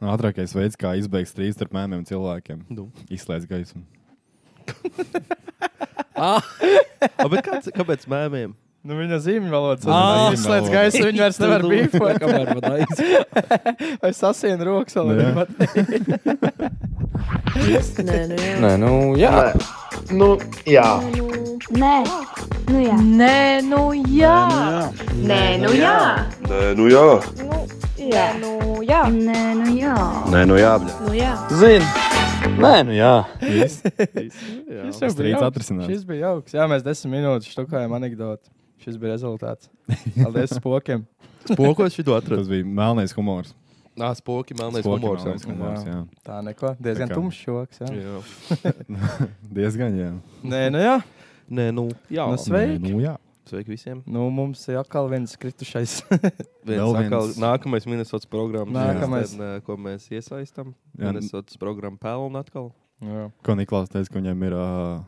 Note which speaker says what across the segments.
Speaker 1: Nu, Ātrākais veids, kā izbeigt strīdu starp mēmiem un cilvēkiem,
Speaker 2: Nu.
Speaker 1: ir izslēgt gaismu.
Speaker 2: A, bet kāds, kāpēc mēmiem?
Speaker 3: Nu, viņa zīmju valoda.
Speaker 1: Ah,
Speaker 3: Ah, slēdz gaisu, viņa vairs nevar bīfot.
Speaker 4: Kamēr vadājas.
Speaker 3: Vai sasienu rokas vēl?
Speaker 1: Jā.
Speaker 3: nevar pat-
Speaker 5: Nē, nu jā.
Speaker 6: Nē, nu jā.
Speaker 7: Nu, jā.
Speaker 8: Nē, nu jā.
Speaker 5: Nē, nu jā. Nē,
Speaker 9: Nē,
Speaker 5: nu jā.
Speaker 9: nu jā.
Speaker 5: Jā, nu jā.
Speaker 8: Nē, nu jā.
Speaker 9: Nē, nu jā.
Speaker 5: Nu jā.
Speaker 3: Zini,
Speaker 6: Nē, nu jā.
Speaker 3: šis jau
Speaker 1: Tas
Speaker 3: bija
Speaker 1: strīds
Speaker 3: jauks.
Speaker 1: atrisināts.
Speaker 3: Šis bija jauks. Jā, mēs desmit minūtes štukājām anekdoti. Šis bija rezultāts. Paldies spokiem.
Speaker 2: Spokos šito atradu.
Speaker 1: Tas bija melnais humors.
Speaker 2: Nā, spoki, melnais
Speaker 1: Spoki
Speaker 2: humors.
Speaker 1: melnais humors, jā.
Speaker 3: Tā neko. Diezgan
Speaker 1: Tā kā-
Speaker 3: tumšs joks. Jā.
Speaker 2: Jā.
Speaker 1: Diezgan, jā.
Speaker 3: Nē, nu jā.
Speaker 2: Nē, nu, jā.
Speaker 3: Nu, sveiki.
Speaker 1: Nē, Nu, jā.
Speaker 2: Sveiki visiem.
Speaker 3: Nu, mums ir atkal viens kritušais.
Speaker 2: Viens
Speaker 1: Vēl
Speaker 2: atkal,
Speaker 1: viens.
Speaker 2: nākamais Minnesotas programmas,
Speaker 3: Nākamais.
Speaker 2: Ten, eh, ko mēs iesaistām.
Speaker 1: Jā.
Speaker 2: Minnesotas programma pelna atkal.
Speaker 3: Jā.
Speaker 1: Ko Niklaus teica, ka viņam ir uh,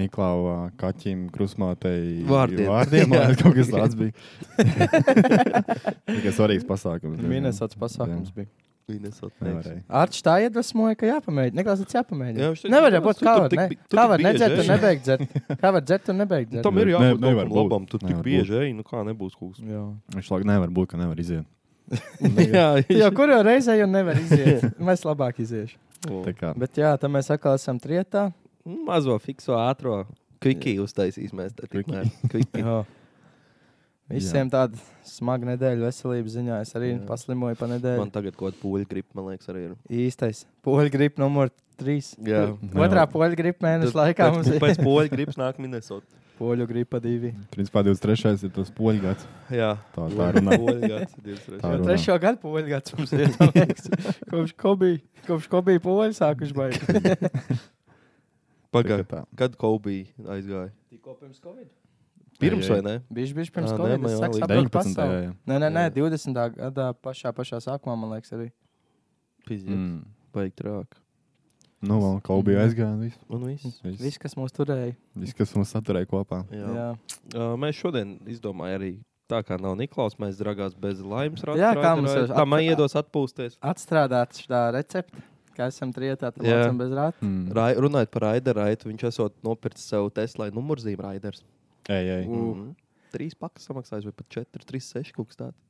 Speaker 1: Niklaus uh, kaķim, krusmātei
Speaker 2: Vārdiem.
Speaker 1: Vārdiem
Speaker 2: Jā.
Speaker 1: man liekas, kaut kas tāds bija. Tikai svarīgs pasākums.
Speaker 3: Minēsots pasākums bija.
Speaker 2: Minnesotas.
Speaker 1: Nevarēja.
Speaker 3: Arčs tā iedvesmoja, ka jāpamēģina. Neklās, tas jāpamēģina.
Speaker 2: Jā, viņš teica,
Speaker 3: Nevar
Speaker 2: Niklaus,
Speaker 3: jau būt
Speaker 2: tu
Speaker 3: kā
Speaker 2: tur
Speaker 3: var,
Speaker 2: tik
Speaker 3: ne?
Speaker 2: bi- tu
Speaker 3: Kā
Speaker 2: tik
Speaker 3: var
Speaker 2: bieži
Speaker 3: nedzert un
Speaker 2: ej.
Speaker 3: nebeigt dzert? Kā var dzert un nebeigt dzert?
Speaker 2: Tam ir
Speaker 1: Ne-
Speaker 2: jābūt
Speaker 1: nevar
Speaker 2: kaut kam
Speaker 1: būt.
Speaker 2: labam. Tu tik
Speaker 1: Nevar
Speaker 2: bieži ej, nu kā nebūs kaut kas.
Speaker 3: Jā.
Speaker 1: Viņš laik nevar būt, ka nevar iziet.
Speaker 3: Tu jau kuru reizi jau nevar iziet. Mēs labāk iziešu.
Speaker 1: Tā kā
Speaker 3: Bet jā, tad mēs atkal esam trietā.
Speaker 2: Mazo fikso ātrā. Kvikī uztaisīs mēs te tikmēr. Kvikī.
Speaker 3: Jā. Visiem tāda smaga nedēļa veselības ziņā. Es arī
Speaker 2: Jā.
Speaker 3: paslimoju pa
Speaker 2: Man
Speaker 3: nedēļu.
Speaker 2: tagad kaut kāda pūļa gripa, man liekas, arī ir.
Speaker 3: Īstais. Poļu gripa numur 3.
Speaker 2: Jā.
Speaker 3: Otrā poļu gripa mēneša laikā mums ir.
Speaker 2: Pēc poļa gripas nāk Minnesota.
Speaker 3: Poļu gripa 2.
Speaker 1: principā 23. ir tas poļu gads.
Speaker 2: Jā.
Speaker 1: Tā, tā runā.
Speaker 2: Poļu gads, divas reizes.
Speaker 1: Tā
Speaker 3: Jau
Speaker 1: runā.
Speaker 3: trešo gadu poļu gads mums ir. man liekas. Kopš kobija, kopš kobija poļu sākuši baigti.
Speaker 1: Tā
Speaker 2: Pagaid,
Speaker 1: kā tā.
Speaker 2: kad Kobe aizgāja?
Speaker 3: Tikko pirms covid.
Speaker 2: Pirms
Speaker 1: Ai, ai.
Speaker 2: vai ne?
Speaker 3: Bija bijis pirms
Speaker 2: Ā,
Speaker 3: covid.
Speaker 2: nē, man
Speaker 3: es
Speaker 2: jau
Speaker 3: sāku
Speaker 2: liekas.
Speaker 3: saprot
Speaker 1: 19.
Speaker 3: pasauli.
Speaker 1: jā.
Speaker 3: Nē, nē, nē,
Speaker 2: Jā.
Speaker 3: 20. gadā pašā, pašā sākumā, man liekas, arī.
Speaker 2: Pizdiet.
Speaker 1: Mm.
Speaker 2: Baig trāk.
Speaker 1: Nu, vēl kaut bija aizgājis, un viss,
Speaker 2: Un viss.
Speaker 1: viss,
Speaker 3: Viss, kas mūs turēja.
Speaker 1: viss, kas mums saturēja kopā.
Speaker 2: Jā.
Speaker 3: Jā,
Speaker 2: Uh, mēs šodien izdomājām arī. Tā kā nav Niklaus, mēs dragās bez laimes rādām.
Speaker 3: Jā, kā mums ir
Speaker 2: tā man
Speaker 3: atpakaļ-
Speaker 2: iedos atpūsties.
Speaker 3: atstrādāt šitā recepte, kā esam trietā, tad
Speaker 2: Jā.
Speaker 3: mācām bez rāta.
Speaker 1: Mm.
Speaker 2: Rai, runājot par Raideru, Raitu, viņš esot nopircis sev Tesla numurzīmu Raiders.
Speaker 1: Ej, ej.
Speaker 2: Mm. Trīs pakas samaksājis vai pat četri, trīs, seši kaut kas tāds.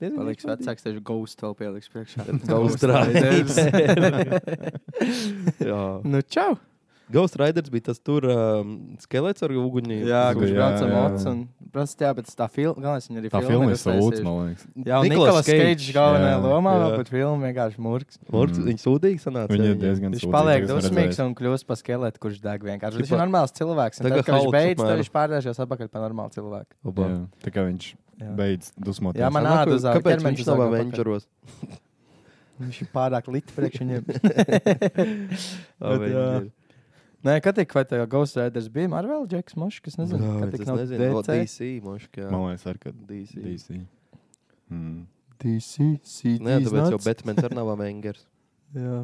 Speaker 2: Diezgan
Speaker 3: Paliks
Speaker 2: iespaidīgi.
Speaker 3: vecāks, taču ghost vēl pieliks priekšā.
Speaker 2: Ghost Riders. Jā.
Speaker 3: Nu, čau!
Speaker 2: Ghost Riders bija tas tur um, skelets ar uguni.
Speaker 3: Jā, kurš
Speaker 1: jā,
Speaker 3: brauc
Speaker 1: jā.
Speaker 3: ar mocu un prasa, jā, bet tā filma, galvenais viņa arī
Speaker 1: Tā filma ir sūds,
Speaker 3: uztaisījuši.
Speaker 1: man liekas.
Speaker 3: Jā, un
Speaker 2: Nicolas
Speaker 3: Nikolas Keits
Speaker 2: Cage,
Speaker 3: galvenajā
Speaker 1: jā,
Speaker 3: lomā,
Speaker 2: jā.
Speaker 3: vēl, bet filma vienkārši murgs.
Speaker 2: Morts,
Speaker 1: Mm.
Speaker 2: mm. Viņš sūdīgi sanāca.
Speaker 1: Viņa
Speaker 2: jā,
Speaker 1: ir
Speaker 2: jā.
Speaker 1: diezgan
Speaker 3: Viņš
Speaker 1: sūdīga,
Speaker 3: paliek
Speaker 1: es
Speaker 3: dusmīgs
Speaker 1: redzēju.
Speaker 3: un kļūst par skeletu, kurš deg vienkārši. Viņš
Speaker 2: Tipo-
Speaker 3: ir normāls cilvēks. un Tad,
Speaker 2: Tagad
Speaker 3: kad viņš
Speaker 2: Hulks
Speaker 3: beidz, tad
Speaker 2: apmēram.
Speaker 3: viņš pārvēršas atpakaļ par normālu cilvēku.
Speaker 2: Labā.
Speaker 1: Jā, Tā kā viņš
Speaker 3: Jā.
Speaker 1: beidz dusmoties.
Speaker 3: Jā, man
Speaker 2: Sanāk,
Speaker 3: āda uzauga,
Speaker 2: Kāpēc
Speaker 3: ķermenis
Speaker 2: viņš nav
Speaker 3: uzauga atpakaļ.
Speaker 2: Avengeros?
Speaker 3: Viņš ir pārāk likt priekš viņiem.
Speaker 2: Avengers.
Speaker 3: Nē, Katika, vai tajā Ghost Riders bija Marvel, Džeks Mošs, kas nezinu,
Speaker 2: Jā,
Speaker 3: kā
Speaker 2: bet
Speaker 3: tik
Speaker 2: es
Speaker 3: nav
Speaker 2: nezinu, no
Speaker 3: DC.
Speaker 2: DC, moškā.
Speaker 1: Man liekas, ar kad
Speaker 2: DC.
Speaker 1: DC. Mm.
Speaker 3: DC, CD.
Speaker 2: Nē, tāpēc jau Batmans arī nav Avengers.
Speaker 3: Jā.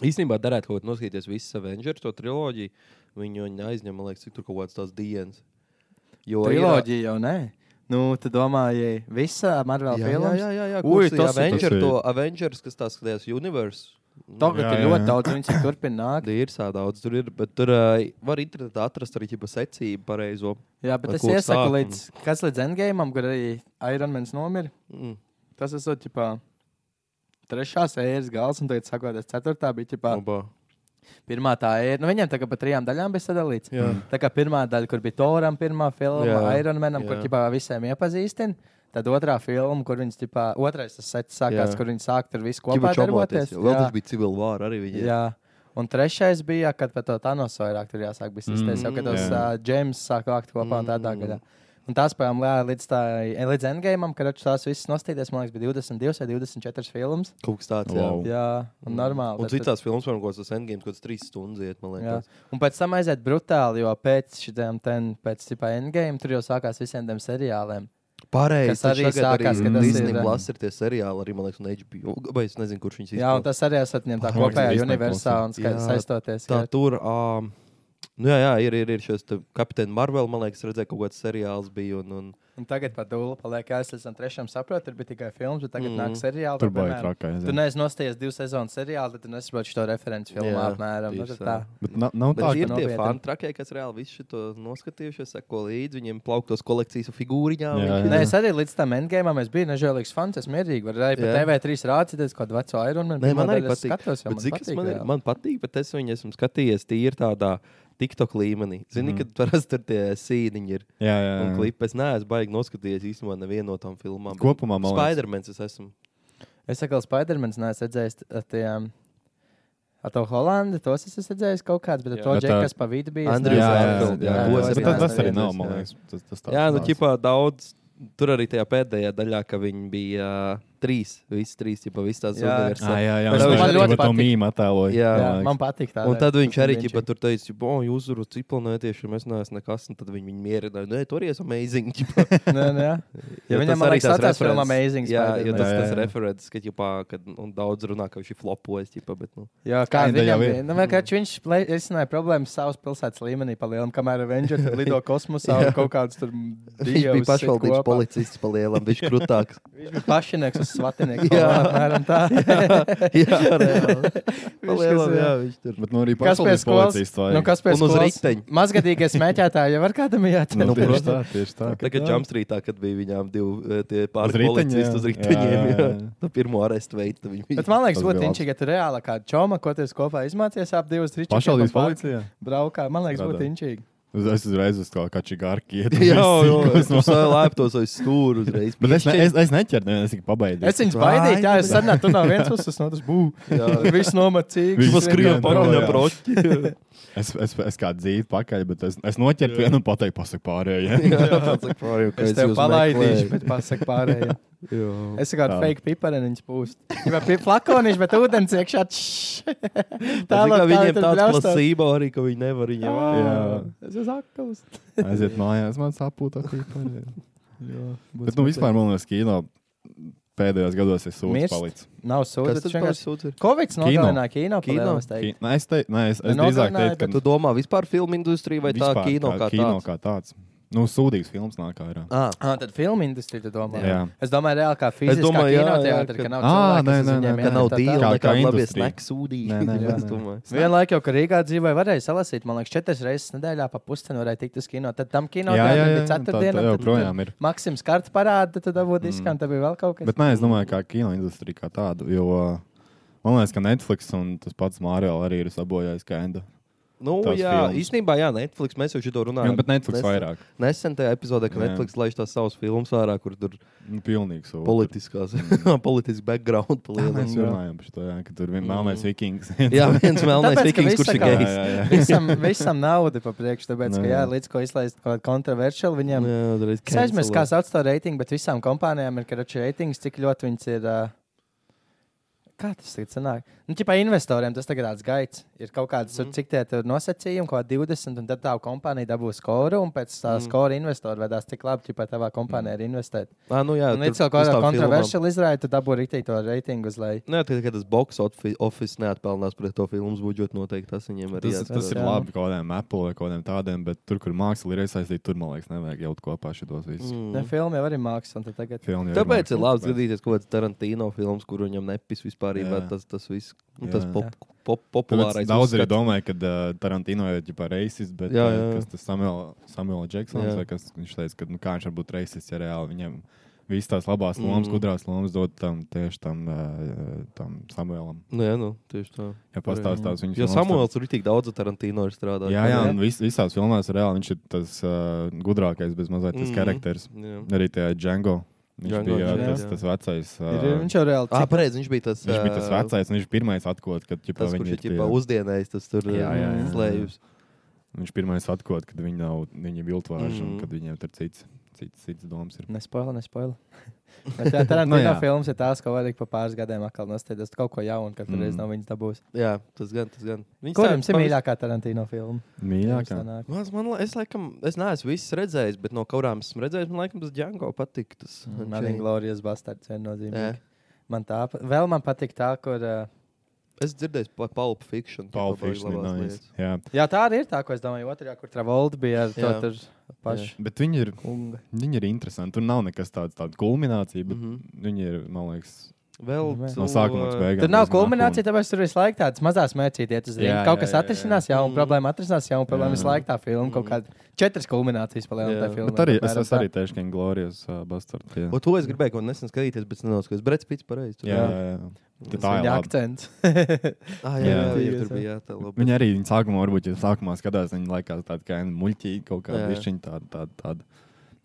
Speaker 2: Īstenībā darētu kaut ko noskatīties visas Avengers to triloģiju. Viņu viņi aizņem, man liekas, cik tur kaut kāds tās dienas. Jo ir-
Speaker 3: Triloģija jau nē. Nu, tu domāji, visa Marvel
Speaker 2: Jā, jā, jā,
Speaker 3: filma.
Speaker 2: jā, jā
Speaker 3: Ui,
Speaker 2: kurš ir
Speaker 3: tas ir-
Speaker 2: Avenger,
Speaker 1: tas ir-
Speaker 2: to Avengers, kas tās skatījās Universe.
Speaker 3: Tagad
Speaker 1: Jā,
Speaker 3: ir
Speaker 1: jā, jā.
Speaker 3: ļoti daudz, viņas ir turpināt.
Speaker 2: Tāda ir sā daudz, tur ir, bet tur uh, var internetā atrast arī ķipa secību pareizo.
Speaker 3: Jā, bet
Speaker 2: Ar
Speaker 3: es
Speaker 2: ko
Speaker 3: iesaku
Speaker 2: sākt,
Speaker 3: līdz, kas līdz endgame, kur arī Iron Man nomira.
Speaker 2: Mm.
Speaker 3: Tas ir tipā trešā sērijas gals, un tagad sakoties ceturtā bija tipā
Speaker 2: labā.
Speaker 3: pirmā tā ir. Nu, viņam tagad pa trijām daļām bija sadalīts.
Speaker 2: Jā.
Speaker 3: Tā kā pirmā daļa, kur bija Toram, pirmā filma,
Speaker 2: Jā,
Speaker 3: Ironmanam, kur
Speaker 2: jā.
Speaker 3: tipā visiem iepazīstina. Tad otrā filma, kur viņas tipā, otrais tas sets sākās,
Speaker 2: Jā.
Speaker 3: kur viņi sāk tur visu
Speaker 2: Ķipa
Speaker 3: kopā
Speaker 2: čomoties
Speaker 3: darboties.
Speaker 2: jau. Vēl
Speaker 3: Jā.
Speaker 2: tas bija civil war arī viņi.
Speaker 3: Jā. Un trešais bija, kad par to Thanos vairāk tur jāsāk bija sistēmas, jau kad
Speaker 2: Mm,
Speaker 3: tos
Speaker 1: jā.
Speaker 3: uh, James sāk vākt kopā un tādā gaļā. Un tās pajām lēja līdz, tā- eh, līdz endgame, kad taču tās visas nostīties, man liekas, bija 22 vai 24 filmas.
Speaker 2: Kaut kas tāds.
Speaker 1: Wow.
Speaker 2: Jā.
Speaker 3: Jā, un normāli.
Speaker 2: Mm. Un
Speaker 3: tad-
Speaker 2: citās filmās, piemēram, kaut kas endgame, kaut kas trīs stundas iet, man
Speaker 3: Jā.
Speaker 2: liekas.
Speaker 3: Un pēc tam aiziet brutāli, jo pēc šitām ten, pēc tipā endgame, tur jau sākās visiem tiem seriāliem.
Speaker 2: Pareizi.
Speaker 3: Kas arī sākās, ka tas
Speaker 2: Disney
Speaker 3: ir-
Speaker 2: Plus ir tie seriāli, arī, man liekas, un HBO. Vai es nezinu, kurš viņš
Speaker 3: Jā, un tas arī esat viņiem tā
Speaker 1: Pareizi,
Speaker 3: kopējā
Speaker 1: Disney
Speaker 3: universā un ska-
Speaker 2: Jā,
Speaker 3: saistoties.
Speaker 2: Tā
Speaker 3: ka-
Speaker 2: tur. Um, Nu jā, jā, ir, ir, ir šis te Kapitēns Marvel, man liekas, redzēja, kaut kāds seriāls bija. Un, un
Speaker 3: Un tagad par dūlu paliek aizsardz un trešajam saprotu, tur bija tikai filmas, bet tagad mm. nāk seriāli.
Speaker 1: Tur
Speaker 3: tad,
Speaker 1: bija
Speaker 3: piemēram,
Speaker 1: trakā.
Speaker 3: Tu neesi nostājies divu sezonu seriālā, tad tu nesaproti šo referenci filmu
Speaker 2: Jā,
Speaker 3: apmēram. Nu,
Speaker 2: tieši
Speaker 3: tad tā.
Speaker 1: Bet na, nav
Speaker 2: Bet
Speaker 1: Nu tā,
Speaker 2: ir
Speaker 1: ka
Speaker 2: tie
Speaker 3: nopietni.
Speaker 2: fani trakie, kas reāli visu to noskatījušies, seko līdzi viņiem plauktos kolekcijas
Speaker 1: Jā,
Speaker 2: figūriņām. viņi-
Speaker 1: jā.
Speaker 3: Nē, es arī līdz tam endgame es biju nežēlīgs fans. Es mierīgi varu arī pat
Speaker 2: Jā.
Speaker 3: TV3 rācīties kaut kādu vecu Iron Man.
Speaker 2: Nē, man
Speaker 3: pirmā
Speaker 2: arī
Speaker 3: daļa es
Speaker 2: patīk.
Speaker 3: Skatos, jo
Speaker 2: Bet, zini, kas
Speaker 3: patīk,
Speaker 2: man, ir,
Speaker 3: jā.
Speaker 2: man patīk, bet es viņu esmu skatījies tīri tādā TikTok līmenī. Zini, mm. kad parasti tur tie sīniņi ir
Speaker 1: Jā, Mhm. jā.
Speaker 2: un
Speaker 1: jā.
Speaker 2: klipi. Es neesmu baigi noskatījies īstenībā nevienu no tām filmām. bet
Speaker 1: Kopumā man liekas.
Speaker 2: Spidermans es esmu.
Speaker 3: Es saku, Spidermanis neesmu redzējis t- ar tiem. Ar to Holandi, tos es esmu redzējis kaut kāds, bet ar
Speaker 2: Jā.
Speaker 3: to
Speaker 1: Bet tā-
Speaker 3: Džeku, kas pa vidu bija. es
Speaker 2: Andrews
Speaker 1: Jā, jā, jā,
Speaker 2: Garfield,
Speaker 1: jā,
Speaker 2: jā,
Speaker 1: jā.
Speaker 2: to es
Speaker 1: Bet
Speaker 2: arī
Speaker 1: tas-
Speaker 2: neesmu
Speaker 1: tas arī nav,
Speaker 2: redzējis,
Speaker 1: man
Speaker 2: jā.
Speaker 1: liekas. Tas- tas tāds
Speaker 2: Jā, nu,
Speaker 1: nāca.
Speaker 2: ķipā daudz. Tur arī tajā pēdējā daļā, ka viņi bija uh, trīs. Visi trīs, jau visas tās
Speaker 3: Jā.
Speaker 1: Ā,
Speaker 2: universālās.
Speaker 1: Jā, jā,
Speaker 2: Man
Speaker 1: un
Speaker 2: ļoti
Speaker 1: viņš arī par to
Speaker 3: patīk.
Speaker 1: mīmu attēloja.
Speaker 2: Jā.
Speaker 3: Jā,
Speaker 1: man
Speaker 3: man patīk tā.
Speaker 2: Un
Speaker 3: tā-
Speaker 2: tad viņš
Speaker 3: tas
Speaker 2: arī
Speaker 3: viņš
Speaker 2: ķipa,
Speaker 3: ir.
Speaker 2: tur teica, ka, oh, jūs uzvarat ciklonētieši, mēs neesam nekas. Un tad viņi viņu mierināja. Nē, tur ir amazing. ķipa.
Speaker 3: Nē, nē, jā.
Speaker 2: Jo
Speaker 3: viņam,
Speaker 2: tas
Speaker 3: man
Speaker 2: arī
Speaker 3: liekas,
Speaker 2: tās
Speaker 3: atceras filmu
Speaker 2: references-
Speaker 3: Amazing
Speaker 2: Jā, jo
Speaker 3: Spider-Man.
Speaker 2: tas
Speaker 1: Jā,
Speaker 2: ir
Speaker 1: jā, jā.
Speaker 2: referents, ka, ķipā, kad, un daudz runā, ka viņš ir flopojis. ķipa, Bet, nu,
Speaker 3: Jā, kā
Speaker 1: Kinda jau
Speaker 3: viņam
Speaker 1: ir.
Speaker 3: bija. Nu, vienkārši viņš plē- risināja problēmas savas pilsētas līmenī, palielam, kamēr Avengers tur lido kosmosā un kaut kāds tur
Speaker 2: viņš bija
Speaker 3: dievs sit
Speaker 2: pašvaldības
Speaker 3: kopā.
Speaker 2: policists, palielam, viņš ir krūtāks.
Speaker 3: Viņš bija pašinieks uz svatinieka.
Speaker 2: Jā.
Speaker 3: jā, apmēram tā.
Speaker 2: jā, reāli. Palielam,
Speaker 3: kas-
Speaker 2: jā, viņš tur.
Speaker 1: Bet nu arī
Speaker 3: Kas pēc
Speaker 1: pašvaldības
Speaker 3: skolas?
Speaker 1: policijas tā
Speaker 3: Nu, kas pēc
Speaker 2: Un uz
Speaker 3: skolas?
Speaker 2: riteņa.
Speaker 3: Mazgadīgais smēķētāji jau var kādam iet.
Speaker 1: Nu, tieši
Speaker 2: protams.
Speaker 1: tā, tieši tā.
Speaker 2: Tā kā
Speaker 1: Jā.
Speaker 2: Džamstrītā, kad bija viņām divi eh,
Speaker 1: Uz riteņiem,
Speaker 2: pārpolicisti uz
Speaker 1: jā. Jā,
Speaker 2: riteņiem,
Speaker 1: jā,
Speaker 2: jā.
Speaker 1: jā.
Speaker 2: Nu, pirmo arestu veidu viņi
Speaker 3: Bet
Speaker 2: bija.
Speaker 3: man liekas,
Speaker 1: Tas
Speaker 3: būtu
Speaker 1: bija
Speaker 3: inčīgi, ja tu reāli kā čoma, ko tu esi kopā izmācies ap divus trīs
Speaker 1: Pašvaldības policija.
Speaker 3: Braukā, man liekas, būtu
Speaker 1: Strādā.
Speaker 3: inčīgi.
Speaker 1: Uz- Es uzreiz uz kā kačigārki ietu.
Speaker 2: Jā, jau
Speaker 1: es no
Speaker 2: tādā lēptos aiz stūra uzreiz.
Speaker 1: Bet es, ne, es, es neķeru, ne, es tikai pabeidu.
Speaker 3: Es viņus
Speaker 2: Vai,
Speaker 3: baidīju, jā, es
Speaker 2: bet-
Speaker 3: sanāku, tu no viens puses, no tas būs.
Speaker 2: Jā.
Speaker 3: Viss nomacīgs.
Speaker 1: Viss
Speaker 2: Viņš skrien
Speaker 1: skrien
Speaker 2: pakaļ
Speaker 1: projām.
Speaker 2: ap roķi.
Speaker 1: es, es, es kā dzīvu pakaļ, bet es, es noķeru vienu un pateicu, pasaku pārējiem.
Speaker 2: Jā, tāds ir pārējiem, ka
Speaker 3: Es
Speaker 2: es
Speaker 3: tev
Speaker 2: jūs
Speaker 3: palaidīšu,
Speaker 2: meklēju.
Speaker 3: bet pasak pārējiem.
Speaker 2: Jā.
Speaker 3: Es kā
Speaker 1: Tā.
Speaker 3: fake pipareniņš pūst. Viņam bija plakoniņš, bet ūdens iekšā. tš.
Speaker 2: Tā
Speaker 3: Tālāk
Speaker 2: kā viņiem
Speaker 3: tur
Speaker 2: tāds
Speaker 3: bļaustās.
Speaker 2: plasība arī, ka viņi nevar viņam.
Speaker 1: Jā.
Speaker 3: Es esmu akls.
Speaker 1: Aiziet mājās, man sapūta. Bet, nu, vispār man liekas, kino pēdējos gados ir sūdzības
Speaker 3: Mirst?
Speaker 1: palicis.
Speaker 3: Nav sūdzības.
Speaker 2: Kas
Speaker 3: Tas
Speaker 2: tas tāds
Speaker 3: vienkārši
Speaker 2: sūdz?
Speaker 3: Covid nogalināja kino.
Speaker 2: Kino?
Speaker 3: Kino. Kino.
Speaker 1: Ki- Nē, es, te, nē, es, es drīzāk
Speaker 3: Nenogalināja,
Speaker 1: teiktu, ka
Speaker 2: Tu domā vispār filmu industriju vai tā
Speaker 1: vispār
Speaker 2: kino kā
Speaker 1: kino
Speaker 2: tāds?
Speaker 1: kā tāds. Nu, sūdīgs films nāk ārā.
Speaker 2: Ā,
Speaker 3: Ah, tad filmu industrija, tu domā?
Speaker 1: Jā.
Speaker 3: Es domāju, reāli kā fiziski. Es
Speaker 2: domāju,
Speaker 3: domāju,
Speaker 2: jā,
Speaker 3: kino
Speaker 2: jā,
Speaker 3: teātri,
Speaker 2: ka-
Speaker 3: ka nav
Speaker 1: Ā,
Speaker 3: cilvēku,
Speaker 1: nē,
Speaker 3: kas uz
Speaker 1: nē,
Speaker 3: viņiem
Speaker 1: nē.
Speaker 2: Ka
Speaker 1: Jā,
Speaker 2: nav
Speaker 3: iet, tā tā.
Speaker 2: dīla,
Speaker 1: Kā- kā
Speaker 2: nekāda labies
Speaker 1: industrija. Nē, nē, nē, nē.
Speaker 2: neksūdīja.
Speaker 3: Vienlaik jau, ka Rīgā dzīvoja, varēja salasīt, man liekas, četras reizes nedēļā pa pusdienu varēja tikt uz kino. Tad tam kino bija
Speaker 1: tā, tā
Speaker 3: ceturtdiena.
Speaker 1: joprojām ir.
Speaker 3: Maksims kartu parāda, tad dabūja diskantu, tad bija vēl kaut kas.
Speaker 1: Bet nē, es domāju, kā kino industrija kā tāda, jo uh, man liekas, ka Netflix un tas pats Mārija arī ir sabojājis Kendu.
Speaker 2: Nu,
Speaker 1: tās
Speaker 2: jā,
Speaker 1: filmas.
Speaker 2: īstenībā, jā, Netflix. Mēs jau šo runājām.
Speaker 1: Jā, bet Netflix
Speaker 2: nesen-
Speaker 1: vairāk.
Speaker 2: Nesen tajā epizodē, ka
Speaker 1: Jā.
Speaker 2: Netflix laiž tās savas filmas ārā, kur tur
Speaker 1: Nu, pilnīgi sūdzīgs.
Speaker 2: politiskās, politisks background
Speaker 1: Mēs
Speaker 2: palielinās.
Speaker 1: runājam par to, jā, ka tur vienmēr mm. mēs vikings.
Speaker 2: Jā, viens melnais
Speaker 3: Tāpēc, ka
Speaker 2: vikings,
Speaker 3: viss
Speaker 2: kurš ir
Speaker 3: tā kā-
Speaker 2: gejs.
Speaker 3: Visam, visam naudu pa priekšu, tāpēc,
Speaker 1: Nē,
Speaker 2: Nu,
Speaker 3: ka jā,
Speaker 1: jā.
Speaker 3: līdz ko izlaist kaut kādu kontroversiālu viņiem. Jā.
Speaker 2: Jā, uzreiz
Speaker 3: Es aizmirsu,
Speaker 2: cancelē.
Speaker 3: kā sauc to reitingu, bet visām kompānijām ir karaču reitings, cik ļoti viņas ir. ā, Kā tas tagad sanāk? Nu, ķipā investoriem tas tagad tāds gaits. Ir kaut kāds,
Speaker 2: Mhm.
Speaker 3: mm. cik tie tur nosacījumi, ko 20, un tad tā kompānija dabūs skoru, un pēc tā mm.
Speaker 2: Mhm.
Speaker 3: skora investori vedās, cik labi, ja pat tavā kompānijā ir investēt.
Speaker 2: Ā, nu jā,
Speaker 3: Un
Speaker 2: tur
Speaker 3: līdz kaut
Speaker 2: uz
Speaker 3: kādā
Speaker 2: tām filmām.
Speaker 3: kontroversiālā izrādē, tad dabū rītī to reitingu uz leju.
Speaker 2: Nē, tikai tas box offi- office neatpelnās pret to filmu budžetu. Noteikti tas viņiem arī
Speaker 1: Tas, tas ir
Speaker 3: jā.
Speaker 1: labi kaut kādiem Apple vai kaut kādiem tādiem, bet tur, kur māksla ir iesaistīta, tur, man liekas, nevajag jaut kopā šitos visus. Mm.
Speaker 2: Mhm.
Speaker 3: Mm. Filma jau arī māksla, un tad tagad
Speaker 1: Filmi, jau
Speaker 2: Tāpēc
Speaker 1: māksla,
Speaker 2: ir labi
Speaker 1: bet-
Speaker 2: skatīties kaut kādas Tarantino filmas, kur viņam nepis vispār.
Speaker 1: Jā.
Speaker 2: Tas, tas viss, nu,
Speaker 1: Jā.
Speaker 2: tas pop, pop,
Speaker 1: Tāpēc
Speaker 2: populārais.
Speaker 1: Daudz arī
Speaker 2: uzskats.
Speaker 1: domāja, ka uh, Tarantino ir jau racist, bet
Speaker 2: Jā,
Speaker 1: jā,
Speaker 2: jā,
Speaker 1: jā.
Speaker 2: jā.
Speaker 1: kas tas Samuel, Samuel Jacksons
Speaker 2: Jā.
Speaker 1: vai kas viņš teica, ka nu, kā viņš var būt racist, ja reāli viņam visas tās labās lomas, mm. gudrās lomas dod tam tieši tam, uh, tam Samuelam.
Speaker 2: Nu, jā, nu, tieši tā.
Speaker 1: Ja pastāstās viņu
Speaker 2: Jo Samuēls tur ir tik daudz ar Tarantino ir strādājis.
Speaker 1: Jā, nu, jā, un vis, visās filmās reāli viņš ir tas uh, gudrākais, bez mazliet tas mm.
Speaker 2: Mhm.
Speaker 1: karakteris.
Speaker 2: jā.
Speaker 1: Arī tajā Django. Viņš
Speaker 2: Django,
Speaker 1: Django, bija
Speaker 2: jā.
Speaker 1: jā, tas, tas vecais.
Speaker 3: ir,
Speaker 1: Uh,
Speaker 3: viņš jau reāli.
Speaker 2: Ah,
Speaker 3: cik-
Speaker 2: pareizi, viņš bija tas.
Speaker 1: viņš bija tas
Speaker 2: ā,
Speaker 1: vecais, un viņš pirmais atklāja, kad ķipa,
Speaker 2: Tas, kurš
Speaker 1: viņi
Speaker 2: ir
Speaker 1: ir
Speaker 2: ķipā
Speaker 1: tie-
Speaker 2: uzdienējis, tas tur
Speaker 1: Jā, jā, jā, jā.
Speaker 2: slēpjas.
Speaker 1: Viņš pirmais atklāja, kad viņi nav viņa viltvāži, mm.
Speaker 2: Mhm.
Speaker 1: un kad viņiem tur cits, cits, cits domas ir.
Speaker 3: Nespoilu, nespoilu. Bet jā, tā ir tā
Speaker 1: Nu, jā.
Speaker 3: līnija, filmas ir tās, ko vajag pa pāris gadiem atkal nostāties kaut ko jaunu, kad mm.
Speaker 1: Mm.
Speaker 3: reiz no viņas dabūs.
Speaker 2: Jā, tas gan, tas gan. Viņš
Speaker 3: Kur jums ir mīļākā Tarantino filma? Jums
Speaker 1: Mīļākā.
Speaker 3: tā nāk?
Speaker 2: Man, man, li- es laikam, es neesmu visus redzējis, bet no kurām esmu redzējis, man liekas, tas Django patīk. Tas
Speaker 3: Man arī Glorijas Bastards viennozīmīgi.
Speaker 2: Jā.
Speaker 3: Man tā, pa- vēl man patīk tā, kur uh,
Speaker 2: Es dzirdēju, ka Pulp Fiction
Speaker 1: Pulp Fiction ir nice. Jā.
Speaker 3: Jā, tā arī ir tā, ko es domāju. Otrajā, kur Travolta bija ar to
Speaker 2: Jā.
Speaker 3: tur pašu.
Speaker 1: Bet viņi ir,
Speaker 3: Kunga.
Speaker 1: viņi ir interesanti. Tur nav nekas tāds, tāda kulminācija, bet mm -hmm. viņi ir, man liekas,
Speaker 2: Mhm. Vēl uh,
Speaker 3: Vai-
Speaker 1: no sākuma līdz beigām.
Speaker 3: Tur nav
Speaker 1: diezgan
Speaker 3: kulminācija,
Speaker 1: akūni.
Speaker 3: tāpēc tur visu laiku tādas mazas mērķis iet uz rīta.
Speaker 1: Jā,
Speaker 3: Kaut
Speaker 1: jā,
Speaker 3: kas
Speaker 1: jā, jā.
Speaker 3: atrisinās,
Speaker 2: Mm.
Speaker 3: jau un problēma atrisinās, jau un problēma
Speaker 1: Jā.
Speaker 3: visu laiku tā filma. Kaut kāda četras kulminācijas
Speaker 2: Jā.
Speaker 3: palielina tā filma.
Speaker 1: Bet arī es, es arī teikšu, ka Inglorious uh, Bastards. Jā,
Speaker 2: O, to es gribēju, ko nesen skatīties, bet es nenoskatījos. Brats Pits pareizi. tur.
Speaker 1: jā, jā. jā. Tā tā ir
Speaker 3: Viņa
Speaker 1: laba.
Speaker 3: akcents.
Speaker 2: Ah,
Speaker 1: Jā.
Speaker 2: jā, jā, jā, tur bija jā, tā labi.
Speaker 1: Viņa arī viņa sākumā, varbūt, ja sākumā skatās, viņa laikās tāda kā nu, muļķīga kaut kāda
Speaker 2: Jā.
Speaker 1: višķiņa, tāda, tāda, tāda.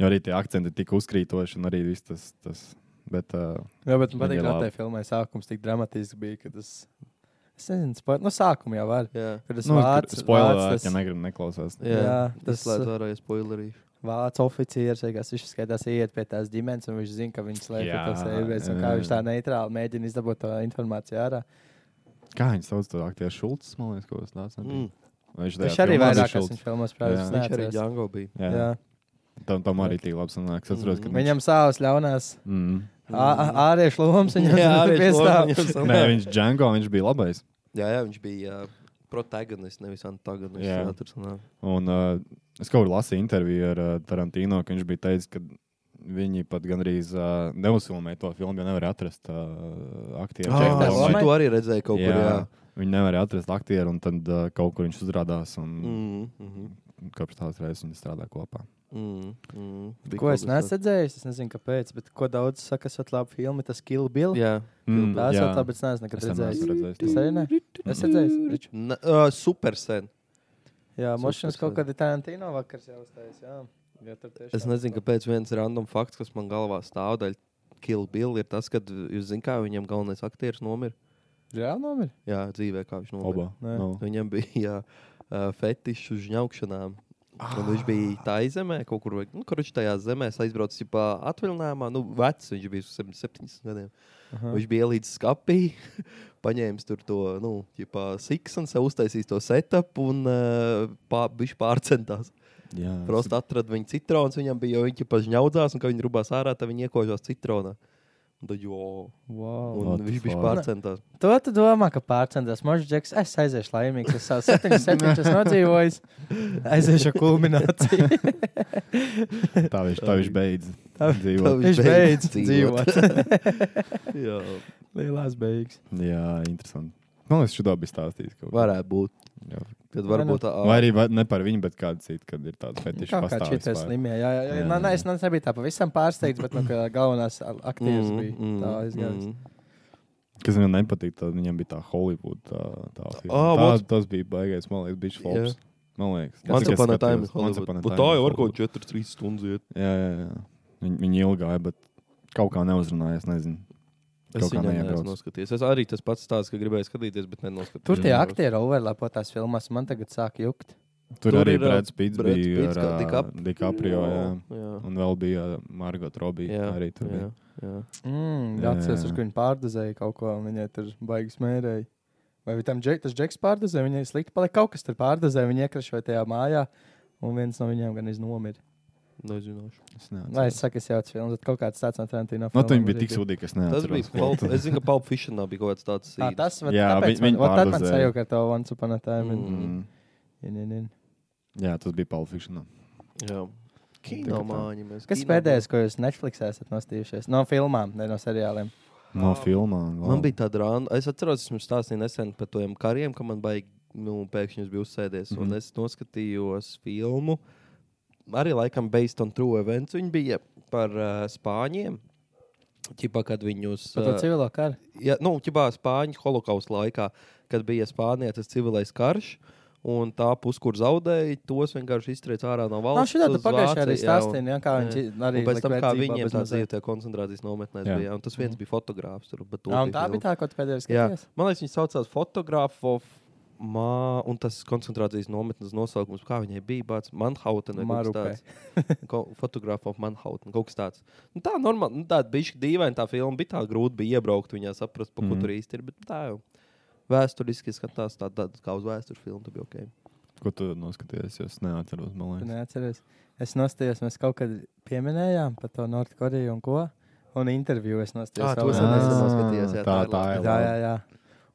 Speaker 1: Jo arī tie akcenti ir tik uzkrītoši un arī viss tas. tas. Bet, uh,
Speaker 3: Jā, bet man
Speaker 1: Viņa
Speaker 3: patīk,
Speaker 1: ir
Speaker 3: ka
Speaker 1: laba.
Speaker 3: tajā filmā sākums tik dramatisks bija. kad Es, es nezinu, spār... no sākuma jau var.
Speaker 2: Jā,
Speaker 3: Kad es
Speaker 1: nu,
Speaker 3: vācu,
Speaker 1: spoiler,
Speaker 3: vācu,
Speaker 1: tas... ja negrib neklausās.
Speaker 2: jā, jā
Speaker 3: Jā, tas-
Speaker 2: tas uh, slēdz vārā, ja spoilerī.
Speaker 3: vācu oficieris, kas viņš skatās, iet pie tās ģimenes, un viņš zina, ka viņš slēpj
Speaker 1: Jā,
Speaker 3: to sēdes, un kā
Speaker 1: jā.
Speaker 3: viņš tā neitrāli mēģina izdabūt to informāciju ārā.
Speaker 1: Kā viņi sauc to aktieru Šulcis, man liekas, ko es nācu.
Speaker 2: Mm.
Speaker 1: Mm. Viņš,
Speaker 3: Viņš
Speaker 1: tajā
Speaker 3: arī
Speaker 1: filmā bija
Speaker 3: vairākās
Speaker 1: Šulcs.
Speaker 3: viņa filmās
Speaker 1: Jā.
Speaker 3: prasīs.
Speaker 2: Viņš arī Django bija.
Speaker 1: Jā, jā. Tam, tam arī tik labi sanāk. Es atceros, ka viņš-
Speaker 3: Mm. Viņam savas ļaunās
Speaker 1: Mm.
Speaker 3: ā- ā- āriešu lomas, viņam
Speaker 2: Jā,
Speaker 3: tur
Speaker 2: arī
Speaker 3: piestāv.
Speaker 2: Šlovis viņam
Speaker 1: Nē,
Speaker 2: sanāk.
Speaker 1: viņš Django, viņš bija labais.
Speaker 2: Jā, jā, viņš bija jā, protagonists, nevis antagonists. Jā,
Speaker 1: Jā.
Speaker 2: tur sanāk.
Speaker 1: Un, uh, es kaut kur lasīju interviju ar uh, Tarantino, ka viņš bija teicis, ka viņi pat gandrīz uh, neuzfilmēja to filmu, jo nevar atrast uh, aktieru.
Speaker 3: Jack
Speaker 2: Ah,
Speaker 3: the
Speaker 2: es
Speaker 3: Woman?
Speaker 2: To arī redzēju kaut kur. Jā.
Speaker 1: Viņi nevar atrast aktieru, un tad uh, kaut kur viņš uzrādās. Un,
Speaker 2: Mm, mhm,
Speaker 1: mm. Kopš tās reizes viņi strādā kopā.
Speaker 2: mm, mm. Bija
Speaker 3: Ko
Speaker 2: kaut kas
Speaker 3: es
Speaker 2: tāds.
Speaker 3: neesmu redzējis, es nezinu, kāpēc, bet ko daudz saka, esat labi filmi, tas Kill Bill.
Speaker 2: Jā,
Speaker 1: Mm,
Speaker 3: Tā es
Speaker 1: jā.
Speaker 3: jau tāpēc neesmu nekad
Speaker 1: Es tam
Speaker 3: redzējis.
Speaker 1: neesmu redzējis to.
Speaker 3: Es arī ne. Es redzēju, taču.
Speaker 2: Ne, uh, super sen.
Speaker 3: Jā, Mošins
Speaker 2: Super
Speaker 3: kaut kādā Tarantino vakars jau uzstājas. Jā. Jā, tur tiešām
Speaker 2: Es nezinu, kāpēc viens random fakts, kas man galvā stāv daļa Kill Bill, ir tas, ka jūs zināt, kā viņam galvenais aktieris nomira.
Speaker 3: Reāli nomira.
Speaker 2: Jā, dzīvē, kā viņš nomira.
Speaker 1: Oba.
Speaker 3: Nē.
Speaker 1: No.
Speaker 2: Viņam bija jā, uh, fetišs uz žņaukšanām. Ah. Viņš bija tā zemē, kaut kur vai- nu, kurš tajā zemē aizbraucis jau atvaļinājumā. Nu, vecs viņš bija uz 70 gadiem. Aha. Viņš bija līdz skapī, paņēmis tur to nu, siksnu, sev uztaisījis to setupu un uh, pā, viņš pārcentās.
Speaker 1: Jā,
Speaker 2: Prosti atrada viņa citronu, viņam bija jau viņa pašņaudzās, un kad viņa rubās ārā, tad viņa iekožās citronā. Un Tad, jo,
Speaker 3: Wow.
Speaker 2: un
Speaker 1: What the
Speaker 2: viņš bija
Speaker 1: fuck?
Speaker 2: pārcentās.
Speaker 3: To tu domā, ka pārcenties. Mošs Džeks, es aiziešu laimīgs. Es savus 77 nodzīvoju. Aiziešu ar kulmināciju.
Speaker 1: tā viņš, tā viņš beidz
Speaker 2: tā
Speaker 1: dzīvot.
Speaker 2: viņš
Speaker 3: Viņš beidz
Speaker 2: beidz dzīvot.
Speaker 3: dzīvot.
Speaker 2: Jā,
Speaker 3: Lielās beigas.
Speaker 1: Jā, interesanti. Man liekas, šodien bija stāstījis kaut ko.
Speaker 2: varētu būt.
Speaker 1: Jā.
Speaker 2: Tad
Speaker 3: Vai nu-
Speaker 2: varbūt tā
Speaker 1: Vai arī va- ne par viņu, bet kādu citu, kad ir tāds fetišs.
Speaker 3: Kā kā šitie slimie. Jā, jā, jā.
Speaker 1: Jā,
Speaker 3: jā. Man,
Speaker 1: jā.
Speaker 3: es nebiju tā pavisam pārsteigts, bet nu, ka galvenās aktīvas
Speaker 2: Mm-hmm.
Speaker 3: mm, bija mm, tā aizgājis.
Speaker 2: Mm.
Speaker 1: Kas viņam nepatīk, tad viņam bija tā Holivuda. Tā, tā,
Speaker 2: Ah,
Speaker 1: oh, tā,
Speaker 2: what?
Speaker 1: tas bija baigais, man liekas, bija šlops.
Speaker 2: Jā.
Speaker 1: Man liekas,
Speaker 2: Man
Speaker 1: Cik
Speaker 2: tā
Speaker 1: es
Speaker 2: pana
Speaker 1: skatījos,
Speaker 2: taimi.
Speaker 1: Once Upon a
Speaker 2: Hollywood.
Speaker 1: Time
Speaker 2: Bet Tā
Speaker 1: in
Speaker 2: jau var
Speaker 1: Hollywood.
Speaker 2: kaut 4-3 stundas iet.
Speaker 1: Jā, jā, jā. Viņi, viņi ilgāja, bet kaut kā neuzrunāja. Es nezinu.
Speaker 2: Es
Speaker 1: Kaut kā
Speaker 2: viņam
Speaker 1: neiebrauc.
Speaker 2: neesmu noskatījies. Es arī tas pats stāsts, ka gribēju skatīties, bet nenoskatījos.
Speaker 3: Tur tie aktieri overlapo tās filmās. Man tagad sāk jukt.
Speaker 1: Tur,
Speaker 2: Tur
Speaker 1: tur arī
Speaker 2: ir,
Speaker 1: Brad Pitts
Speaker 2: Brad
Speaker 1: bija
Speaker 2: Pitts,
Speaker 1: ar
Speaker 2: kā
Speaker 1: ā,
Speaker 2: Dikap-
Speaker 1: DiCaprio. Jā.
Speaker 2: jā.
Speaker 1: Un vēl bija Margot Robbie. Jā. Arī tur bija.
Speaker 2: jā, jā.
Speaker 1: Jā,
Speaker 3: Mm, jā,
Speaker 1: jā,
Speaker 3: atceros,
Speaker 1: jā.
Speaker 3: ka viņi pārdozēja kaut ko, un viņai tur baigas mērēja. Vai viņam tas džeks pārdozēja, viņai slikti palika kaut kas tur pārdozēja, viņa iekrašoja tajā mājā. Un viens no viņiem gan iznomira.
Speaker 2: Nezināšu.
Speaker 1: Es neatceros.
Speaker 3: Nē, es saku, es jau tādu filmu, bet kaut kāds tāds no
Speaker 1: Nu,
Speaker 3: Tarantino.
Speaker 1: tur
Speaker 3: filmām
Speaker 1: viņi bija
Speaker 3: arī
Speaker 1: tik sūdīgi, ka es
Speaker 2: Tas
Speaker 1: neatceros.
Speaker 2: bija Pulp. Es zinu, ka Pulp Fiction bija kaut kāds tāds.
Speaker 3: Ā, Ah, tas var,
Speaker 1: Jā,
Speaker 3: jā, tāpēc,
Speaker 1: viņ-
Speaker 3: man,
Speaker 1: viņi
Speaker 3: ot tad man
Speaker 1: pārdozēja.
Speaker 3: sajauka ar to Once Upon a Time. in-
Speaker 2: Mm.
Speaker 1: Mm.
Speaker 3: in, in, in.
Speaker 1: Jā, tas bija Pulp Fiction.
Speaker 2: Jā. Kino māņi. mēs
Speaker 3: Kas
Speaker 2: kino
Speaker 3: pēdējais, ko jūs Netflix esat nostījušies? No filmām, ne no seriāliem.
Speaker 1: No filmām.
Speaker 2: Man bija tāda rāna. Es atceros, es jums stāstīju nesen par tiem kariem, ka man baigi, nu, pēkšņi es biju uzsēdies. Mm -hmm.
Speaker 3: Mhm.
Speaker 2: Un es noskatījos filmu, arī laikam based on true events. Viņa bija par uh, spāņiem. Ķipā, kad viņus.
Speaker 3: Par to civilo karu.
Speaker 2: ja, nu, ķibā, Spāņu holokausta laikā, kad bija Spānijā tas civilais karš. Un tā puse, kur zaudēja, tos vienkārši iztrieca ārā no
Speaker 3: Nā,
Speaker 2: valsts.
Speaker 3: šitā tu
Speaker 2: uz
Speaker 3: pagājušajā arī
Speaker 2: Vāciju, jā,
Speaker 3: stāstīji,
Speaker 2: un-
Speaker 3: jā, kā viņš
Speaker 2: jā.
Speaker 3: arī
Speaker 2: Un pēc
Speaker 3: lika
Speaker 2: tam, kā
Speaker 3: vērtībā
Speaker 2: viņiem
Speaker 3: bez
Speaker 2: tā
Speaker 3: mazā.
Speaker 2: dzīve tajā koncentrācijas nometnēs
Speaker 1: Jā.
Speaker 2: bija. jā, Un tas viens bija fotogrāfs. Tur, bet to
Speaker 3: Mhm. Jā, Ah, un tā
Speaker 2: filma.
Speaker 3: bija tā, ko tu pēdējais
Speaker 2: Jā,
Speaker 3: skaties.
Speaker 2: man liekas, viņa saucās Fotogrāfa. Mā, un tas koncentrācijas nometnes nosaukums, kā viņai bija, bija Manhautena.
Speaker 3: Marupē.
Speaker 2: Fotogrāfa of Manhautena. Kaut kas tāds. Nu, tā normāli, nu, tāda bija dīvaina tā filma. Bija tā grūti bija iebraukt viņā, saprast, pa ko tur īsti ir. Bet tā jau vēsturiski skatās tā, tā, kā uz vēstures filmu. tad bija Okay.
Speaker 1: Ko tu noskaties? Es neatceros. Man
Speaker 3: Tu
Speaker 1: liekas.
Speaker 3: neatceries. Es nostājos, mēs kaut kad pieminējām par to Nortkoreju un ko. Un interviju es
Speaker 2: Ā,
Speaker 3: nostājos.
Speaker 2: to es
Speaker 1: Ā,
Speaker 2: neesmu noskatījies, jā, tā
Speaker 1: tā,
Speaker 2: ir
Speaker 1: tā
Speaker 2: laba.
Speaker 1: ir.
Speaker 3: jā,
Speaker 1: laba.
Speaker 3: jā, jā.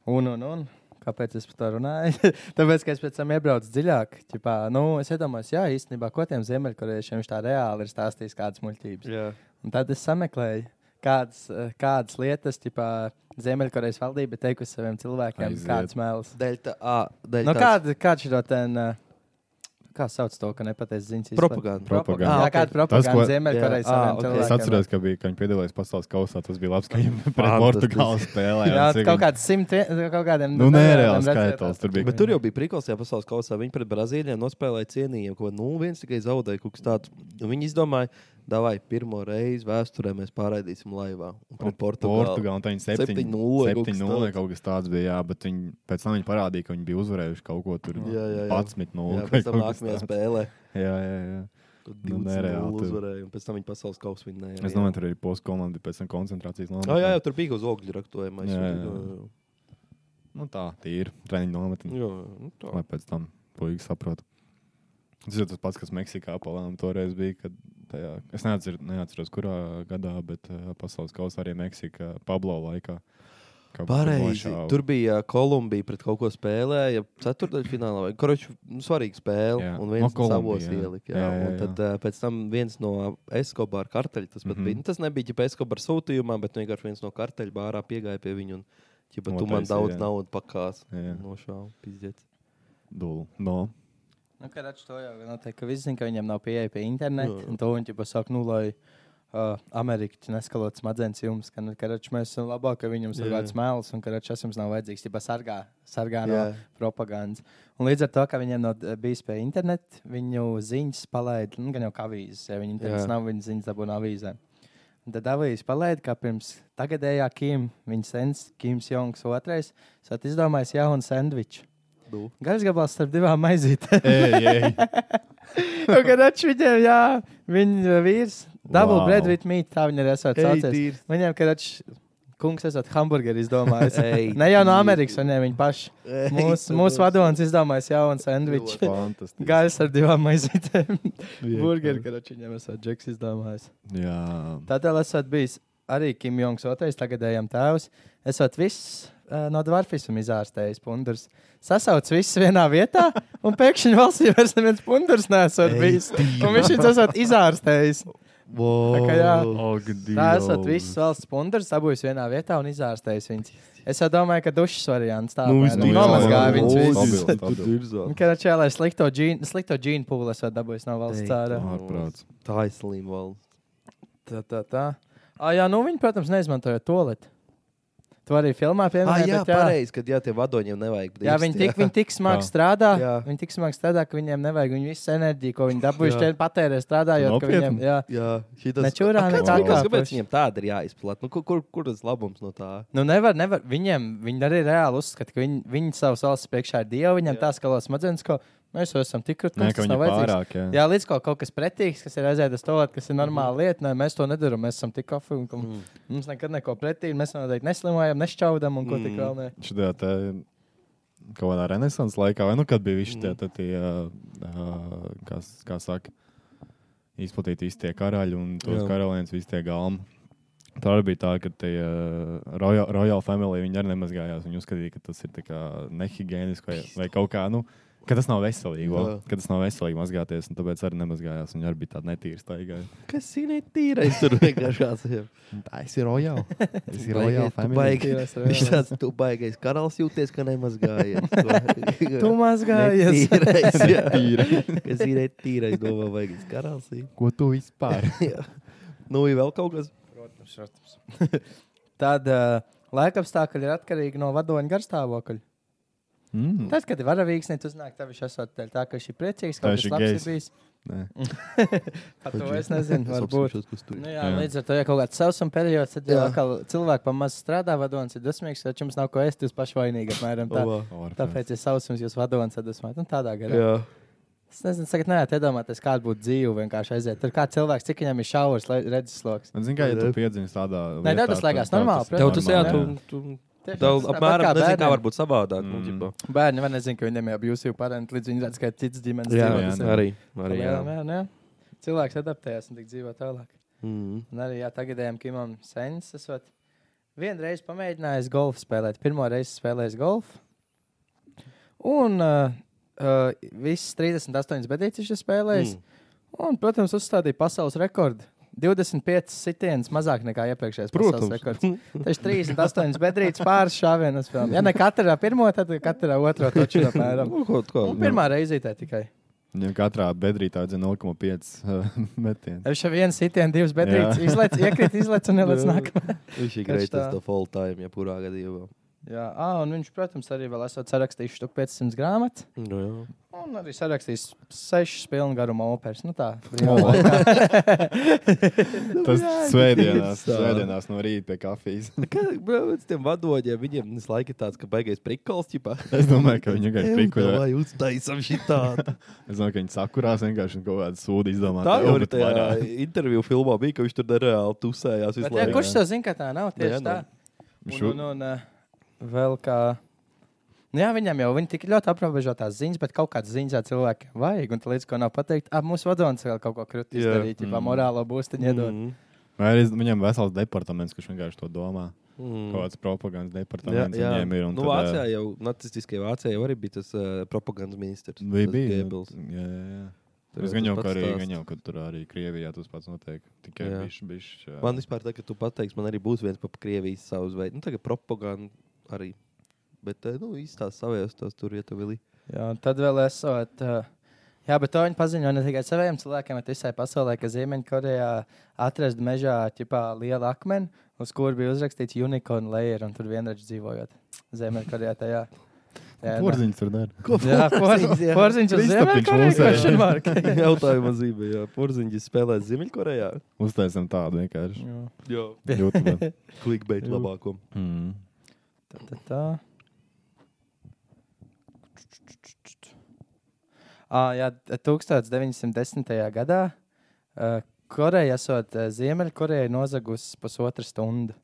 Speaker 3: Un, un, un. Kāpēc es par to runāju? Tāpēc, ka es pēc tam iebraucu dziļāk. Ķipā, nu, es iedomājos, jā, īstenībā, ko tiem ziemeļkorejiešiem viņš tā reāli ir stāstījis kādas muļķības.
Speaker 2: Jā,
Speaker 3: Un tad es sameklēju, kādas, eh, kādas lietas ķipā, Ziemeļkorejas valdība ir teikusi saviem cilvēkiem,
Speaker 1: Aiziet.
Speaker 3: Aiziet. kādas mēlas.
Speaker 2: delta A. Delta
Speaker 3: Nu, kāda kāda ir tā? Kā sauc to, ka nepatiesi ziņas? izplat-
Speaker 2: Propaganda.
Speaker 1: Propaganda.
Speaker 3: Jā,
Speaker 2: Ah, ok.
Speaker 3: kāda
Speaker 1: Tas, ko-
Speaker 3: propaganda Ziemeļkorejas
Speaker 2: Jā, ah,
Speaker 3: saviem
Speaker 2: ok.
Speaker 3: cilvēkiem.
Speaker 1: Es atceros, ka bija, ka viņi piedalījās pasaules kausā. Tas bija labs, ka viņi pret
Speaker 2: Fantastiski.
Speaker 1: Portugāli spēlēja.
Speaker 3: Jā,
Speaker 1: un cik
Speaker 3: kaut
Speaker 1: viņi-
Speaker 3: kāds simt, kaut kādiem
Speaker 1: Nu, nereāli
Speaker 3: nereāliem
Speaker 1: skaitlis tur bija.
Speaker 2: Bet tur jau bija priklis, ja pasaules kausā viņi pret Brazīlijiem nospēlēja cienījumu, ko nu viens tikai zaudēja kaut kas tāds. Un Viņi izdomāja, davai pirmo reizi vēsturē mēs pārraidīsim laivā. Un pret Portugāli.
Speaker 1: Portugāla un tā viņi
Speaker 2: 7:0 kaut kas
Speaker 1: 7-0
Speaker 2: tāds.
Speaker 1: kaut kas tāds bija, jā, bet viņi, pēc tam viņi parādīja, ka viņi bija uzvarējuši kaut ko tur
Speaker 2: Jā, jā, jā.
Speaker 1: 11-0.
Speaker 2: Jā,
Speaker 1: vai
Speaker 2: pēc tam
Speaker 1: kaut kas
Speaker 2: nākamajā
Speaker 1: tāds.
Speaker 2: spēlē.
Speaker 1: Jā, jā, jā. Nu, nereāli,
Speaker 2: 20
Speaker 1: tu-
Speaker 2: uzvarēja, un pēc tam viņa pasaules kausa vinnēja.
Speaker 1: Es domāju, tur arī posts komanda pēc tam koncentrācijas
Speaker 2: Oh, Jā, jā,
Speaker 1: nometnē.
Speaker 2: jā, tur bija uz ogļu raktojamais.
Speaker 1: Jā,
Speaker 2: Jā,
Speaker 1: jā, jā. Nu, tā, tīri treniņu nometnē.
Speaker 2: jā, nu tā.
Speaker 1: lai pēc tam puikas saprotu. Tas ir tas pats, kas Meksikā palēnām toreiz bija. Kad, tajā, es neatceru, neatceros, kurā gadā, bet uh, pasaules kausā arī Meksikā, Pablo laikā. kā
Speaker 2: Pareizi.
Speaker 1: pirmo šāvu.
Speaker 2: Tur bija Kolumbija pret kaut ko spēlēja. Ceturtajā finālā vai Kroča nu, svarīga spēle.
Speaker 1: Jā.
Speaker 2: Jā. Un
Speaker 1: No
Speaker 2: viens no
Speaker 1: Kolumbija,
Speaker 2: savos
Speaker 1: jā.
Speaker 2: ielika. Jā.
Speaker 1: Jā, jā,
Speaker 2: Un
Speaker 1: jā.
Speaker 2: tad uh, pēc tam viens no Eskobara karteļa. Tas, mm
Speaker 1: Mhm.
Speaker 2: -hmm. bija, nu, tas nebija ģipa Eskobara sūtījumā, bet nu, vienkārši viens no karteļa bārā piegāja pie viņa. Un, ģipa, tu man
Speaker 1: Notaisīja,
Speaker 2: daudz
Speaker 1: jā.
Speaker 2: naudas pakās.
Speaker 1: Jā.
Speaker 2: Nošāva, pizdiet.
Speaker 1: Dulu. No.
Speaker 3: Nu, kad atš to jau noteikti, ka visi zina, ka viņam nav pieeja pie interneta,
Speaker 2: Jā.
Speaker 3: un to viņi jau saka, nu, lai uh, amerikāņi neskalot smadzenes jums, ka, nu, ka redz, mēs esam labāk, ka viņam
Speaker 2: Jā.
Speaker 3: ir kāds mēls, un ka redz, tas jums nav vajadzīgs, ja sargā, sargā no
Speaker 2: Jā.
Speaker 3: propagandas. Un līdz ar to, ka viņiem nav eh, bijis pie interneta, viņu ziņas palaid, nu, gan jau kā avīzes, ja viņi
Speaker 2: Jā.
Speaker 3: internets nav, viņi ziņas dabūna avīzē. Un Tad avīzes palaid, kā pirms tagadējā Kim, viņa sens, Kims Jongs II, sat izdomājis jaunu sandviču.
Speaker 2: Nu.
Speaker 3: Gaļas gabals starp divām maizītēm.
Speaker 1: Ej, ej.
Speaker 3: Nu, Kad atšķirīgi, jā, viņa vīrs, double
Speaker 1: Wow.
Speaker 3: wow. bread with meat, tā viņa ir esot saucies.
Speaker 2: tīrs.
Speaker 3: Viņam, kad atšķirīgi, kungs esot hamburgeri izdomājis.
Speaker 2: Ei,
Speaker 3: ne jau no
Speaker 2: tīri.
Speaker 3: Amerikas, un ne viņa paši.
Speaker 2: Ei,
Speaker 3: Mūsu
Speaker 2: tu
Speaker 3: mūs
Speaker 2: būsi.
Speaker 3: vadonis izdomājis jaunu sandviču.
Speaker 1: Fantastiski.
Speaker 3: Gaļas ar divām maizītēm.
Speaker 1: Vienkārši.
Speaker 3: Burgeri, kad atšķirīgi, esot džeks izdomājis.
Speaker 1: Jā.
Speaker 3: Tādēļ esat bijis arī Kim Jongs otrais, tagadējām tēvs. Esat viss eh, no dārfisuma izārstējis pundurs. Sasauc visus vienā vietā, un pēkšņi valstī vairs neviens pundurs nesot bijis. Un viņš ir esat izārstējis. Tā kā jā. Tā esat visas valsts pundurs, abūjis vienā vietā un izārstējis viņus. Es jau domāju, ka dušas variants tā
Speaker 2: Nu,
Speaker 3: vai
Speaker 2: es
Speaker 3: nu,
Speaker 2: domāju,
Speaker 1: jā,
Speaker 3: nomazgāja
Speaker 1: jā.
Speaker 3: viņus
Speaker 1: Uz-
Speaker 3: visus.
Speaker 1: visus.
Speaker 2: Stabil, stabil.
Speaker 3: Kad ar čēlēju slikto džīnu, slikto džīnu pūli esat dabūjis no valsts
Speaker 2: Ei,
Speaker 3: cēlā.
Speaker 1: Ārprāts.
Speaker 2: Tā ir slima valsts.
Speaker 3: Tā, tā, tā. Ah, jā, nu viņi, protams, neizmantoja to lietu. Tu arī
Speaker 2: Ah,
Speaker 3: filmā pieminēji,
Speaker 2: jā,
Speaker 3: bet jā.
Speaker 2: pareizi, kad jā, tie vadoņiem nevajag.
Speaker 3: Jā,
Speaker 2: drīkst,
Speaker 3: viņi tik, viņi tik smagi strādā.
Speaker 2: Jā.
Speaker 3: Viņi tik smagi strādā, ka viņiem nevajag viņu visu enerģiju, ko viņi dabūjuši,
Speaker 2: Jā.
Speaker 3: šeit patērē strādājot. ka
Speaker 1: Nopietni?
Speaker 3: Viņiem, jā,
Speaker 2: Jā, šī
Speaker 3: Ne čurā, ne
Speaker 1: tā
Speaker 2: Kāpēc, kāpēc
Speaker 3: kāpuši.
Speaker 2: viņiem tāda ir jāizplata? Nu, kur, kur, kur tas labums no tā?
Speaker 3: nu nevar, nevar. Viņiem, viņi arī reāli uzskata, ka viņi, viņi savus valsts priekšā ir dievi. Viņiem
Speaker 2: Jā.
Speaker 3: tā skalās smadzenes, ko mēs jau esam tik krūti.
Speaker 1: Nē, ka viņi
Speaker 3: Mums tas nav
Speaker 1: ir
Speaker 3: vajadzīgs.
Speaker 1: pārāk. Jā.
Speaker 3: Jā, līdz kaut, kaut kas pretīgs, kas ir aiziet uz to, kas ir
Speaker 2: Mhm.
Speaker 3: normāla lieta. Nē, mēs to nedarām. Mēs esam tik kofi un ka
Speaker 2: Mm.
Speaker 3: mums nekad neko pretī. Mēs noteikti neslimojam, nešķaudam un ko
Speaker 2: Mm.
Speaker 3: tik vēl ne.
Speaker 1: Šajā te kaut kādā renaissance laikā, vai nu kad bija visi
Speaker 2: Mhm.
Speaker 1: tie, tad tie uh, uh, kā, s- kā saka, izplatīti visi tie karaļi un tos
Speaker 2: Jā.
Speaker 1: karalienes, visi tie galmi. Tā arī bija tā, ka tie uh, roja- Royal Family viņi arī nemazgājās. Viņi uzskatīja, ka tas ir tā kā nehigiēniski vai, vai kaut kā. Nu, Ka tas nav veselīgi, vēl,
Speaker 2: Jā.
Speaker 1: ka tas nav veselīgi mazgāties, un tāpēc arī nemazgājās. Viņa arī bija tāda netīra staigā.
Speaker 2: Kas ir netīrais? Tur vienkārši
Speaker 1: Tā es ir rojāla. Es ir rojāla family.
Speaker 2: baigais. Viņš tāds tu baigais karalis jūties, ka nemazgājies.
Speaker 3: Tu mazgājies!
Speaker 2: Netīrais, jā. Kas ir netīrais, domā, baigais karalis. ir.
Speaker 1: Ko tu vispār?
Speaker 2: Nu, ir vēl kaut kas.
Speaker 3: Tad uh, laika apstākļi ir atkarīgi no vadoņa garstāvokļa.
Speaker 1: Mm.
Speaker 3: Tad, kad ir varavīgs, tad uznāk tā, viņš esot tā, tā, ka viņš ir priecīgs,
Speaker 1: Tā
Speaker 3: ka
Speaker 1: viņš
Speaker 3: viņš
Speaker 1: ir
Speaker 3: ir labs.
Speaker 1: gejs.
Speaker 3: ir bijis.
Speaker 1: Nē.
Speaker 3: Par to es nezinu, varbūt.
Speaker 2: apsūšos, kas tur
Speaker 3: Nu,
Speaker 2: ir.
Speaker 3: jā, jā.
Speaker 1: Jā.
Speaker 3: Līdz ar to, ja kaut kāds sausuma periods, tad jau
Speaker 2: Jā.
Speaker 3: atkal cilvēki pamazs strādā, vadonis ir dusmīgs, jo jums nav ko ēst, jūs pašvainīgi apmēram Nu, tā.
Speaker 2: Ovā.
Speaker 3: Tāpēc ir sausums, jūs vadonis ir dusmīgs. Un tādā garā.
Speaker 2: Jā.
Speaker 3: Es nezinu, sakat, nē, iedomājieties, kāda būtu dzīve vienkārši aiziet. Tur kā cilvēks, cik viņam ir šaurs lai- redzesloks.
Speaker 1: Man zināms, ka, ja tu piedzīvo tādā
Speaker 3: Nē, tev tas liekas normāli, protams.
Speaker 2: Tev tas jā, tu,
Speaker 1: normāli,
Speaker 2: tu
Speaker 3: Tieši
Speaker 2: tev
Speaker 3: tas tāpat
Speaker 2: apmēram
Speaker 3: kā
Speaker 2: nezinu, kā
Speaker 3: bērniem.
Speaker 2: var būt savādāk. nu,
Speaker 1: Mm.
Speaker 2: ģipa.
Speaker 3: Bērni var nezināt, ka viņiem ir abusīvi parenti, līdz viņi redz, ka ir cits ģimenes
Speaker 2: Jā,
Speaker 1: jā,
Speaker 3: dzīvoklis.
Speaker 1: nē.
Speaker 2: arī. arī jā.
Speaker 3: jā, nu jā. Cilvēks adaptējās un tik dzīvo tālāk.
Speaker 2: Mm.
Speaker 3: Un arī jā, tagadējām Kimam Sensam. vienreiz pamēģinājis golfu spēlēt. Pirmo reizi spēlējis golfu. Un uh, uh, visas 38 bedītes viņš ir spēlējis. Mm. Un, protams, uzstādīja pasaules rekordu. 25 sitiens mazāk nekā iepriekšējais pasaules
Speaker 1: Protams.
Speaker 3: rekords. Tieši 38 bedrītes pāris šāvienas spēlēm. Ja ne katrā pirmo, tad katrā otro taču apmēram.
Speaker 2: Nu, kaut kā.
Speaker 3: Un pirmā reizītē tikai.
Speaker 1: Viņam katrā bedrītā dzina 0,5 metienu.
Speaker 3: Viņš jau viens sitiens, divas bedrītes. Izlaic, iekrīt, izlaic un ielaic nākamā.
Speaker 2: Viņš ir
Speaker 3: Kač
Speaker 2: greatest
Speaker 3: tā.
Speaker 2: of all time, ja kurā gadījumā.
Speaker 3: Jā, à, un viņš, protams, arī vēl esat sarakstījis 500 grāmatas.
Speaker 2: Nu, jā.
Speaker 3: Un arī sarakstījis sešas pilnu garuma operas. Nu, tā
Speaker 1: O.
Speaker 3: Nu,
Speaker 1: Tas
Speaker 2: nu Jā,
Speaker 1: svētdienās,
Speaker 2: tā.
Speaker 1: svētdienās no rīta pie kafijas.
Speaker 2: Kā bro, ar tiem vadoņiem, viņiem tas laika ir tāds, ka beigās prikols ķipā.
Speaker 1: Es domāju, ka viņi vienkārši prikoja.
Speaker 2: Vai uztaisam šī tādu?
Speaker 1: Es domāju, ka viņi sakurās vienkārši un kaut kādu sūdu izdomā.
Speaker 2: Tā jau ir
Speaker 1: bet
Speaker 2: tajā
Speaker 1: varētu.
Speaker 2: interviju filmā bija, ka viņš tur nereāli tusējās visu
Speaker 3: Bet, jā,
Speaker 2: laiku.
Speaker 3: kurš to zina, ka tā nav
Speaker 2: Jā,
Speaker 3: tieši
Speaker 2: nu.
Speaker 3: tā?
Speaker 1: Viņš
Speaker 3: Un, un, un eh, vēl kā. Nu, jā, viņam jau ir tik ļoti aprobežotās ziņas, bet kaut kādas ziņas jau cilvēkiem vajag. Un tā līdz ko nav pateikt, ap mūsu vadonis vēl kaut ko krūtis
Speaker 2: Jā.
Speaker 3: darīt, jau morālo būstu nedod.
Speaker 2: Mm.
Speaker 1: Vai arī viņam vesels departaments, kurš vienkārši to domā?
Speaker 2: Mm.
Speaker 1: Kaut kāds propagandas
Speaker 2: Jā,
Speaker 1: departaments
Speaker 2: jā.
Speaker 1: viņiem ir. un
Speaker 2: Nu,
Speaker 1: tad,
Speaker 2: Vācijā
Speaker 1: ā,
Speaker 2: jau, nacistiskajā Vācijā jau arī bija tas uh, propagandas ministrs.
Speaker 1: Bija
Speaker 2: tas
Speaker 1: bija. nu,
Speaker 2: Goebbels.
Speaker 1: Jā, jā, jā.
Speaker 2: Tur
Speaker 1: Es
Speaker 2: jau
Speaker 1: gan jau, ka
Speaker 2: tas pats
Speaker 1: arī,
Speaker 2: stāsts.
Speaker 1: gan jau, ka tur arī Krievijā tas pats notiek. Tikai
Speaker 2: Jā.
Speaker 1: bišķi, bišķi. jā.
Speaker 2: Man vispār tā, ka tu pateiksi, man arī būs viens par Krievijas savus veidus. Nu, tagad propaganda arī. Bet, eh, nu, īstās savējās tās tur, ja tu vili.
Speaker 3: Jā, un tad vēl esot. Uh, Jā, bet to viņi paziņoja ne tikai saviem cilvēkiem, bet visai pasaulē, ka Ziemeņkorejā atrasta mežā ķipā, liela akmeni, uz kura bija uzrakstīts unicorn layer, un tur vienreiz dzīvojot Ziemeņkorejā. tajā. Jā, nu.
Speaker 1: Porziņš tur dara.
Speaker 3: Jā, porziņš, jā. Porziņš uz
Speaker 1: Kristapiņš
Speaker 3: Ziemeļkoreju?
Speaker 1: mūsē.
Speaker 3: Question mark.
Speaker 2: Jautājuma zīme, jā. Porziņģis spēlē Ziemeļkorejā.
Speaker 1: Uztaisam tādu vienkārši.
Speaker 2: Jā,
Speaker 1: YouTube.
Speaker 2: klikbeit labāko.
Speaker 1: Mm.
Speaker 3: Tā, tā, tā. Ah, jā, t- 1910. gadā uh, Koreja, esot uh, Ziemeļkorejai, nozagusi pusotru stundu.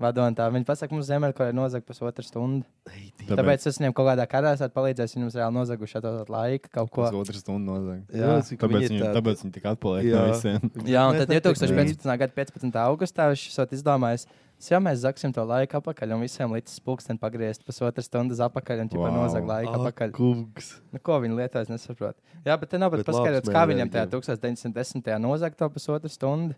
Speaker 3: Vadonā viņi pasaka, mums Ziemeļkoreja nozaga pusotru stundu. Tāpēc, Tāpēc es viņiem kaut kādā karā esmu palīdzējis, viņi mums reāli nozaguši atot laiku kaut ko.
Speaker 1: Otru stundu nozaga.
Speaker 2: Jā, cik viņi
Speaker 1: Tāpēc
Speaker 2: ir
Speaker 1: viņi,
Speaker 2: tādi-
Speaker 1: tāpēc viņi tik atpaliek
Speaker 2: Jā.
Speaker 1: no visiem.
Speaker 3: Jā, un
Speaker 2: Mēs
Speaker 3: tad
Speaker 2: tā tik
Speaker 3: 2015. gada 15. augustā viņš esot izdomājis. Ja mēs zaksim to laiku atpakaļ, un visiem līdz pulkstenim pagriezt pusotras stundas atpakaļ, un tipā
Speaker 1: Wow.
Speaker 3: wow. nozag laiku
Speaker 2: Ak,
Speaker 3: atpakaļ.
Speaker 2: Kungs.
Speaker 3: Nu, ko viņi lietoja, es nesaprotu. Jā, bet te nav pat
Speaker 2: Bet
Speaker 3: paskaidrots,
Speaker 2: labs
Speaker 3: kā
Speaker 2: mēlē
Speaker 3: viņam tajā
Speaker 2: viņiem.
Speaker 3: 1910. nozagta to pusotru stundu.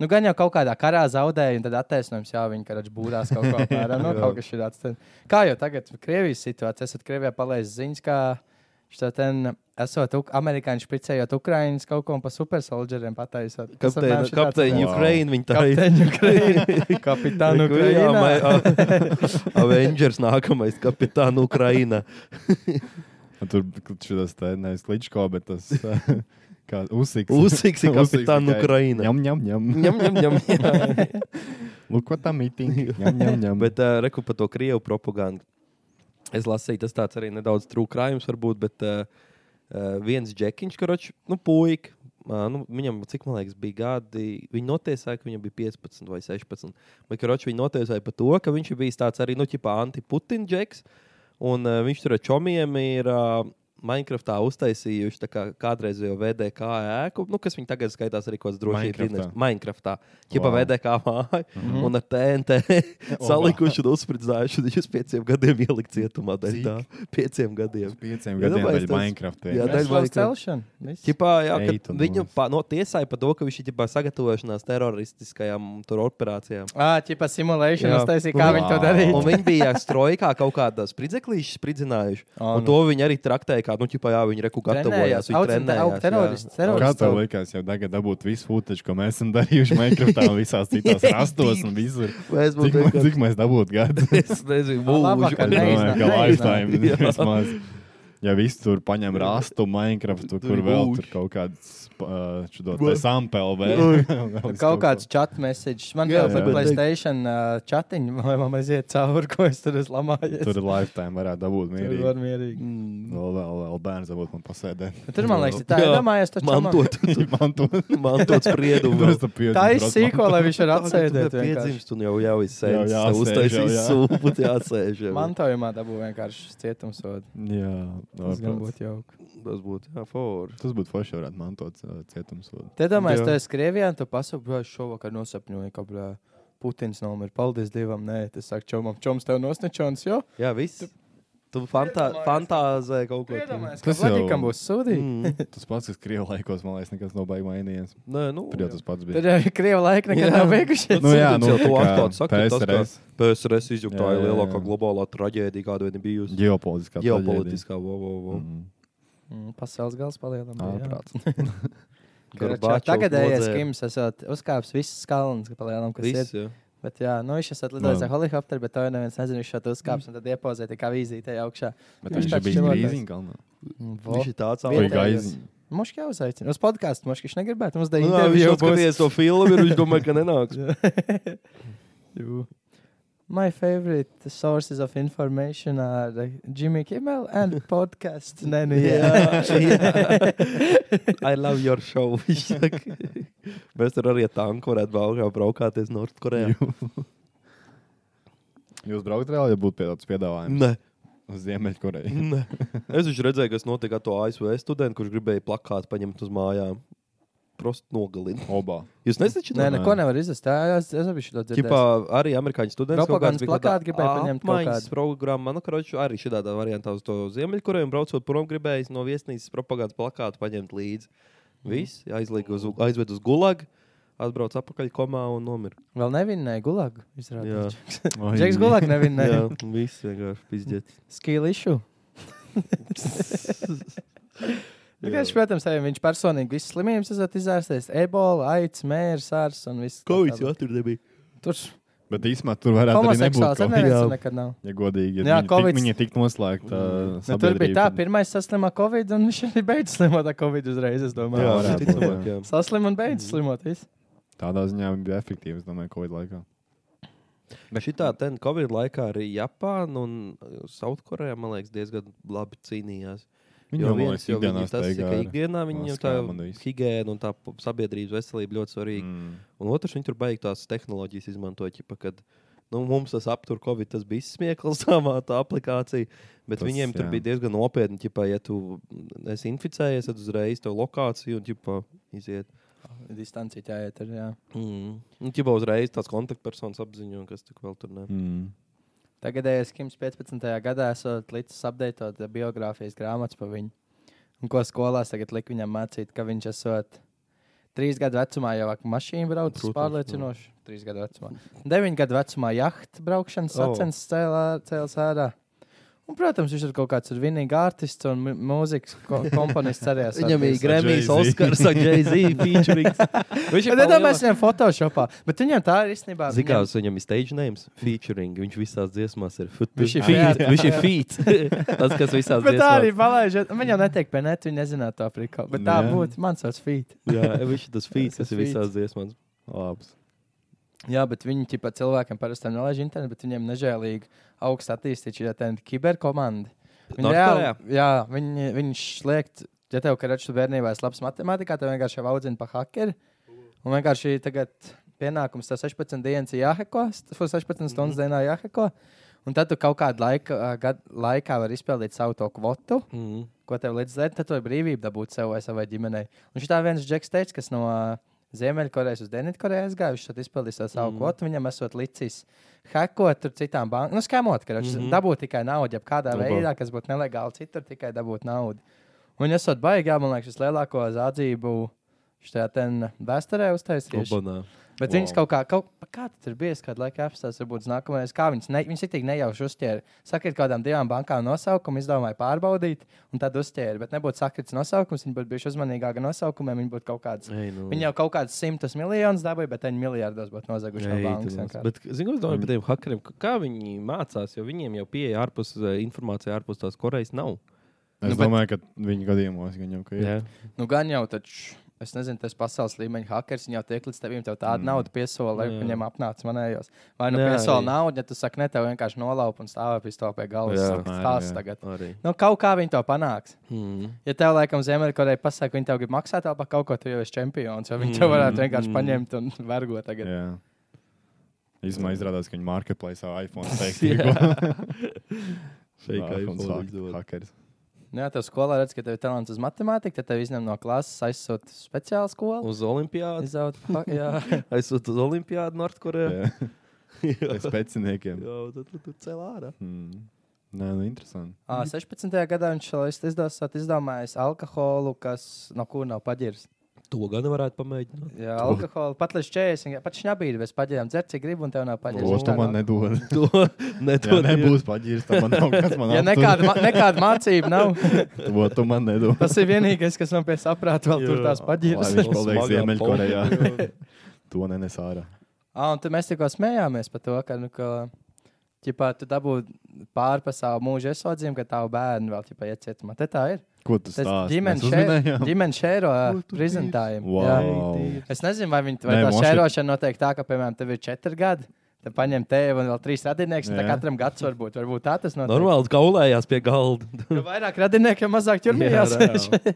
Speaker 3: Nu, gan jau kaut kādā karā zaudēja, un tad attaisnojums, jā, viņi karāķis būrās kaut ko apmēram. Nu, kaut kas ir tāds. Kā jau tagad Krievijas situācija, esat Krievijā palaist ziņas, kā šitā ten, esot uk amerikāņu špricējot Ukraiņas kaut ko un pa supersolģeriem pataisot. Tas
Speaker 2: Kapteini,
Speaker 3: apmēram šitāds
Speaker 2: kapteini
Speaker 1: Wow.
Speaker 2: Ukraina, viņi tā ir.
Speaker 3: Kapteiņu Ukraiņu. Kapitānu
Speaker 2: Jā, mai-
Speaker 3: Ukraiņu.
Speaker 2: a- Avengers nākamais, kapitāna Ukraina.
Speaker 1: Tur šis te nevis kličko, bet tas ā, kā uzsiks.
Speaker 2: Usiks ir kapitāna
Speaker 1: tikai
Speaker 2: Ukraina.
Speaker 1: Ņem, ņem, ņem.
Speaker 2: Ņem, ņem, ņem. jā.
Speaker 1: Lūk, ko tam mītīgi. Ņem, ņem, ņem.
Speaker 2: Bet uh, reku par to krievu propagandu. Es lasīju, tas tāds arī nedaudz trūkrājums varbūt, bet uh, uh, viens džekiņš, kurš, nu, puika. Uh, nu, viņam, cik man liekas, bija gadi. Viņa notiesāja, ka viņam bija 15 vai 16. Bet Kroča viņa notiesāja par to, ka viņš ir bijis tāds arī, nu, tipā anti-Putina džeks. Un uh, viņš tur ar čomiem ir uh, Minecraftā uztaisījuši tā kā kādreizējo VDK ēku, nu, kas viņa tagad skaitās arī kaut kāds drošības
Speaker 1: Minecraftā?
Speaker 2: dienas. Minecraftā. Ķipa
Speaker 1: Wow.
Speaker 2: VDK māja un ar TNT salikuši un uzspridzējuši. un Viņš pieciem gadiem ielikt cietumā. daļ Tā, pieciem gadiem.
Speaker 1: pieciem
Speaker 2: Ja
Speaker 1: gadiem
Speaker 2: tāpēc
Speaker 1: daļa
Speaker 2: tas-
Speaker 1: Minecraftē.
Speaker 2: Jā,
Speaker 1: Jā,
Speaker 2: daļa-
Speaker 3: Dažvaigs celšana. viss.
Speaker 2: Ķipā, jā,
Speaker 1: Ej
Speaker 2: kad
Speaker 1: tu
Speaker 2: viņu
Speaker 1: nost.
Speaker 2: pa, no, tiesāja par to, ka viņš ir ķipā, sagatavošanās teroristiskajām tur operācijām.
Speaker 3: Ah, ķipa simulēšana.
Speaker 2: Jā.
Speaker 3: Es taisīju, kā viņi to darīja.
Speaker 2: Un viņi bija strojkā kaut kādā spridzeklīšā spridzinājuši.
Speaker 3: Ā,
Speaker 2: Un
Speaker 3: nu.
Speaker 2: to viņi arī traktēja kā, nu, ķipā, jā, viņi reku gatavojās. Viņi trenējās, jā.
Speaker 3: terorists.
Speaker 1: Kā
Speaker 3: terorists
Speaker 1: tev
Speaker 3: tev.
Speaker 1: liekas, ja tagad dabūtu visu footage, ko mēs esam darījuši Minecraftā un visās citās rastos un visur?
Speaker 2: Vai es
Speaker 1: Cik,
Speaker 2: būtu
Speaker 1: ma-
Speaker 2: vienkārši-
Speaker 1: cik mēs dabūtu gadu?
Speaker 2: Es nezinu,
Speaker 3: labāk ar
Speaker 1: Es domāju,
Speaker 2: mūžu.
Speaker 3: Neiznāk,
Speaker 1: ka
Speaker 3: neiznāk.
Speaker 1: lifetime ir vismaz. Ja viss tur paņem rastu, Minecraft, tur,
Speaker 2: Tur
Speaker 1: kur
Speaker 2: ir
Speaker 1: vēl
Speaker 2: būši.
Speaker 1: tur kaut kāds sampels vai
Speaker 3: Kaut kāds chat message. Man
Speaker 2: Jā,
Speaker 3: jau par
Speaker 1: bet-
Speaker 3: Playstation uh, chatiņu, vai man aiziet cauri, ko es tur esmu lamājis.
Speaker 1: Tur ir lifetime, varētu dabūt
Speaker 3: Tur
Speaker 1: mierīgi.
Speaker 3: var mierīgi.
Speaker 2: Mm.
Speaker 1: Vēl, vēl, vēl bērns varbūt man pasēdē.
Speaker 3: Tur man liekas, tā ir
Speaker 2: Jā.
Speaker 3: domājies, tas čomam.
Speaker 2: Mantot,
Speaker 1: Man to
Speaker 2: mantot spriedumu.
Speaker 3: Tā ir sīko, lai viņš varētu
Speaker 2: Tagad
Speaker 3: atsēdēt.
Speaker 2: tu
Speaker 3: vienkārši.
Speaker 2: piedzimst, un jau jau
Speaker 1: Jau
Speaker 2: izsēdz. Jā,
Speaker 1: jāsēž,
Speaker 2: uztaisīs
Speaker 1: jau jā.
Speaker 2: sūpu, tad jāsēž. jau.
Speaker 3: Mantojumā dabū vienkārši cietumsodu.
Speaker 1: Jā,
Speaker 3: Tas gan
Speaker 1: varbūt.
Speaker 3: būtu jauki.
Speaker 2: tas būtu jā, forši.
Speaker 1: tas būtu forši, ja varētu mantot ā, cietumsodu.
Speaker 3: Te domāju,
Speaker 2: Jā.
Speaker 3: tu esi Krievijā, un tu pasaki, bro, es šovakar nosapņoju, ka, bro, Putins nomira. Paldies Dievam. Nē, tas saka, čomam, čoms tev nosnečons, jo?
Speaker 2: Jā, viss. Tu fantā,
Speaker 3: Iedomājies.
Speaker 2: fantāzē kaut ko tādu.
Speaker 3: Iedomājies, ka
Speaker 1: Tas jau-
Speaker 3: Vladikam būs sūdīgi.
Speaker 2: Mm.
Speaker 1: Tas pats, kas krievu laikos, man liekas, nekas nav baigi mainījies.
Speaker 2: Nē, nu,
Speaker 1: Tur jau tas pats bija.
Speaker 3: Tad jau krievu laika nekad
Speaker 2: Jā.
Speaker 3: nav beigušies.
Speaker 1: Mm. Nu, jā, nu,
Speaker 2: jau
Speaker 1: tā
Speaker 2: to
Speaker 1: kā
Speaker 2: atklāti saka, ka tas,
Speaker 1: PSRS.
Speaker 2: ka PSRS izjukta
Speaker 1: Jā,
Speaker 2: ir
Speaker 1: jā,
Speaker 2: lielākā
Speaker 1: jā.
Speaker 2: globālā traģēdija, kāda vien ir bijusi.
Speaker 1: Ģeopolitiskā traģēdija.
Speaker 2: Ģeopolitiskā, wow, wow, wow.
Speaker 1: Mm.
Speaker 3: Mm, Pasaules gals palielinājums.
Speaker 1: Ārprāts.
Speaker 2: Gorbačovs
Speaker 3: Tagadējais
Speaker 2: nodzēra.
Speaker 3: Kims esat uzkāpis visas kalnas, ka palielinām, kas
Speaker 2: Viss,
Speaker 3: ir.
Speaker 2: jā.
Speaker 3: Bet, jā, nu, viņš esat lidojis
Speaker 1: Jā.
Speaker 3: ar helikopteru, bet to jau neviens nezina, viņš šeit uzkāps un tad iepozē tā kā vīzītē augšā.
Speaker 1: Bet
Speaker 3: Viņš
Speaker 1: viņš
Speaker 3: tāds
Speaker 1: bija
Speaker 3: čilotājs.
Speaker 1: grīziņā galvenā.
Speaker 2: Viņš ir tāds
Speaker 1: Vai
Speaker 3: Vietējais.
Speaker 2: augs.
Speaker 1: gaiziņā?
Speaker 3: Moški jau uzaicina. Uz podkāstu Moški viņš negribētu. Mums dēļ
Speaker 2: Nu, jā, viņš
Speaker 3: interviju
Speaker 2: jau skaties to filmu, ir, viņš domā, ka nenāks.
Speaker 3: būs. My favorite sources of information are uh, Jimmy Kimmel and podcasts. Nē, nu, jā.
Speaker 2: I love your show. viņš saka. Mēs tur arī ar tanku varētu braukā, braukāties Nortkorejā.
Speaker 1: Jūs braukt reāli, ja būtu pie tāds piedāvājums
Speaker 2: Nē,
Speaker 1: uz Ziemeļkoreju.
Speaker 2: nē. Es viņš redzēju, kas notika ar to ASV studentu, kurš gribēja plakātu paņemt uz mājām. Prost nogalina.
Speaker 1: Obā.
Speaker 2: Jūs nesačināt?
Speaker 3: Nē, neko nevar izvest. Tā, jā, es, es biju to
Speaker 2: Ķipā,
Speaker 3: dzirdējis.
Speaker 2: arī amerikāņu students.
Speaker 3: Propagandas plakāti gribēja paņemt kaut
Speaker 2: Mājas
Speaker 3: kādu.
Speaker 2: programmu, man Nu, karoči, arī šādā variantā uz to Ziemeļkorejiem braucot prom, gribējis no viesnīcas propagandas plakātu paņemt līdzi. Viss aizliek uz, aizved uz gulagu, atbrauc atpakaļ komā un nomira.
Speaker 3: Vēl nevinnēja Gulagu. Izrādās.
Speaker 1: Vai-
Speaker 3: Džeks Gulags nevinnēja.
Speaker 2: Jā, viss vienkārši pizdiet.
Speaker 3: Skill issue. Nu, Vienkārši, protams, arī viņš personīgi visas slimības esat izārstējis. Ebola, aids, mērs, sārs un viss.
Speaker 2: Covid jau tur nebija.
Speaker 3: Tur
Speaker 1: Bet īstenībā tur varētu arī nebūt.
Speaker 3: homoseksuāls arī
Speaker 1: Covid,
Speaker 3: neviens nekad nav.
Speaker 1: Ja godīgi,
Speaker 3: Jā,
Speaker 1: ja
Speaker 3: Covid-
Speaker 1: viņi tik noslēgta. uh,
Speaker 3: Nu, tur bija tā, pirmā saslimā Covid, un viņš arī beidz slimot ar Covid uzreiz. Es domāju,
Speaker 1: Jā,
Speaker 2: Jā,
Speaker 1: varētu būt,
Speaker 2: ticamāk, jā.
Speaker 3: saslim un beidz slimot. viss.
Speaker 1: Tādā ziņā viņi bija efektīvi, es domāju, Covid laikā.
Speaker 2: Bet šitā ten Covid laikā arī Japāna un uh, Sautkorejā, man liekas, diezgan labi cīnījās.
Speaker 1: Viņi
Speaker 2: Jo
Speaker 1: jau, man
Speaker 2: viens
Speaker 1: liekas,
Speaker 2: jau
Speaker 1: ikdienā
Speaker 2: viņi- tas ir, ka
Speaker 1: staigā ar-
Speaker 2: ikdienā viņiem tā
Speaker 1: maskām un visu.
Speaker 2: higiēna un tā p- sabiedrības veselība ļoti svarīga. Mm.
Speaker 1: Mm.
Speaker 2: Un otrs, viņi tur beigas tās tehnoloģijas izmantot, ķipa, kad nu, mums tas aptur Covid, tas bija smieklīgi, tā aplikācija. Bet tas,
Speaker 1: Tas,
Speaker 2: viņiem jā. tur
Speaker 1: jā.
Speaker 2: bija diezgan nopietni, ķipa, ja tu mm, esi inficējies, tad uzreiz tev lokācija un ķipa, iziet.
Speaker 3: Distancīt jāiet. Ar, jā.
Speaker 2: Mm. Un ķipa uzreiz tās kontaktpersonas apziņa un kas tik vēl tur nav.
Speaker 1: Mm.
Speaker 3: Tagadējais Kims 15. gadā esot līdz apdeitot biogrāfijas grāmatas par viņu. Un ko skolās tagad lika viņam mācīt, ka viņš esot trīs gadu vecumā jau ar mašīnu braucis
Speaker 2: Protams,
Speaker 3: pārliecinoši. Trīs gadu vecumā. Deviņu gadu vecumā jahta braukšanas
Speaker 2: Oh.
Speaker 3: sacenses cēlā- cēlās ārā. Un, protams, viņš ir kaut kāds ir vienīgs artists un mu- mūzikas ko komponists arī. esot
Speaker 2: Viņam bija
Speaker 3: bijis.
Speaker 2: Grammys,
Speaker 1: Jay-Z.
Speaker 2: Oskars, Jay-Z featuring. Viņš
Speaker 3: Bet iedomājieties, viņam Photoshopā. Bet viņam tā ir īstenībā.
Speaker 2: Zigāls viņam ir stage names, featuring. Viņš visās dziesmās ir fut-
Speaker 3: Viņš ir
Speaker 2: feat,
Speaker 3: feat.
Speaker 2: viņš ir feat. Tas, kas visās
Speaker 3: Bet tā arī
Speaker 2: dziesmās.
Speaker 3: palaižot. Man jau neteik, ka net, viņa nezinātu to aprīko. Bet tā
Speaker 1: Jā.
Speaker 3: būtu mans vārds feet.
Speaker 2: Jā, viņš ir tas feat,
Speaker 3: Tas
Speaker 2: kas
Speaker 3: ir
Speaker 2: ir visās dziesmās.
Speaker 1: Labs.
Speaker 3: Jā, bet viņi tipā cilvēkiem parasti nelaiž internetu, bet viņiem nežēlīgi augstu attīstīt šī tāda kiberkomanda. Viņi reāli,
Speaker 2: Northkorejā?
Speaker 3: jā, viņi, viņi šliekt, ja tev karāču bērnībā esi labs matemātikā, tev vienkārši jau audzina pa hakeri. Un vienkārši tagad pienākums tev 16 dienas ir jāheko, st- fu, 16 stundas dienā jāheko. Un tad tu kaut kādu laiku, ā, gad, laikā vari izpildīt savu to kvotu,
Speaker 2: Mm.
Speaker 3: ko tev līdz zēnam, tad to brīvību dabūt sev vai savai ģimenei. Un šitā viens džeks teica, kas no ā, Ziemeļkorejas uz Dienvidkoreju aizgāja, viņš tad izpildīja savu savu kvotu, viņam esot licis hekot tur citām bankām, nu skamot, ka viņš mm -hmm. dabūja tikai naudu, ja kādā
Speaker 2: Opa.
Speaker 3: veidā, kas būtu nelegāli citur, tikai dabūt naudu. Un viņi esot baigā, man liekas, vislielāko zādzību šajā ten vēsturē uztaisījuši.
Speaker 2: Obanā.
Speaker 3: Bet wow. viņas kaut kā, kaut, pa kā tas ir bijis, kad laika apstāsies, varbūt nākamreiz, kā viņas, ne, viņas tik nejauši uzķēra. Sakiet, kādām divām bankām nosaukumu, izdomāja pārbaudīt, un tad uzķēra. Bet nebūtu sakrits nosaukums, viņi būtu bijuši uzmanīgāki ar nosaukumiem, viņi būtu kaut kāds.
Speaker 2: Ei, nu.
Speaker 3: Viņi jau kaut kādus simtus miljonus dabūja, bet viņi miljardos būtu nozaguši no
Speaker 2: Ei,
Speaker 3: bankas.
Speaker 2: tu mans.
Speaker 3: vienkārši.
Speaker 2: Bet, zinu, es domāju par tiem hakeriem, ka- kā viņi mācās, jo viņiem jau pieeja ārpus eh, informācija, ārpus tās Korejas nav.
Speaker 1: Es
Speaker 3: Nu,
Speaker 1: nu,
Speaker 3: bet-
Speaker 1: domāju, bet... ka viņu gadījumos viņam ka ir.
Speaker 3: Nu, gan jau taču. Es nezinu, tas pasaules līmeņa hackers viņa jau tiek līdz tevim, tev tāda mm. nauda piesola, lai
Speaker 2: Jā.
Speaker 3: viņam apnāca manējos. Vai nu
Speaker 2: Jā,
Speaker 3: piesola
Speaker 2: arī.
Speaker 3: naudu, ja tu saki, ne, tev vienkārši nolaupa un stāv pie stūra pie galvas.
Speaker 2: Jā.
Speaker 3: Saka, Stāsts
Speaker 1: Apmēram, jā.
Speaker 3: tagad.
Speaker 2: arī.
Speaker 3: Nu, kaut kā viņi to panāks.
Speaker 2: Mm.
Speaker 3: Ja tev, laikam, Ziemeļkoreja pasaka, viņi tev grib maksāt tev par kaut ko, tu jau esi čempions, jo viņi tev varētu vienkārši paņemt un vergot tagad.
Speaker 1: Mm. Jā. Īsumā izrādās, ka viņa marketplace iPhone teiks, ka
Speaker 2: Fake iPhone
Speaker 1: viņš
Speaker 2: izdod.
Speaker 1: ir hackers.
Speaker 3: Nu, jā, tev skolā redz, ka tev ir talants uz matemātiku, tad tev izņem no klases, aizsūta uz speciālu skolu.
Speaker 2: Uz Olimpiādu.
Speaker 3: Izaut, pa, jā,
Speaker 2: Aizsūtīt uz Olimpiādu Northkorejā.
Speaker 1: Jā,
Speaker 2: Jā,
Speaker 1: ar Speciniekiem.
Speaker 2: Jā, tad tu tur cēlā ārā.
Speaker 1: Mm. Nē, nu interesanti.
Speaker 3: Ā, 16. gadā viņš vēl iz- izdos, at- izdomājis alkoholu, kas no kura nav paģirs.
Speaker 2: To gan varētu pamēģināt.
Speaker 3: Jā, alkoholu pat līdz 40. Pat šņabīri bez paģirām. Dzer, cik grib, un tev nav paģirs.
Speaker 1: O, to man nedod.
Speaker 2: To
Speaker 1: Jā,
Speaker 2: nedod.
Speaker 1: nebūs paģīrs, tad man nav kas man
Speaker 3: Ja nekāda, ma nekāda mācība nav,
Speaker 1: To tu man nedod.
Speaker 3: tas ir vienīgais, kas man pie saprāta vēl tur tās
Speaker 1: Lai
Speaker 3: paģiras.
Speaker 1: viņš paliek
Speaker 2: Smagā
Speaker 1: Ziemeļkorejā.
Speaker 2: pompa.
Speaker 1: To nenes ārā.
Speaker 3: Ah, un tad mēs tikko smējāmies par to, ka, nu, ka ķipā, tu dabūji pāri par savu mūža esodzību, ka tavu bērnu vēl ķipā, iet cietumā. Te tā ir.
Speaker 1: Ko tu
Speaker 3: Tas
Speaker 1: stāsti?
Speaker 3: ģimenes
Speaker 1: Mēs
Speaker 3: šē-
Speaker 1: uzminējām?
Speaker 3: ģimenes šēro
Speaker 2: Ko tu
Speaker 3: prezentējumu.
Speaker 1: Wow.
Speaker 3: eh, Es nezinu, vai, viņi, vai
Speaker 1: Nē,
Speaker 3: tā
Speaker 1: mums ir-
Speaker 3: šērošana notiek tā, ka, piemēram, tev ir četri gadi. Tad paņem tevi un vēl trīs radiniekus. un Tā
Speaker 1: Jā.
Speaker 3: katram gads var būt. Varbūt tā tas notiek.
Speaker 2: Normāli kaulējās pie galda.
Speaker 3: Jo vairāk radinieku, jo mazāk ķermējās.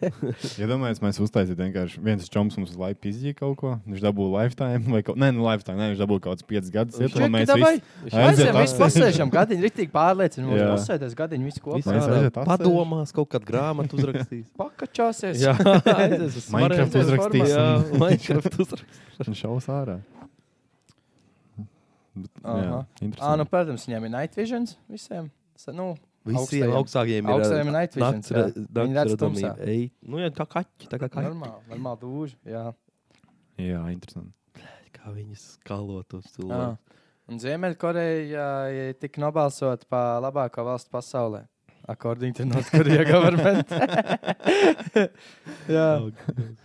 Speaker 1: Iedomājieties, mēs uztaisījām vienkārši viens čoms mums uz laipa izjūta kaut ko. Viņš dabūja lifetime vai kaut ko. Nē, nu lifetime. Nē, viņš dabūja kaut kāds 5 gadus.
Speaker 3: Viņš
Speaker 1: Ietumā,
Speaker 3: čeki,
Speaker 1: mēs
Speaker 3: dabai,
Speaker 1: visi
Speaker 3: Aizem,
Speaker 1: aiziet
Speaker 3: visu
Speaker 1: atpakaļ.
Speaker 3: pasēžam gadiņu, rītīgi pārliecinu. Mums
Speaker 1: Jā.
Speaker 3: pasēties gadiņu visu kopā.
Speaker 1: Mēs aiziet atsevišķi.
Speaker 2: Padomās, kaut kādu grāmatu uzrakstīs.
Speaker 3: Pakačāsies.
Speaker 2: Jā, aizies uz
Speaker 1: Minecraft
Speaker 2: smarēm.
Speaker 1: uzrakstīs.
Speaker 2: Jā, Minecraft uzrakstīs.
Speaker 1: Viņš šaus ārā. Bet, Jā,
Speaker 3: Aha. Ā, nu,
Speaker 1: interesanti.
Speaker 3: protams, viņiem ir night visions visiem. Tas, Nu,
Speaker 2: Visiem augstākajiem ir eh,
Speaker 3: Augstajiem ir night
Speaker 2: nakts
Speaker 3: visions, jā.
Speaker 2: re-
Speaker 3: Viņi
Speaker 2: nakts
Speaker 3: redz
Speaker 2: redzamība.
Speaker 3: tumsā.
Speaker 2: Ej, Nu, jā, kā kaķi, tā kā kaķi.
Speaker 3: normāli, normāli dūži. Jā.
Speaker 1: Jā, interesanti.
Speaker 2: Kā viņi skalo tos
Speaker 3: Jā.
Speaker 2: cilvēkus.
Speaker 3: Un Ziemeļkoreja tika nobalsota par labāko valstu pasaulē. According to North Korea government. jā,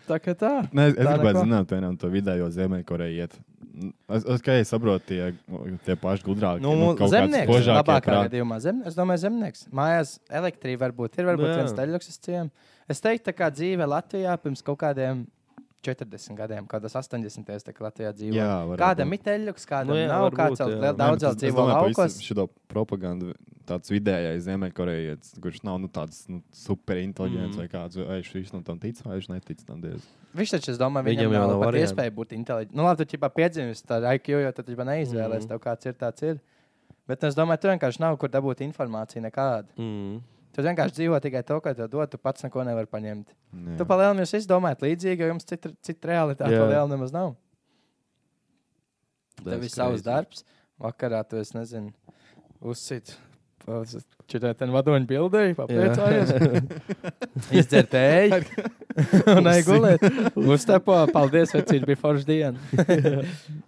Speaker 3: tā kā tā.
Speaker 1: Nē, es es
Speaker 3: Tā
Speaker 1: gribētu
Speaker 3: neko?
Speaker 1: zināt, piemēram, to vidējo Ziemeļkoreju iet. Es, es kā es saprotu, tie, tie paši gudrākie.
Speaker 3: Nu,
Speaker 1: Nu, kaut kāds
Speaker 3: zemnieks
Speaker 1: spožākie
Speaker 3: labākā
Speaker 1: prāt-
Speaker 3: gadījumā. Zem, es domāju, zemnieks. Mājās elektrība varbūt ir, varbūt
Speaker 2: Nu, jā.
Speaker 3: viens daļļoks uz ciem. Es teiktu, tā kā dzīve Latvijā pirms kaut kādiem 40 gadiem, kādos 80. tā kā Latvijā dzīvo.
Speaker 1: Jā, varētu
Speaker 3: Kādam
Speaker 1: būt.
Speaker 3: ir teļļoks, kādam
Speaker 2: Nu
Speaker 3: nu,
Speaker 2: jā,
Speaker 3: jā, nav,
Speaker 2: varbūt,
Speaker 3: kāds vēl
Speaker 2: jā. nu,
Speaker 3: liel- daudz vēl dzīvo laukos.
Speaker 1: Šo propagandu, tāds vidējais ziemeļkorejietis, kurš nav nu, tāds nu, superinteliģents mm. vai kāds, vai viņš īstenībā no tam tic, vai viņš netic tam diezgan.
Speaker 3: Viņš taču, es
Speaker 2: Viņam
Speaker 3: domāju, viņam,
Speaker 2: jau
Speaker 3: viņam
Speaker 2: nav
Speaker 3: nav pat
Speaker 2: variantu.
Speaker 3: iespēja būt inteliģentam. Nu, labi, tu jau piedzimis tādā IQ, jo tad jau neizvēlēsies, mm. kāds ir tāds ir. Bet nu, es domāju, tur vienkārši nav kur dabūt informāciju nekādu.
Speaker 2: Mm.
Speaker 3: Tu vienkārši dzīvo tikai to, ko tev dod, tu pats neko nevari paņemt.
Speaker 1: Jā.
Speaker 3: Tu palielināt, jūs visi domājat līdzīgi, jo jums cita, cita realitāte
Speaker 2: Jā.
Speaker 3: vēl liela nemaz nav.
Speaker 2: Tas
Speaker 3: Tev ir savs
Speaker 2: crazy.
Speaker 3: darbs, vakarā tu es nezinu, uzsit. Čitā ten vadoņu bildēji, papriecājies. Izdzertēji. Un ej gulēt. Uztepo, paldies, vecīt, bija forša diena.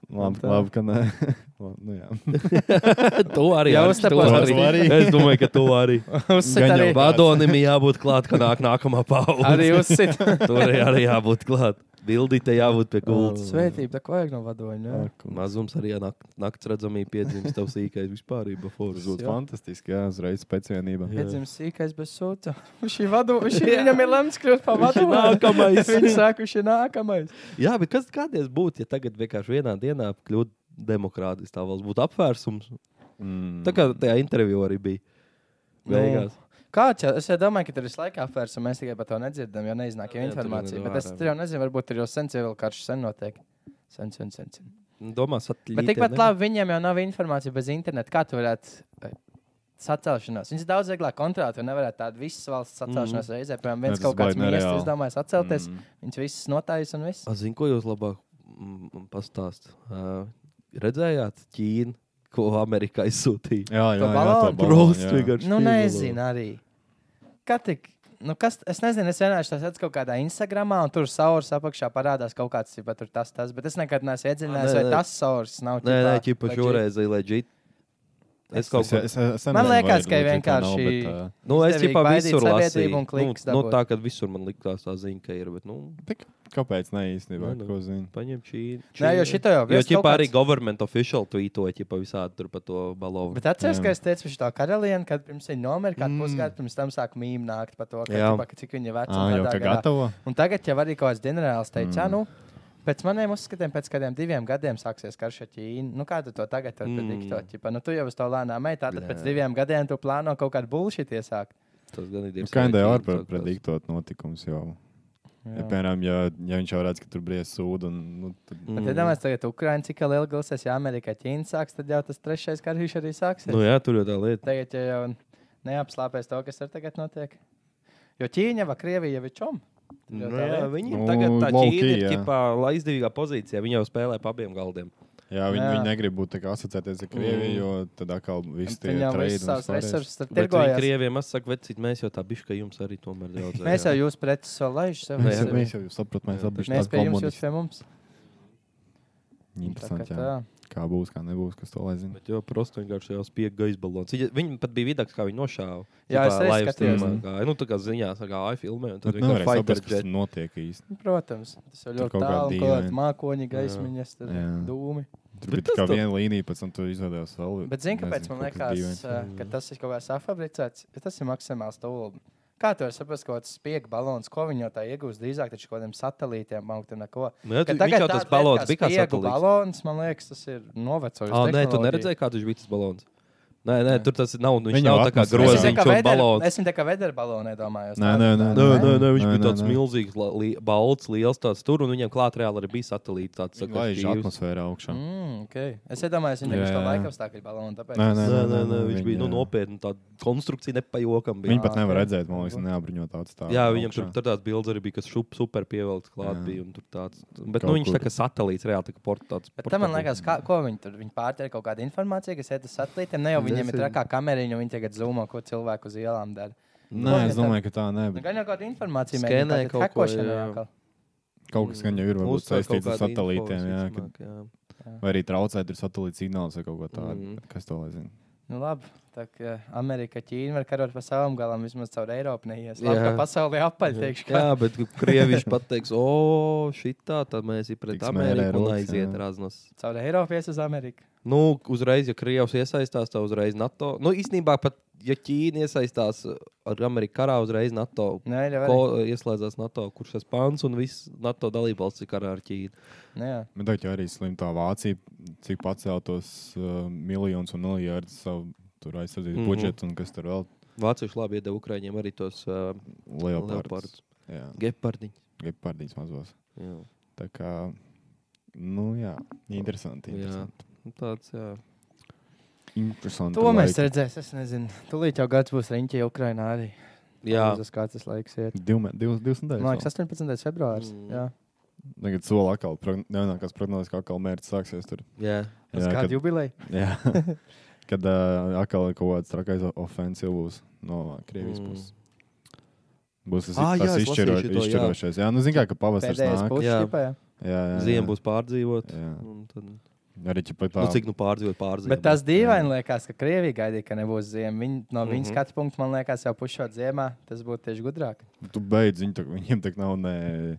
Speaker 1: Labi,
Speaker 3: tā.
Speaker 1: labi, ka nē. Labi, nu, jā.
Speaker 2: To arī
Speaker 3: Jā,
Speaker 2: ar-
Speaker 3: uztepos
Speaker 2: to
Speaker 1: par to arī.
Speaker 2: Es domāju, ka to arī.
Speaker 3: Uzsit arī.
Speaker 2: Vadonim ir jābūt klāt, kad nāk nākamā paudze.
Speaker 3: Arī uzsit.
Speaker 2: Tur arī, arī jābūt klāt. Bildīte jābūt pie gultas.
Speaker 3: Svētība, tā ko vajag no vadoņa. jā.
Speaker 2: Mazums arī jā, nak nakts redzamība piedzimst tavs īkais vispār.
Speaker 1: Būtu fantastiski, ja uzreiz pēc vienībā.
Speaker 3: Piedzimst sīkais bez sūta. Viņš ir vadoņš, viņam ir lemts kļūt par
Speaker 2: Viņš ir
Speaker 3: vadoni.
Speaker 2: nākamais.
Speaker 3: Viņš saka, viņš ir nākamais.
Speaker 2: Jā, bet kas kādreiz būtu, ja tagad vienkārši vienā dienā kļūtu demokrātiski tā valsts, būtu apvērsums?
Speaker 1: Mm.
Speaker 2: Tā kā tajā intervijā arī bija.
Speaker 3: Nu,
Speaker 2: Beigās.
Speaker 3: Kāds jau? Es jau domāju, ka tur visu laiku apvērsim, mēs tikai par to nedzirdam, jo neiznāk jau
Speaker 2: Jā, tur
Speaker 3: informācija.
Speaker 2: jau
Speaker 3: Bet es
Speaker 2: nevar,
Speaker 3: tur jau nezinu, varbūt tur jau sen civil karš sen notiek. Sen, sen, sen, sen.
Speaker 2: Nu, Domā, satelītiem
Speaker 3: Bet tikpat
Speaker 2: nebūs.
Speaker 3: labi, viņiem jau nav informācija bez interneta. Kā tu varētu eh, sacelšanās? Viņas daudz vieglāk kontrolēt, jo nevarētu tādu visas valsts sacelšanās mm. reizē. Piemēram, viens
Speaker 1: tas
Speaker 3: kaut kāds
Speaker 1: baigi nereāli.
Speaker 3: ministrs domāja sacelties, mm. viņš visas notājas un viss.
Speaker 2: Zinu, ko jūs labāk mm, man pastāstāt. Uh, redzējāt Ķīnu, ko Amerikā izsūtīja?
Speaker 1: Jā, jā,
Speaker 3: To
Speaker 1: jā,
Speaker 3: balonu?
Speaker 1: tā balonu,
Speaker 2: Prost,
Speaker 1: jā.
Speaker 2: vienkārši
Speaker 3: Nu,
Speaker 2: figūla.
Speaker 3: nezinu arī. Kā tik? Nu, kas, es nezinu, es vienkārši tās redzu kaut kādā Instagram, un tur saurs apakšā parādās kaut kāds, ja tur tas, tas, bet es nekad neesmu iedzinājies,
Speaker 2: Nē,
Speaker 3: vai
Speaker 2: nē.
Speaker 3: tas saurs nav.
Speaker 2: Nē, nē,
Speaker 3: ķipā,
Speaker 2: ķipa
Speaker 3: legit.
Speaker 2: šoreiz ir leģit. Es kaut
Speaker 1: Es-
Speaker 2: kā.
Speaker 1: es- es- es
Speaker 3: Man
Speaker 1: nezinu, vai
Speaker 3: liekas,
Speaker 1: legit
Speaker 3: ka
Speaker 1: tā nav,
Speaker 3: vienkārši-
Speaker 1: bet, ā,
Speaker 2: Nu, es
Speaker 3: Izdevīgi
Speaker 2: jau
Speaker 3: baidīt
Speaker 2: visur lasīju.
Speaker 3: sabiedrību un kliks
Speaker 2: nu, nu,
Speaker 3: dabūt.
Speaker 2: tā, ka visur man likās tā ziņa, ka ir. Bet, nu,
Speaker 1: Kāpēc ne īstenībā?
Speaker 2: Nu, nu.
Speaker 1: Ko zinu?
Speaker 2: paņem Ķīnu.
Speaker 3: Nē, jo šito jau
Speaker 2: Jo
Speaker 3: viss kaut
Speaker 2: ķipa arī
Speaker 3: kāds-
Speaker 2: government official tweetoja, ja visādi tur par to balonu.
Speaker 3: Bet atceries,
Speaker 1: Jā.
Speaker 3: ka es teicu, ka tā karaliene, kad pirms viņa nomira, kad mm. pusgadu pirms tam sāka mīmīt nākt par to, ka,
Speaker 2: Jā.
Speaker 3: ķipā, ka cik viņa vecā
Speaker 1: Ah, jau tā gatavo.
Speaker 3: Un tagad jau arī kaut kāds ģenerālis teica, mm. nu, pēc maniem uzskatiem, pēc kādiem diviem gadiem sāksies karš ar Ķīnu. Nu, kā tu to tagad vari
Speaker 2: Mm.
Speaker 3: prediktot? Ķipa, Nu, tu jau uz to lēnām ej, tātad
Speaker 2: Jā.
Speaker 3: pēc diviem gadiem tu plāno kaut kādu bullshit iesākt.
Speaker 2: Tas gan
Speaker 1: Nu,
Speaker 2: ir diezgan.
Speaker 1: Kandē var pre- prediktot notikumus jau. Ja,
Speaker 3: Jā.
Speaker 1: piemēram, ja, ja viņš jau redz, ka tur briesmas sūdu, un nu, tad
Speaker 3: Bet, ja domājat, tagad Ukraiņa cik liela gulsies, ja Amerikā Ķīna sāks, tad jau tas trešais karš
Speaker 1: Nu,
Speaker 3: arī sāksies.
Speaker 2: Nu, jā, tur jau tā lieta.
Speaker 3: Tagad ja jau neapslāpēs to, kas ar tagad notiek. Jo Ķīņa vai Krievija jau ir čom. Tad jau
Speaker 2: Nu,
Speaker 3: tā
Speaker 2: jā,
Speaker 3: lieta.
Speaker 2: viņiem
Speaker 1: Nu,
Speaker 2: tagad tā
Speaker 1: low
Speaker 2: ķīna
Speaker 1: key,
Speaker 2: ir
Speaker 1: jā.
Speaker 2: ķipā laizdīgā pozīcijā. Viņi jau spēlē pa abiem galdiem.
Speaker 1: Jā, viņi,
Speaker 3: Jā. Mm.
Speaker 1: viņi negrib būt tā kā asociēties ar Krieviju, jo tad atkal viss tie
Speaker 3: Viņam
Speaker 1: trade
Speaker 3: viss
Speaker 1: un
Speaker 3: savs
Speaker 1: vispārējais.
Speaker 3: resursus tad
Speaker 2: Bet viņi
Speaker 3: tirgojās.
Speaker 2: krieviem es saku, vecīt, mēs jau tā bišķi, ka jums arī tomēr daudz.
Speaker 3: Mēs jau jūs preces vēl laižam.
Speaker 1: Mēs,
Speaker 2: Jā,
Speaker 1: jau- mēs jau saprotam, mēs abi
Speaker 3: Mēs
Speaker 1: esam
Speaker 3: pie jums, jūs
Speaker 1: komunisti.
Speaker 3: pie mums. Tā kā
Speaker 1: Interesanti, jā.
Speaker 3: tā.
Speaker 1: kā būs, kā nebūs, kas to lai zina.
Speaker 2: Bet jau prosti vienkārši jau spiega gaisa balons. Viņa, viņa pat bija vidāks, kā viņa nošāva.
Speaker 3: Jā,
Speaker 2: Tipā
Speaker 3: es arī
Speaker 2: live
Speaker 3: skatījos.
Speaker 2: streamā, kā- Nu, tā kā ziņās, tā kā AI filmē. un Tad
Speaker 1: Tad
Speaker 2: vienkārši
Speaker 1: nevarēja
Speaker 2: fighter
Speaker 1: saprast, kas tur
Speaker 2: jet.
Speaker 1: notiek īsti.
Speaker 3: Protams, tas jau
Speaker 1: Tur
Speaker 3: ļoti
Speaker 1: kaut kā
Speaker 3: tālu no
Speaker 1: dīvaini.
Speaker 3: mākoņa gaismiņas, tad
Speaker 1: Jā.
Speaker 3: dūmi.
Speaker 1: Tur
Speaker 2: Bet
Speaker 1: bija tikai
Speaker 2: tas tā-
Speaker 1: viena līnija, pēc tam tur izvēlējās vēl.
Speaker 3: Bet zini, kāpēc
Speaker 1: nezinu,
Speaker 3: man
Speaker 1: kaut kas
Speaker 3: liekas,
Speaker 1: dīvains.
Speaker 3: eh, ka tas ir kaut kā safabricēts, jo tas ir maksimāls tūlis. Kā tu vari saprast, ka tas spiega balons, ko viņi no tā iegūst drīzāk taču kaut kādiem satelītiem, bankam, neko.
Speaker 2: Nu, jā,
Speaker 3: Ka
Speaker 2: tu-
Speaker 3: tagad
Speaker 2: viņš jau
Speaker 3: tāda
Speaker 2: tas
Speaker 3: lieta
Speaker 2: balons
Speaker 3: kā
Speaker 2: bija kā
Speaker 3: spiegu
Speaker 2: satelīts.
Speaker 3: Balons, man liekas, tas ir novecojis.
Speaker 2: Ah, nē, tu
Speaker 3: tehnoloģija.
Speaker 2: neredzēji, kā tas bija tas balons. Nē, nē, tur tas nav. nu, Viņš
Speaker 1: Viņu
Speaker 2: nav tā kā
Speaker 1: atmosfēra.
Speaker 3: Es viņu
Speaker 1: Groziņš
Speaker 3: tā
Speaker 2: groziņš
Speaker 3: kā
Speaker 2: un
Speaker 3: veder-
Speaker 2: balons.
Speaker 3: Es viņu tā kā vederu balonē domāju.
Speaker 1: Nē, nē, nē,
Speaker 2: Nē, nē, nē, viņš
Speaker 1: Nē,
Speaker 2: bija
Speaker 1: nē,
Speaker 2: tāds
Speaker 1: nē.
Speaker 2: milzīgs, la- li- balts, liels tāds tur, un viņam klāt reāli arī bija satelīts. Tāds, tā
Speaker 1: Viņi
Speaker 2: kā
Speaker 1: Laiž
Speaker 2: šķīvs.
Speaker 1: atmosfērā augšā.
Speaker 3: Mm, okay. Es iedomājos,
Speaker 1: Jā,
Speaker 3: viņam ir
Speaker 1: jā,
Speaker 3: tā
Speaker 1: jā.
Speaker 3: laika apstākļu balonu. tāpēc
Speaker 1: Nē,
Speaker 3: es-
Speaker 2: Nē, nē, nē, viņš
Speaker 1: Viņa-
Speaker 2: bija nu, nopietni. Tā konstrukcija nepajokam bija.
Speaker 1: Viņi pat
Speaker 3: Ā,
Speaker 1: nevar
Speaker 3: ok.
Speaker 1: redzēt, man liekas, neapbruņot atstāvu.
Speaker 2: Jā, viņam tur, tur tāds bildes arī bija, kas šup, super pievilkts klāt
Speaker 1: Jā.
Speaker 2: bija. un tur Tāds, bet
Speaker 1: Kaut
Speaker 2: nu, viņš
Speaker 1: kur.
Speaker 2: tā kā satelīts reāli tā kā port, tāds.
Speaker 3: Bet tam man liekas, kā, ko viņi tur viņi pārtēra kaut kādu informāciju, kas iet uz satelītiem. Ne jau viņiem ir
Speaker 2: Nu, Nezinu.
Speaker 3: trakā kameriņa, un viņi tagad zūmo, ko cilvēku uz ielām dara.
Speaker 1: Nē, es domāju, ka tā
Speaker 3: Nu,
Speaker 1: nebija.
Speaker 3: Gan jau kāda informācija,
Speaker 2: Skenē
Speaker 3: mēģina
Speaker 2: kaut
Speaker 3: kaut
Speaker 2: ko,
Speaker 3: ko
Speaker 2: jā.
Speaker 3: tādu.
Speaker 1: Kaut kas gan jau ir varbūt saistīts ar satelītiem, jā, kad- vai arī traucēt ir satelīta signāls vai kaut ko tādu.
Speaker 2: Mhm.
Speaker 1: Kas to lai zina?
Speaker 3: Nu, labi, tā kā Amerika, Ķīna var karot pa savam galam, vismaz caur Eiropu neies. Labi,
Speaker 2: Jā.
Speaker 3: ka pasaulē apaļteikšu, ka
Speaker 2: Jā, bet krievis pateiks, o, šitā, tad mēs ir pret
Speaker 1: Tik smērē
Speaker 2: Ameriku un
Speaker 1: rokas, jā.
Speaker 2: aiziet raznas.
Speaker 3: caur Eiropu ies uz Ameriku.
Speaker 2: Nu, uzreiz, ja Krievs iesaistās, tad uzreiz NATO. Nu, īstenībā, pat ja Ķīna iesaistās uh, ar Ameriku karā, uzreiz NATO.
Speaker 3: Nē, jau
Speaker 2: Ko
Speaker 3: Nu, arī.
Speaker 2: ieslēdzās NATO, kurš tas pāns un viss NATO dalībvalsts ir karā ar Ķīnu?
Speaker 3: Nu, jā.
Speaker 1: Bet tā jau arī slimta Vācija, cik paceltos uh, miljonus un miljardus savu tur aizsardzības mm
Speaker 2: Mhm.
Speaker 1: -hmm. budžetu un kas tur vēl
Speaker 2: Vācieši labi iedeva Ukraiņiem arī tos uh,
Speaker 1: leopards.
Speaker 2: leopardus,
Speaker 1: Jā,
Speaker 2: gepardiņus.
Speaker 1: gepardīs mazos.
Speaker 2: Jā.
Speaker 1: Tā kā, nu jā, interesanti.
Speaker 2: Jā.
Speaker 1: interesanti.
Speaker 2: Nu, Tāds, jā.
Speaker 1: Interesanti.
Speaker 3: To mēs
Speaker 1: laiki.
Speaker 3: redzēsim. Es nezinu, tūlīt jau gads būs riņķi Ukrainā arī.
Speaker 2: jā.
Speaker 3: Uz kā tas laiks iet.
Speaker 1: Div- Divas, divas nedēļas.
Speaker 3: Man
Speaker 1: vēl.
Speaker 3: liekas, 18. februāris.
Speaker 2: Mm.
Speaker 3: Jā.
Speaker 1: Tagad soli atkal, prog- nevienākās prognozes, ka atkal mērķis sāksies tur.
Speaker 2: jā.
Speaker 3: Uz
Speaker 1: Jā,
Speaker 3: kādu
Speaker 1: kad,
Speaker 3: jubileju?
Speaker 1: jā, kad uh, atkal kaut kāds trakais o- ofensīvs būs no Krievijas
Speaker 2: Mm.
Speaker 1: puses. Būs tas,
Speaker 2: Ā,
Speaker 1: ah,
Speaker 2: jā,
Speaker 1: tas
Speaker 2: es lasīju
Speaker 1: izšķiro,
Speaker 2: šito, jā.
Speaker 1: izšķirošais. Jā, nu zini, kā, ka pavasaris
Speaker 3: Pēdējais
Speaker 1: nāk.
Speaker 3: puses
Speaker 2: Jā.
Speaker 3: tipā. jā.
Speaker 1: Jā, jā, jā.
Speaker 2: Ziemu būs pārdzīvot.
Speaker 1: Jā.
Speaker 2: un Tad, nu,
Speaker 1: Arī čipa tā.
Speaker 2: cik nu pārdzīvot, pārdzīvot?
Speaker 3: Bet tas dīvaini liekas, ka Krievija gaidīja, ka nebūs zima. Viņ, no mm -hmm.
Speaker 2: Mhm.
Speaker 3: viņas skatu punkta, man liekas, jau pušot ziemā, tas būtu tieši gudrāk.
Speaker 1: Tu beidz, viņi, tak- viņiem tā nav ne...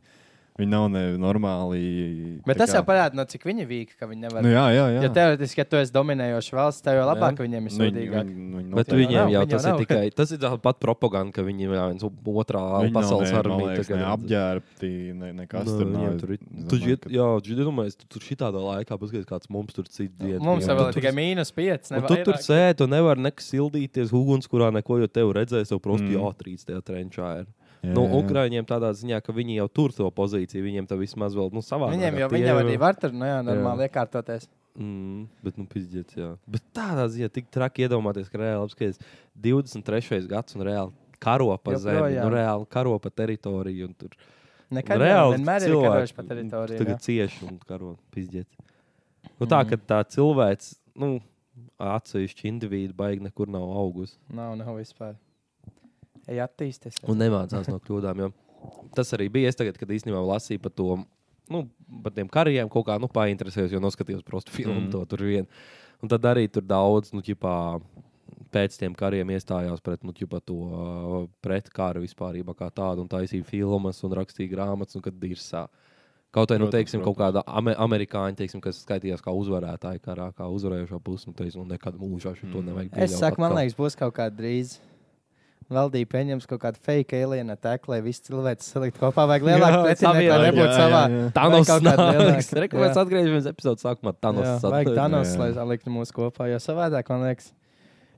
Speaker 1: Viņi nav ne normāli.
Speaker 3: Bet
Speaker 1: tā
Speaker 3: tas
Speaker 1: kā-
Speaker 3: jau parāda, no cik viņi vīka, ka viņi nevar.
Speaker 1: Nu,
Speaker 3: Nu,
Speaker 1: jā, jā, jā.
Speaker 3: jo teorētiski, ja tu esi dominējošs valsts, tev jau
Speaker 2: Jā.
Speaker 3: labāk, ka viņiem ir
Speaker 1: Nu, viņi-
Speaker 3: sūdīgāk.
Speaker 1: viņi- viņi
Speaker 2: Bet
Speaker 1: notiek.
Speaker 3: Noteikti.
Speaker 2: viņiem
Speaker 3: Nav,
Speaker 2: jau
Speaker 3: viņi
Speaker 2: tas
Speaker 3: jau
Speaker 2: ir
Speaker 3: nav.
Speaker 2: tikai tas ir tā pat propaganda, ka viņi jau viens otrā
Speaker 1: Viņi nav ne,
Speaker 2: pasaules
Speaker 1: man
Speaker 2: armija
Speaker 1: liekas,
Speaker 2: tagad-
Speaker 1: ne apģērbti, ne, nekas
Speaker 2: Nē,
Speaker 1: tur nav.
Speaker 2: viņiem Nu, tur ir.
Speaker 1: Es
Speaker 2: Tu nu,
Speaker 1: domāju,
Speaker 2: žiet-
Speaker 1: ka-
Speaker 2: Jā, domāju, tu tur šitādā laikā paskaties, kāds mums tur cits dienas.
Speaker 3: Mums
Speaker 1: jā.
Speaker 3: jau
Speaker 1: Tu
Speaker 3: vēl
Speaker 1: tur-
Speaker 3: tikai mīnus 5.
Speaker 2: Un tu tur sēdi, tu nevari nekas sildīties ugunskurā, neko, jo tev redzēs, tev prosti
Speaker 1: Mm.
Speaker 2: mm. jātrīc tajā trenčā. Ir.
Speaker 1: Jā,
Speaker 2: Nu,
Speaker 1: jā, jā.
Speaker 2: Ukrāņiem tādā ziņā, ka viņi jau tur to pozīciju, viņiem tā vismaz vēl, nu, savā.
Speaker 3: Viņiem jau viņi jau arī var tur, nu jā, normāli iekārtoties.
Speaker 2: Mm, bet, nu, pizdiet, jā. Bet tādā ziņā tik traki iedomāties, ka reāli apskaties 23. gads un reāli karo pa zemi,
Speaker 3: Joprojām.
Speaker 2: nu, reāli karo pa teritoriju. un Tur,
Speaker 3: Nekad
Speaker 2: un
Speaker 3: jau
Speaker 2: reāli
Speaker 3: vienmēr ir
Speaker 2: cilvēki,
Speaker 3: karojuši pa
Speaker 2: nu,
Speaker 3: teritoriju. jā. Mm.
Speaker 2: Tagad cieši un karo, pizdiet. Nu, tā, ka tā cilvēks, nu, atsevišķi individu baigi nekur nav augus
Speaker 3: Nav, nav vispār. Ej, attīsties.
Speaker 2: un nemācās no kļūdām, jo tas arī bija. Es tagad, kad īstenībā lasīju par to, nu, par tiem karjeriem kaut kā, nu, painteresējos, jo noskatījos prostu filmu mm. to tur vien. Un tad arī tur daudz, nu, ķipā, pēc tiem kariem iestājās pret, nu, ķipā, to uh, pretkaru vispār kā tādu un taisīja filmas un rakstīja grāmatas un kad dirsā. Kaut arī, nu,
Speaker 1: Protams,
Speaker 2: teiksim, kaut kāda ame amerikāņa, teiksim, kas skaitījās kā uzvarētāja karā, kā uzvarējušā pusē, nu, teiksim, nu, nekad mūžā šo
Speaker 1: Mm.
Speaker 2: to nevajag.
Speaker 3: Es
Speaker 2: pieļaut
Speaker 3: saku, man
Speaker 2: atkal.
Speaker 3: liekas, būs kaut kāda drīz. Valdība pieņems kaut kādu fake alienu attēlu, lai visi cilvēki salikt kopā. Vajag lielāku
Speaker 2: Jā,
Speaker 3: pretinieku, lai
Speaker 2: savienot.
Speaker 1: Jā,
Speaker 3: nebūtu
Speaker 1: jā,
Speaker 3: savā.
Speaker 1: jā.
Speaker 2: Tā
Speaker 3: Vai
Speaker 2: nav
Speaker 3: kaut kāda
Speaker 2: snaiks.
Speaker 3: lielāka.
Speaker 2: Reku, mēs
Speaker 3: Jā.
Speaker 2: atgriežamies epizodes sākumā. Tā nav
Speaker 3: Vajag
Speaker 2: snaiks.
Speaker 3: Thanos,
Speaker 1: jā.
Speaker 3: lai saliktu mūs kopā, jo savādāk, man liekas,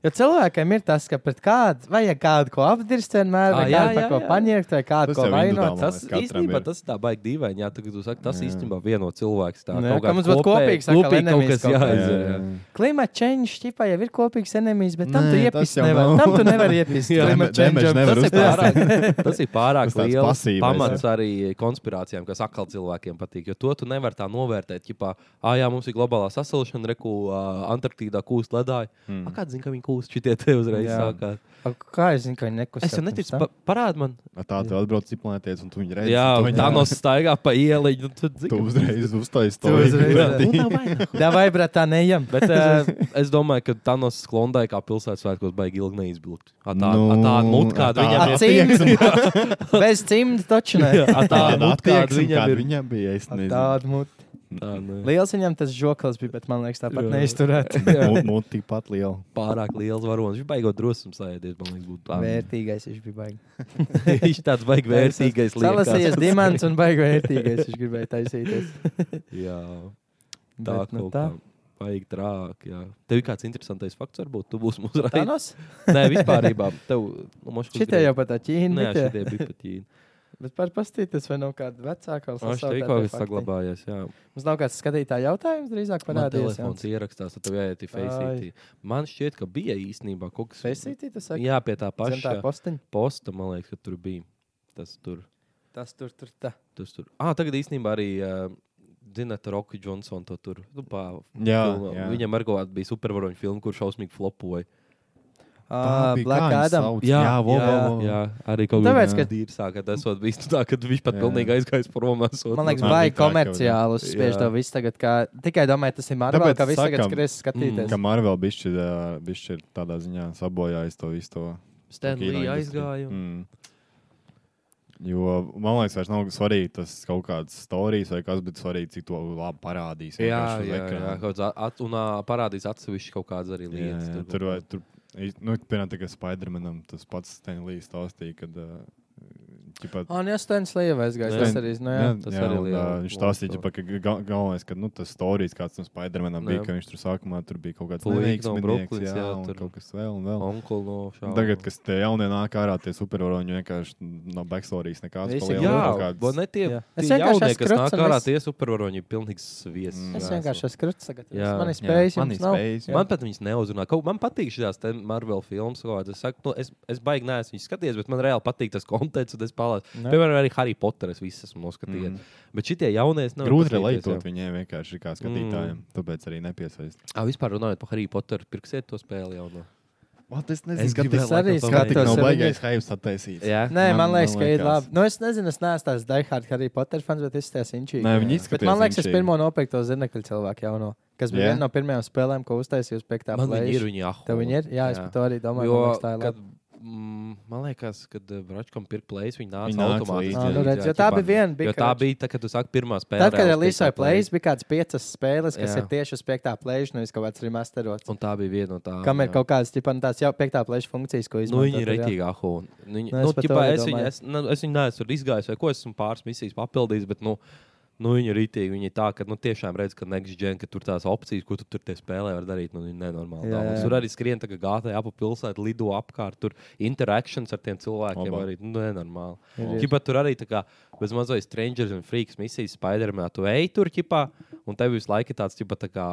Speaker 3: Jo cilvēkiem ir tas, ka pret kādu vajag kādu ko apdirst, vienmēr
Speaker 2: Ā,
Speaker 3: vai
Speaker 2: jā,
Speaker 3: kādu
Speaker 2: jā,
Speaker 3: par ko
Speaker 2: jā.
Speaker 3: paņērt, vai kādu
Speaker 1: Tas
Speaker 3: ko
Speaker 1: jau individuāli.
Speaker 3: vainot.
Speaker 1: Man
Speaker 2: Tas
Speaker 1: liekas, katram
Speaker 2: īstenībā
Speaker 1: ir.
Speaker 2: tas ir tā baigi dīvaini. Jā, tā, kad tu saki, tas
Speaker 1: Jā.
Speaker 2: īstenībā vieno cilvēku tā
Speaker 3: Jā,
Speaker 2: kaut
Speaker 3: ka
Speaker 2: kā
Speaker 3: mums būtu kopīgs atkal
Speaker 2: kopīgi kaut
Speaker 3: enemies
Speaker 2: kas
Speaker 3: kaut kāds.
Speaker 2: jāizdara.
Speaker 3: Klimata change ķipā jau ir kopīgs enemies, bet tam
Speaker 1: Nē,
Speaker 3: tu
Speaker 1: tas
Speaker 3: iepist
Speaker 1: jau
Speaker 3: nevar.
Speaker 1: nav.
Speaker 3: Tam tu nevar iepist.
Speaker 1: Jā,
Speaker 3: Climate
Speaker 1: dem- damage
Speaker 3: change'am.
Speaker 1: nevar
Speaker 3: Tas ir
Speaker 1: uztaisīt.
Speaker 2: pārāk,
Speaker 3: pārāk-
Speaker 2: tas ir pārāk
Speaker 1: Tas tāds
Speaker 2: liels
Speaker 1: pasīvais,
Speaker 2: pamats arī konspirācijām, kas atkal cilvēkiem patīk. Jo to tu nevari tā novērtēt. Ķipā, ah, jā, mums ir globālā sasilšana, reku uh, Antarktīdā kūst ledāji. Mm. Kā zini, ka viņi kūst šitie te uzreiz
Speaker 3: Jā.
Speaker 2: sākās?
Speaker 3: Ak, Kā es zinu, ka viņi nekustās?
Speaker 2: Es jau neticu, pa, parād man.
Speaker 1: Tā tu atbrauc ciklēties, un tu viņu redzi.
Speaker 2: Jā,
Speaker 1: un tu
Speaker 2: un
Speaker 1: viņu-
Speaker 2: tā no staigā pa ieliņu. un tad zini,
Speaker 1: Tu
Speaker 2: ka-
Speaker 1: uzreiz uztaisīji to
Speaker 3: Tu uzreiz, jā.
Speaker 2: Nu, nav vaina.
Speaker 3: Davai, bratā, neejam.
Speaker 2: Bet uh, es domāju, ka tā no sklondai kā pilsētas svētkos baigi ilgi neizbilgt. Ar tādu
Speaker 1: Nu,
Speaker 2: nu, tā mutu, kāda
Speaker 1: ar
Speaker 2: viņam
Speaker 1: tādu
Speaker 2: ir.
Speaker 3: Acīm. Bez cimta taču ne.
Speaker 2: Ar tādu
Speaker 1: Tāda
Speaker 2: mutu, kāda
Speaker 1: attieksme,
Speaker 2: viņam
Speaker 1: kāda
Speaker 2: ir.
Speaker 1: viņam bija. Es nezinu,
Speaker 3: Tāda mut.
Speaker 2: Tā, nu,
Speaker 3: Liels viņam tas žoklis bija, bet man liekas, tāpat
Speaker 2: Jā.
Speaker 3: neizturēt.
Speaker 1: Mu- muti tikpat liela.
Speaker 2: Pārāk liels varonis. Viņš baigot drosums sēdēt, man liekas, būtu tā.
Speaker 3: Vērtīgais viņš bija baigi.
Speaker 2: Viņš tāds baigi vērtīgais liekas.
Speaker 3: Salasījies dimants un baigi vērtīgais viņš gribēja taisīties.
Speaker 2: Jā, tā
Speaker 3: Bet, nu
Speaker 2: kaut kā. Baigi trāk, jā. Tev ir kāds interesants fakts, varbūt tu būsi mūsu
Speaker 3: Tā
Speaker 2: raidījumā.
Speaker 3: nos?
Speaker 2: Nē, vispār. Tev, nu, moškas
Speaker 3: Šitie jau
Speaker 2: grib.
Speaker 3: pat tā ķīna.
Speaker 2: Nē,
Speaker 3: bitie.
Speaker 2: šitie bija pat īņi.
Speaker 3: Bet par pastīties, vai nav kāda vecāka
Speaker 2: Viņš tev kaut kas saglabājies, jā.
Speaker 3: Mums nav kāds skatītāja jautājums, drīzāk
Speaker 2: Man
Speaker 3: parādījās.
Speaker 2: telefons ierakstās, tad tev jāiet uz
Speaker 3: Ai.
Speaker 2: Facebook. Man šķiet, ka bija īstenībā kaut kas
Speaker 3: Fesītī tas saka,
Speaker 2: Jā, pie tā
Speaker 3: zem tā
Speaker 2: paša
Speaker 3: posteņa.
Speaker 2: posta, man liekas, ka tur bija. Tas tur.
Speaker 3: Tas tur, tur, tā.
Speaker 2: Tas tur. Ah, tagad īstenībā arī. Uh, Zināt, Roka Džonsona to tur. Nu, pā,
Speaker 1: Jā,
Speaker 2: filmā.
Speaker 1: jā.
Speaker 2: Viņam arī kaut kāda bija supervaroņa filma, kurš šausmīgi flopoja.
Speaker 1: Tā
Speaker 3: Ah,
Speaker 1: bija,
Speaker 3: Black
Speaker 1: kā viņu
Speaker 3: Adam.
Speaker 1: sauc? Jā, vo,
Speaker 2: jā,
Speaker 1: vo, vo.
Speaker 2: jā, arī kaut kāda
Speaker 3: Tāpēc,
Speaker 2: tāda
Speaker 3: ka-
Speaker 2: īrsā, kad esot bijis nu tā, ka viņš pat
Speaker 1: Jā.
Speaker 2: pilnīgi aizgājis prom. esot,
Speaker 3: Man liekas,
Speaker 1: Man
Speaker 2: nu,
Speaker 1: bija
Speaker 3: baigi
Speaker 1: tā, ka-
Speaker 3: komerciāli uzspiež
Speaker 2: Jā.
Speaker 3: to visu tagad. Kā, tikai domāju, tas ir Marvel,
Speaker 1: Tāpēc
Speaker 3: ka viss tagad
Speaker 1: sakam, mm,
Speaker 3: skries skatīties.
Speaker 1: Ka Marvel bišķi, ā, bišķi ir tādā ziņā sabojājis to visu. To.
Speaker 2: Stanley
Speaker 1: kinoindustriju.
Speaker 2: aizgāja. un-
Speaker 1: Mm. Jo man liekas, tas nav svarīgi, tas kaut kāds stāstījis vai kas, bet svarīgi, cik to labi parādīs.
Speaker 2: Jā,
Speaker 1: vienkārši uz
Speaker 2: jā, jā, jā
Speaker 1: ekrāna.
Speaker 2: kaut kāds at, un ā, parādīs atsevišķi kaut kādas arī
Speaker 1: jā,
Speaker 2: lietas.
Speaker 1: jā,
Speaker 2: kaut
Speaker 1: tur
Speaker 2: kā.
Speaker 1: vai tur. i- Nu, piemēram, tā kā Spidermanam tas pats Stanlīs stāstīja, kad. Uh, ķipa,
Speaker 3: Un jā, Stens Lieva aizgājis.
Speaker 2: Nē.
Speaker 3: Tas arī, nu jā.
Speaker 2: tas
Speaker 1: jā,
Speaker 2: arī
Speaker 1: un,
Speaker 2: liela
Speaker 1: ā, viņš
Speaker 2: loma
Speaker 1: stāstīja,
Speaker 2: spēlē.
Speaker 1: ķipa, ka ga- galvenais, ka nu, tas stāstījis, kāds tam
Speaker 3: Nu
Speaker 1: Spidermanam
Speaker 2: Jā.
Speaker 1: bija, ka viņš tur sākumā tur bija kaut kāds
Speaker 2: Puika
Speaker 1: neveiksmīgs,
Speaker 2: no Brooklyns,
Speaker 1: jā, Oh,
Speaker 2: jā,
Speaker 1: jā, un
Speaker 2: tur.
Speaker 1: kaut kas vēl un vēl.
Speaker 2: Onkulu no
Speaker 1: Un
Speaker 3: Oh.
Speaker 2: šāda.
Speaker 1: Tagad, kas te jaunie nāk ārā, tie supervaroņi vienkārši nav backstorijas nekādas.
Speaker 3: Visi-
Speaker 1: palielina
Speaker 2: Jā,
Speaker 1: kaut kādas-
Speaker 2: vai ne tie,
Speaker 3: Jā.
Speaker 2: tie
Speaker 3: Es vienkārši
Speaker 2: jaunie,
Speaker 3: esmu
Speaker 2: kas nāk
Speaker 3: krucam,
Speaker 2: ārā,
Speaker 3: es-
Speaker 2: tie supervaroņi ir pilnīgi sviesti.
Speaker 1: Mm.
Speaker 3: Es vienkārši esmu krits tagad.
Speaker 2: Jā.
Speaker 3: Man ir
Speaker 1: Jā,
Speaker 3: spējas,
Speaker 1: man ir
Speaker 3: jums nav.
Speaker 1: spējas, jā.
Speaker 2: Man pat viņas neuzrunā. Kaut, man patīk šīs Marvel filmas. kaut kādas. Es, saku, nu, es, es baigi neesmu viņas skatījies, bet man reāli patīk tas konteksts, un es palādu.
Speaker 3: Ne.
Speaker 2: Piemēram, arī Harry Potter es visas esmu noskatījies. Mm. Bet šitie jaunie es nevaru
Speaker 1: Mhm. Grūti
Speaker 2: paskatīties,
Speaker 1: relatot
Speaker 2: jā.
Speaker 1: viņiem vienkārši kā skatītājiem, mm. tāpēc arī nepiesaist.
Speaker 2: Ā, Vispār runājot par Harry Potteru, pirksiet to spēli jau no.
Speaker 1: Vat es
Speaker 2: Es
Speaker 1: kā
Speaker 2: gribēju
Speaker 1: tik-
Speaker 3: es arī
Speaker 2: laikam
Speaker 1: kā tik
Speaker 3: skatos,
Speaker 1: nav
Speaker 3: ja
Speaker 1: baigais haivs attaisīts.
Speaker 2: Jā.
Speaker 3: Nē,
Speaker 1: Man-
Speaker 3: man liekas,
Speaker 1: man
Speaker 3: ka ir
Speaker 1: liekas.
Speaker 3: labi. Nu, es nezinu, es neesmu tāds Daihards Harry Potter fans, bet es tās inčīju.
Speaker 1: Nē, viņi
Speaker 3: Bet
Speaker 1: izskatās.
Speaker 3: man liekas, es pirmo nopirku to zinekļu cilvēku jauno, kas
Speaker 1: Jā?
Speaker 3: bija yeah. viena no pirmajām spēlēm, ko uztaisīju uz piektā
Speaker 2: Man viņa ir
Speaker 3: plēša.
Speaker 2: viņa ahu.
Speaker 3: Tev viņi ir? Jā, es
Speaker 2: Jā.
Speaker 3: par to arī domāju.
Speaker 2: Jo,
Speaker 3: man liekas, tā ir laba.
Speaker 2: kad, mm, man liekas, kad eh, Bračkam pirka plēs, viņa nāca
Speaker 1: Viņi
Speaker 2: viņa
Speaker 1: nāca
Speaker 2: automātiski.
Speaker 1: līdzi,
Speaker 3: Ā,
Speaker 1: jā.
Speaker 3: nu redz, jo tā bija viena.
Speaker 2: Jo
Speaker 3: Bija
Speaker 2: tā
Speaker 3: karoč.
Speaker 2: bija tā, kad tu sāki pirmā spēlē.
Speaker 3: Tad, kad
Speaker 2: reāli
Speaker 3: ir Līsija
Speaker 2: spēlēt
Speaker 3: plakāts, bija kādas piecas spēles, kas
Speaker 2: Jā.
Speaker 3: jā. ir tieši uz piektā plēša, nevis kaut kāds remasterots.
Speaker 2: Un tā bija viena no tām.
Speaker 3: Kam ir
Speaker 2: jā.
Speaker 3: kaut kādas tipā, nu, tās jau piektā plēša funkcijas, ko
Speaker 2: Nu, viņa
Speaker 3: izmantot.
Speaker 2: ir rītīgā hūna.
Speaker 3: Nu,
Speaker 2: Viņa,
Speaker 3: es
Speaker 2: nu,
Speaker 3: par to
Speaker 2: ķipā,
Speaker 3: arī
Speaker 2: es, viņu,
Speaker 3: domāju.
Speaker 2: es, ne, es viņu neesmu tur izgājis, vai ko es esmu pāris misijas papildījis, bet, nu, nu viņa ir rītīga. Viņa ir tā, ka, nu, tiešām redz, ka Next Gen, ka tur tās opcijas, ko tu tur tie spēlē, var darīt, nu, ir nenormāli.
Speaker 3: Jā,
Speaker 2: daudz.
Speaker 3: jā.
Speaker 2: Tur arī skrien tā, ka gāta ap pilsētu, lido apkārt, tur interakcijas ar tiem cilvēkiem
Speaker 1: Labā.
Speaker 2: arī nu, nenormāli.
Speaker 3: Ir, ir.
Speaker 2: Ķipā, tur arī tā kā bez mazais Strangers and Freaks misijas Spidermanā. Tu ej tur, ķipā, un tev visu laiku ir tāds ķipā, tā kā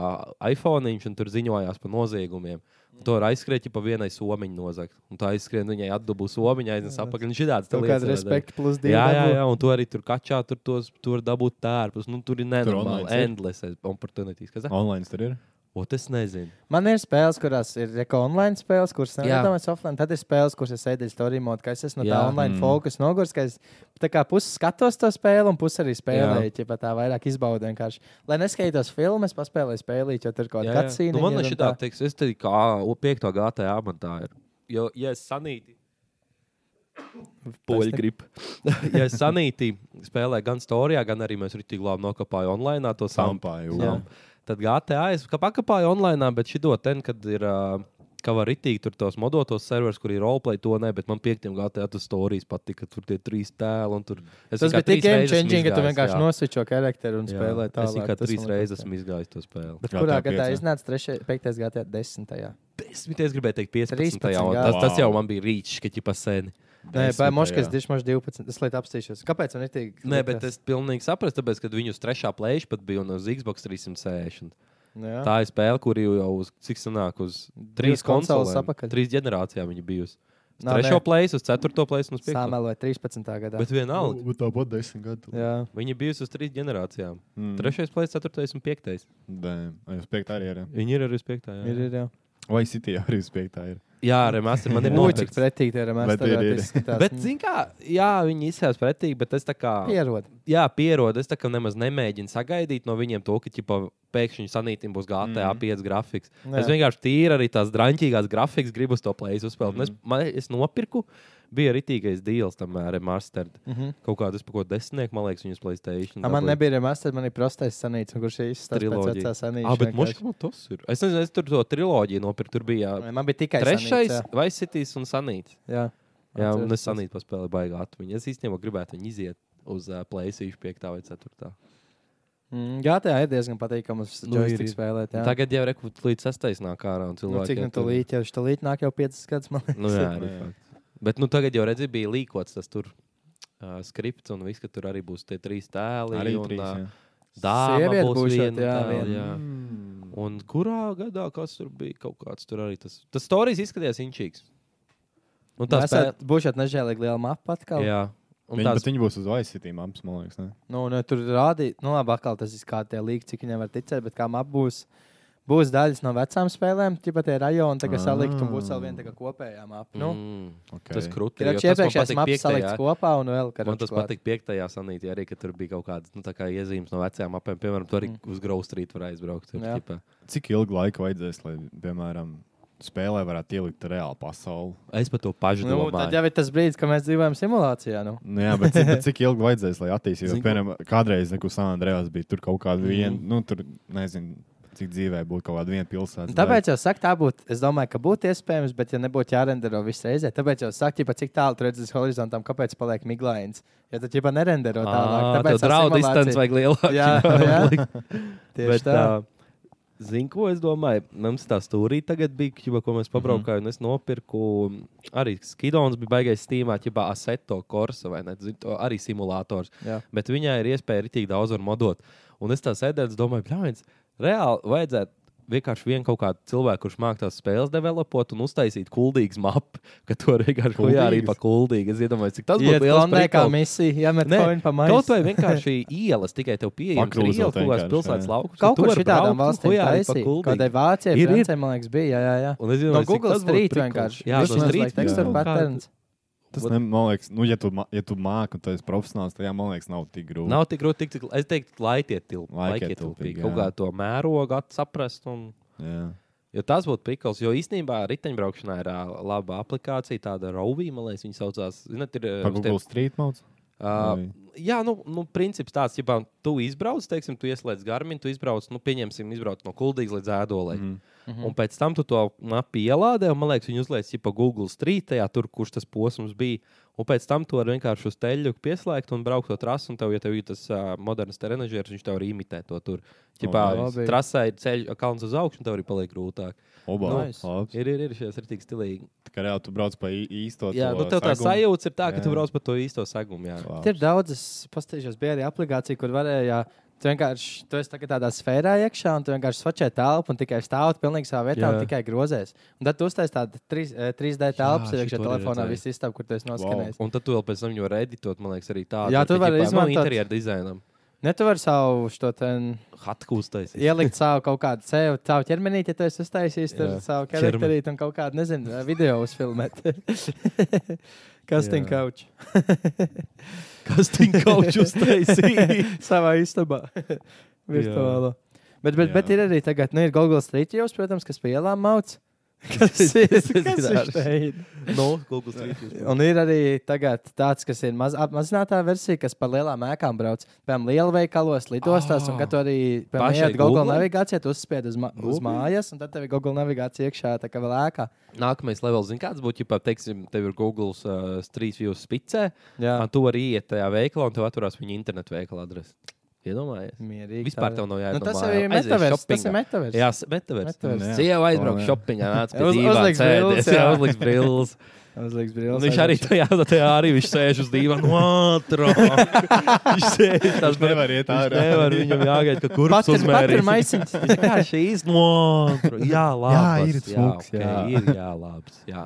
Speaker 2: iPhone, un tur ziņojās par noziegumiem. Un To var aizskriet, ja pa vienai somiņai nozagt. Un tā aizskrien, viņai atdabū somiņu, aiznes apakaļ. Viņš ir tāds,
Speaker 3: Tur kāda respekta plus divi.
Speaker 2: Jā, jā,
Speaker 3: dabūt.
Speaker 2: jā, un tu arī tur kačā, tur tos tur dabūt tērpus. Nu, tur ir nenormāli.
Speaker 1: online ir?
Speaker 2: Endless opportunities. Kas tā?
Speaker 1: Online tur ir.
Speaker 2: O, tas nezinu.
Speaker 3: Man ir spēles, kurās ir reka online spēles, kuras
Speaker 2: Jā.
Speaker 3: nedomāju, offline. Tad ir spēles, kuras es sēdēju story mode, ka es esmu no tā
Speaker 2: Jā.
Speaker 3: online
Speaker 1: Mm.
Speaker 3: mm. fokus nogurs, ka es tā kā pusi skatos to spēli un pusi arī spēlēju, ja pat tā vairāk izbaudu vienkārši. Lai neskaitos filmas, paspēlēju spēlīt, jo tur kaut kāda kacīna.
Speaker 2: Nu, man liekas, tā, teiks, es teiktu, ka ā, o, piektā gātā jā, man tā ir. Jo, ja es sanīti. Poļi grib. ja es sanīti spēlēju gan storijā, gan arī mēs rītīgi labi nokapājām online to sampu.
Speaker 1: Sampā jau.
Speaker 2: Jā. Tad GTA es kā pakāpēju online, bet šī dot ten, kad ir. ā, Kā var ritīgi tur tos modotos serverus, kur ir roleplay, to ne, bet man piektiem gājā tas storijas patika, ka tur tie trīs tēli un tur. Es
Speaker 3: Tas
Speaker 2: it kā
Speaker 3: bija tik
Speaker 2: trīs
Speaker 3: game
Speaker 2: reizes esmu
Speaker 3: changing, ka tu
Speaker 2: izgājis,
Speaker 3: vienkārši
Speaker 2: jā.
Speaker 3: nosvičo karakteru un
Speaker 2: Jā,
Speaker 3: spēlē tālāk.
Speaker 2: Es tikai
Speaker 3: Tas
Speaker 2: trīs
Speaker 3: man liekas,
Speaker 2: reizes
Speaker 3: jā.
Speaker 2: esmu izgājis to spēli.
Speaker 3: Bet
Speaker 1: Jā,
Speaker 3: kurā
Speaker 1: tev
Speaker 3: gadā
Speaker 1: piecā.
Speaker 3: iznāca 5. gada 10.
Speaker 2: Desmit, es gribēju teikt, 15.
Speaker 3: 13.
Speaker 2: Jā, un
Speaker 3: jā.
Speaker 2: tas, tas jau
Speaker 1: Wow.
Speaker 2: man bija rīčs, ka ķipa sen.
Speaker 3: Nē, vai
Speaker 1: Desmitajā.
Speaker 3: Moškas dišmaš 12. Es lai apstīšos. Kāpēc man ir tik?
Speaker 2: Nē, bet es pilnīgi sapratu, tāpēc, kad viņu uz trešā plēša pat bija un uz Xbox 360.
Speaker 3: Nu, Jā.
Speaker 2: Tā ir spēle, kur jau jau uz, cik sanāk, uz trīs
Speaker 3: Divas konsoles
Speaker 2: konsoles,
Speaker 3: apakaļ.
Speaker 2: trīs ģenerācijām viņa bijusi. Uz
Speaker 3: Nā,
Speaker 2: trešo
Speaker 3: nē.
Speaker 2: plēsu, uz ceturto plēsu un uz piekto.
Speaker 3: Sāmēloja 13. gadā.
Speaker 2: Bet
Speaker 3: Mm.
Speaker 2: vienalga.
Speaker 1: Bet tāpat desmit gadu.
Speaker 3: Jā.
Speaker 2: Viņa bijusi uz trīs ģenerācijām.
Speaker 1: Mm.
Speaker 2: Trešais plēs, ceturtais un piektais.
Speaker 1: Nē, jau spiektā arī ir. jā?
Speaker 2: Viņa ir arī uz piektā. Jā,
Speaker 3: Ir, ir, jā.
Speaker 1: Vai City arī spiektā ir?
Speaker 2: jā remaster man ir
Speaker 3: Nu, cik
Speaker 2: noticis.
Speaker 3: pretīgi tie
Speaker 1: ir,
Speaker 3: ir
Speaker 1: ir.
Speaker 3: mākslinieki.
Speaker 2: Bet, zin kā, jā, viņi izsēs pretī, bet es tā kā.
Speaker 3: pierod.
Speaker 2: jā, pierod. Es tā kā nemaz nemēģinu sagaidīt no viņiem to, ka ķipa, pēkšņi sanītim būs GTA mm. 5 grafiks.
Speaker 3: Jā.
Speaker 2: Jā. Es vienkārši tīri arī tās drāmīgās grafikas gribu uz to plēsu uzspēlēt. Mm. Es, man, es nopirku, bija rītīgais deals tam eh, remastered. Mm -hmm. Kaut kādus pakot desmitnieku, man liekas, viņas Playstation.
Speaker 3: Mhm. A, man nebija arī mākslinieks, man ir prostais sanīts, un kurš
Speaker 2: Triloģija.
Speaker 3: īstenībā
Speaker 2: Ah, bet moškā man tas ir. Es nezinu, es tur to triloģiju nopirku. Tur bija
Speaker 3: Man bija tikai
Speaker 2: trešais,
Speaker 3: sanīts,
Speaker 2: vai sitīs un sanīts.
Speaker 3: Jā,
Speaker 2: Jā, un es
Speaker 3: Atceros,
Speaker 2: sanītu paspēlēju baigā atmiņu. Es īstenībā gribētu viņu iziet uz uh, Playstation 5 vai 4.
Speaker 3: Mm, GTA ir diezgan patīkami.
Speaker 2: Nu,
Speaker 3: Nu,
Speaker 2: ir, ir.
Speaker 3: spēlēt, jā.
Speaker 2: Tagad jau rekrut līdz sastais nāk ārā un
Speaker 3: nu,
Speaker 2: cilvēki.
Speaker 3: cik
Speaker 2: jau
Speaker 3: nu tā līnija, jau tā līnija nāk jau 5 gadus. man liekas.
Speaker 2: Nu, jā, arī
Speaker 1: Jā.
Speaker 2: fakts. Bet nu, tagad jau redzi, bija līkots tas tur. Uh, skripts un viss, ka tur arī būs tie trīs tēli.
Speaker 1: Arī
Speaker 2: un,
Speaker 1: trīs.
Speaker 2: ā,
Speaker 1: jā.
Speaker 2: dāma
Speaker 3: Sieviete
Speaker 2: būs
Speaker 3: būšot,
Speaker 2: viena
Speaker 3: jā,
Speaker 2: tēla,
Speaker 3: viena.
Speaker 2: jā.
Speaker 1: Mm.
Speaker 2: Un kurā gadā kas tur bija? Kaut kāds tur arī tas. Tas stāstījis izskatījās inčīgs. Un
Speaker 3: Nu,
Speaker 2: tas
Speaker 3: esat- Būšot nežēlīgi liela mapa atkal.
Speaker 2: Jā, un
Speaker 1: Viņi,
Speaker 2: tās
Speaker 1: bet viņi būs uz Vice City maps, man liekas. Ne?
Speaker 3: Nu, nu, tur rādīt, nu, labi, atkal tas ir kā tie līnijas, cik viņiem var ticēt, bet kā map būs. Būs daļas no vecām spēlēm, tipā tie rajoni, tagad salikt, un būs vēl viena tāda kopējā mapa. Nu,
Speaker 2: Ah. Mm,
Speaker 1: Okay.
Speaker 2: tas krūti.
Speaker 3: ir jau iepriekšējās mapas salikts kopā, un vēl kādā
Speaker 2: Man tas patīk piektajā sanītā, arī, ka tur bija kaut kādas nu, tā kā iezīmes no vecajām apēm. Piemēram, tur arī mm. uz Grove Street var aizbraukt. Tur,
Speaker 3: Jā.
Speaker 2: ķipā.
Speaker 1: Cik ilgu laiku vajadzēs, lai, piemēram, spēlē varētu ielikt reāli pasauli?
Speaker 2: es par to pašu
Speaker 3: Nu, tad jau
Speaker 2: domāju.
Speaker 3: ir tas brīdis, kad mēs dzīvojam simulācijā. Nu.
Speaker 1: Nu, jā, bet cik, bet cik ilgi vajadzēs, lai attīstītos?
Speaker 2: Zini, ko-
Speaker 1: Piemēram, kādreiz nekur San Andrejas bija tur kaut
Speaker 2: Mm.
Speaker 1: kāda viena, nu, tur nezinu, cik dzīvē būtu kaut kāda viena pilsēta.
Speaker 3: Tāpēc jau saka, tā būtu. Es domāju, ka būtu iespējams, bet, ja nebūtu jārendero visu reizē, tāpēc jau saka, ja cik tālu tur redzams horizontam, kāpēc paliek miglains. Ja tad jau nerendero tālāk,
Speaker 2: Ā,
Speaker 3: tāpēc
Speaker 2: tev draudu distance vajag lielāku.
Speaker 3: Jā, jā. Tieši
Speaker 2: Bet,
Speaker 3: tā.
Speaker 2: ā, Zini, ko es domāju? Mums tā stūrī tagad bija, ķipa, ko
Speaker 3: Mhm.
Speaker 2: mēs pabraukājām, un es nopirku mm, arī skidons, bija baigais stīmā, ķibā aseto korsa vai ne? Zini, to arī simulators.
Speaker 3: Jā.
Speaker 2: Bet viņai ir iespēja arī tik daudz var modot. Un es tā sēdēju, es domāju, pļāviens, reāli vajadzētu. Vienkārši vienu kaut kādu cilvēku, kurš mākslā tās spēles developot un uztaisīt kuldīgas mapu, ka to vienkārši kuldīgas. arī
Speaker 1: Kuldīgas?
Speaker 2: pa kuldīgi. Es iedomājos, cik tas būtu
Speaker 3: Iet
Speaker 2: liels
Speaker 3: Klondaikas
Speaker 2: prikals.
Speaker 3: misija, jāmet
Speaker 2: Nē,
Speaker 3: koini pa maizi.
Speaker 2: Kaut vai vienkārši ielas tikai tev pieejama. Tur
Speaker 1: Pakrūzot
Speaker 2: jau kaut kādas
Speaker 1: vienkārši,
Speaker 2: pilsētas
Speaker 1: jā.
Speaker 2: laukums.
Speaker 3: Kaut
Speaker 2: tu
Speaker 3: kur
Speaker 2: vari
Speaker 3: šitādām
Speaker 2: braukt un
Speaker 3: valstīm
Speaker 2: hojā arī pa
Speaker 3: taisīja.
Speaker 2: kuldīgi.
Speaker 3: Kādai Vācijai,
Speaker 2: Ir, ir.
Speaker 3: Francijai, man liekas, bija. Jā, jā, jā.
Speaker 2: Un es
Speaker 3: No
Speaker 2: iedomājos, cik
Speaker 3: Google
Speaker 2: tas būtu
Speaker 3: Street
Speaker 2: prikols.
Speaker 3: vienkārši.
Speaker 2: Jā,
Speaker 1: Vismaz
Speaker 2: no Street
Speaker 1: like texture jā.
Speaker 3: tekstūra patterns.
Speaker 1: tas ne, man liekas, nu, ja tu, ma- ja tu māki un tu esi profesionāls, tad jā, man liekas, nav tik grūti.
Speaker 2: Nav tik grūti, tik, es teiktu, laikiet tilpīgi.
Speaker 1: Laikiet
Speaker 2: Laikiet tilpīgi.
Speaker 1: tilpīgi,
Speaker 2: Kaut
Speaker 1: jā.
Speaker 2: kā to mērogu at- saprast. Un...
Speaker 1: Jā.
Speaker 2: Jo tas būtu prikals, jo īstenībā riteņbraukšanā ir ā, laba aplikācija, tāda Rovija, man liekas, viņa saucās. Zināt, ir, ā,
Speaker 1: Pa
Speaker 2: uz
Speaker 1: Google
Speaker 2: tiem-
Speaker 1: Street Mode.
Speaker 2: Uh,
Speaker 1: Vai-
Speaker 2: jā, nu, nu princips tāds, ja tu izbrauc, teiksim, tu ieslēdz garmini, tu izbrauc, nu, pieņemsim, izbrauc no kuldīgas līdz ēdolai.
Speaker 1: Mhm.
Speaker 2: Mm. Un pēc tam tu to mapu ielādē, un man liekas, viņi uzliekas jau pa Google Street, tajā, tur, kurš tas posms bija. Un pēc tam to var vienkārši uz teļu pieslēgt un braukt to trasi. Un tev, ja tev ir tas uh, moderns terenžers, viņš tev arī imitē to tur. Ķipā,
Speaker 1: Labi.
Speaker 2: okay. Trasē ir ceļš, kalns uz augšu, un tev arī paliek grūtāk.
Speaker 1: Oba,
Speaker 3: Nice.
Speaker 1: labs.
Speaker 2: Ir, ir, ir šīs ir tik stilīgi.
Speaker 1: Tā kā reāli tu brauc pa ī- īsto.
Speaker 2: Jā,
Speaker 1: to
Speaker 2: nu, tev tā
Speaker 1: segumu.
Speaker 2: sajūta ir tā, ka
Speaker 1: Jā.
Speaker 2: tu brauc pa to īsto segumu. Jā.
Speaker 1: Labs.
Speaker 3: Tur ir daudzas, pastāstīšos, bija arī aplikācija, kur varēja. Tu vienkārši tu esi tagad tādā sfērā iekšā, un tu vienkārši svačē telpu, un tikai stāv pilnīgi savā vietā,
Speaker 2: Jā.
Speaker 3: un tikai grozēs. Un tad tu uztaisīji tādu trīs- eh, 3D telpu,
Speaker 2: šito
Speaker 3: iekšā
Speaker 2: arī
Speaker 3: telefonā,
Speaker 2: redzēju.
Speaker 3: visu istabu, kur tu esi noskanējis.
Speaker 2: Un tad tu vēl pēc tam jau redītot, man liekas, arī tādu.
Speaker 3: Jā, tu vari
Speaker 2: izmantot
Speaker 3: izmantot-
Speaker 2: interjeru nu, dizainam.
Speaker 3: Ne tu vari savu šo ten,
Speaker 2: Hatkūstais.
Speaker 3: ielikt savu kaut kādu sev, savu ķermenī, ja tu esi uztaisījis tur
Speaker 2: Jā.
Speaker 3: savu
Speaker 2: Ķermeni.
Speaker 3: karakterīti un kaut kādu, nezinu, video uzfilmēt. Kas
Speaker 2: Jā.
Speaker 3: ten kauč?
Speaker 2: Kas tik kauču uztaisīja?
Speaker 3: savā istabā. Virtuālo. Bet, bet,
Speaker 1: Jā.
Speaker 3: bet ir arī tagad, nu, ir Google Street View, protams, kas pie ielām mauc. Kas ir? Kas ir
Speaker 2: Zināšu.
Speaker 3: šeit?
Speaker 2: No Google Nu, Street View.
Speaker 3: Un ir arī tagad tāds, kas ir maz, apmazinātā versija, kas par lielām ēkām brauc. Piemēram, lielveikalos, lidostās, oh. un kad tu arī
Speaker 2: Ah. Pašai
Speaker 3: pāri Google
Speaker 2: Google?
Speaker 3: navigācijā tu uzspied uz, ma uz
Speaker 2: Google?
Speaker 3: mājas, un tad tev ir Google navigācija iekšā, tā kā vēl ēkā.
Speaker 2: Nākamais līmenis, zināms, kāds būtu, ja, teiksim, tev ir Google uh, Street View spicē,
Speaker 3: Jā,
Speaker 2: un tu vari iet tajā veikalā, un tev atverās viņa internetu veikala adrese. Iedomājies!
Speaker 3: mierīgi.
Speaker 2: Vispār
Speaker 3: tā
Speaker 2: tev nav jāiet
Speaker 3: Nu,
Speaker 2: no
Speaker 3: tas
Speaker 2: mājām.
Speaker 3: jau ir
Speaker 2: Aizies
Speaker 3: metavers. Tas
Speaker 2: shoppingā.
Speaker 3: ir metavers.
Speaker 2: Jā, s- metaverse.
Speaker 3: Metaverse.
Speaker 1: Jā.
Speaker 2: Cilvēks aizbrauks
Speaker 1: Jā.
Speaker 2: shoppingā, nāc pie
Speaker 3: Uz-
Speaker 2: dīvāna,
Speaker 3: uzliks brilles,
Speaker 2: sēdies, jā,
Speaker 3: jā.
Speaker 2: uzliks brilles.
Speaker 3: Uzliks
Speaker 2: Un
Speaker 3: brīvs.
Speaker 2: Nu, Viņš arī tajā, tajā arī viņš sēž uz dīvāna. Ātrā! Viņš sēž
Speaker 1: Viņš nevar iet
Speaker 2: Viņš
Speaker 1: ārā.
Speaker 2: nevar viņam jāgaida, ka kurš
Speaker 3: Pats ir
Speaker 2: uzmērīs.
Speaker 3: maisiņš.
Speaker 2: Jā, šī iznotra. Jā,
Speaker 1: Jā,
Speaker 2: labi.
Speaker 1: ir smuks,
Speaker 2: Jā,
Speaker 1: jā.
Speaker 2: okay, ir jā, labs. Jā,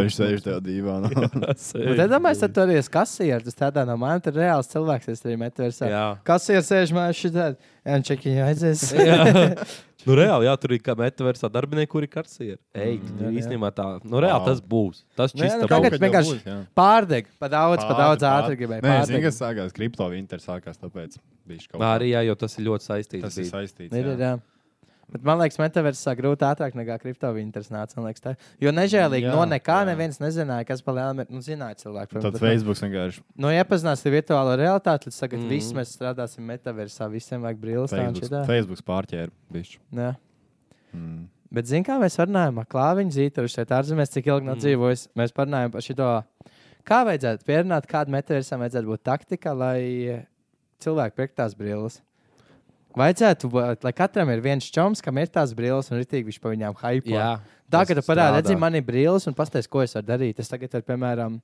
Speaker 1: Viņš sēž tajā dīvainā.
Speaker 3: Bet es domāju, ka tur arī ir kasieris. Tas tādā no manas ir reāls cilvēks, kas arī metversā.
Speaker 2: Jā.
Speaker 3: Kasieris sēž mājās šitā. Jā, čekiņā aizies.
Speaker 2: Jā. Nu, reāli, jā, tur ir kā metaversā darbinieki, kuri karsieri. Ei,
Speaker 3: jā,
Speaker 2: mm,
Speaker 3: jā.
Speaker 2: īstenībā tā. Nu, reāli
Speaker 1: Wow.
Speaker 2: tas būs. Tas
Speaker 3: Nē,
Speaker 2: čista
Speaker 3: nu,
Speaker 2: būs.
Speaker 3: tagad vienkārši
Speaker 1: būs, jā.
Speaker 3: pārdeg. Pa daudz, pa daudz
Speaker 1: Pār-
Speaker 3: ātri gribēju.
Speaker 1: Nē, zinu, kas
Speaker 3: Pārdeg.
Speaker 1: sākās kripto vinter, sākās tāpēc. bišķi kaut
Speaker 2: Nā,
Speaker 1: kā.
Speaker 2: Arī jā, jo tas ir ļoti saistīts.
Speaker 1: Tas ir
Speaker 2: bija.
Speaker 1: saistīts.
Speaker 3: Ir, ir,
Speaker 1: jā.
Speaker 3: jā. Bet man liekas, metaversā grūti ātrāk nekā kriptovinters nāca. man Liekas, tā. jo nežēlīgi
Speaker 1: Jā,
Speaker 3: no nekā
Speaker 1: jā.
Speaker 3: neviens nezināja, kas pa lielam ir. Nu, zināja cilvēki. protams,
Speaker 1: Tad
Speaker 3: bet no-
Speaker 1: Facebook vienkārši
Speaker 3: No iepazinās ar virtuālo realitāti, tad tagad
Speaker 2: Mhm.
Speaker 3: mm. viss mēs strādāsim metaversā, visiem vajag brilles. tā un šitā.
Speaker 1: Facebooks- Facebooks pārķēra. bišķi.
Speaker 3: Jā.
Speaker 1: Mm.
Speaker 3: Bet, zinām, kā mēs runājam, klāviņš zīmējuši šeit ārzemēs, cik ilgi nav
Speaker 2: Mm.
Speaker 3: dzīvojis. Mēs runājam par šo, kā vajadzētu pierunāt, kāda metaversam vajadzētu būt taktika, lai cilvēki pirktu tās brilles. Vajadzētu, būt, lai katram ir viens čoms, kam ir tās brilles, un ritīgi viņš pa viņām hypo.
Speaker 2: Jā,
Speaker 3: tā
Speaker 2: tas
Speaker 3: kā tu parādi,
Speaker 2: strādā.
Speaker 3: redzi, man ir brilles, un pastāsti, ko es varu darīt. Es tagad, varu, piemēram,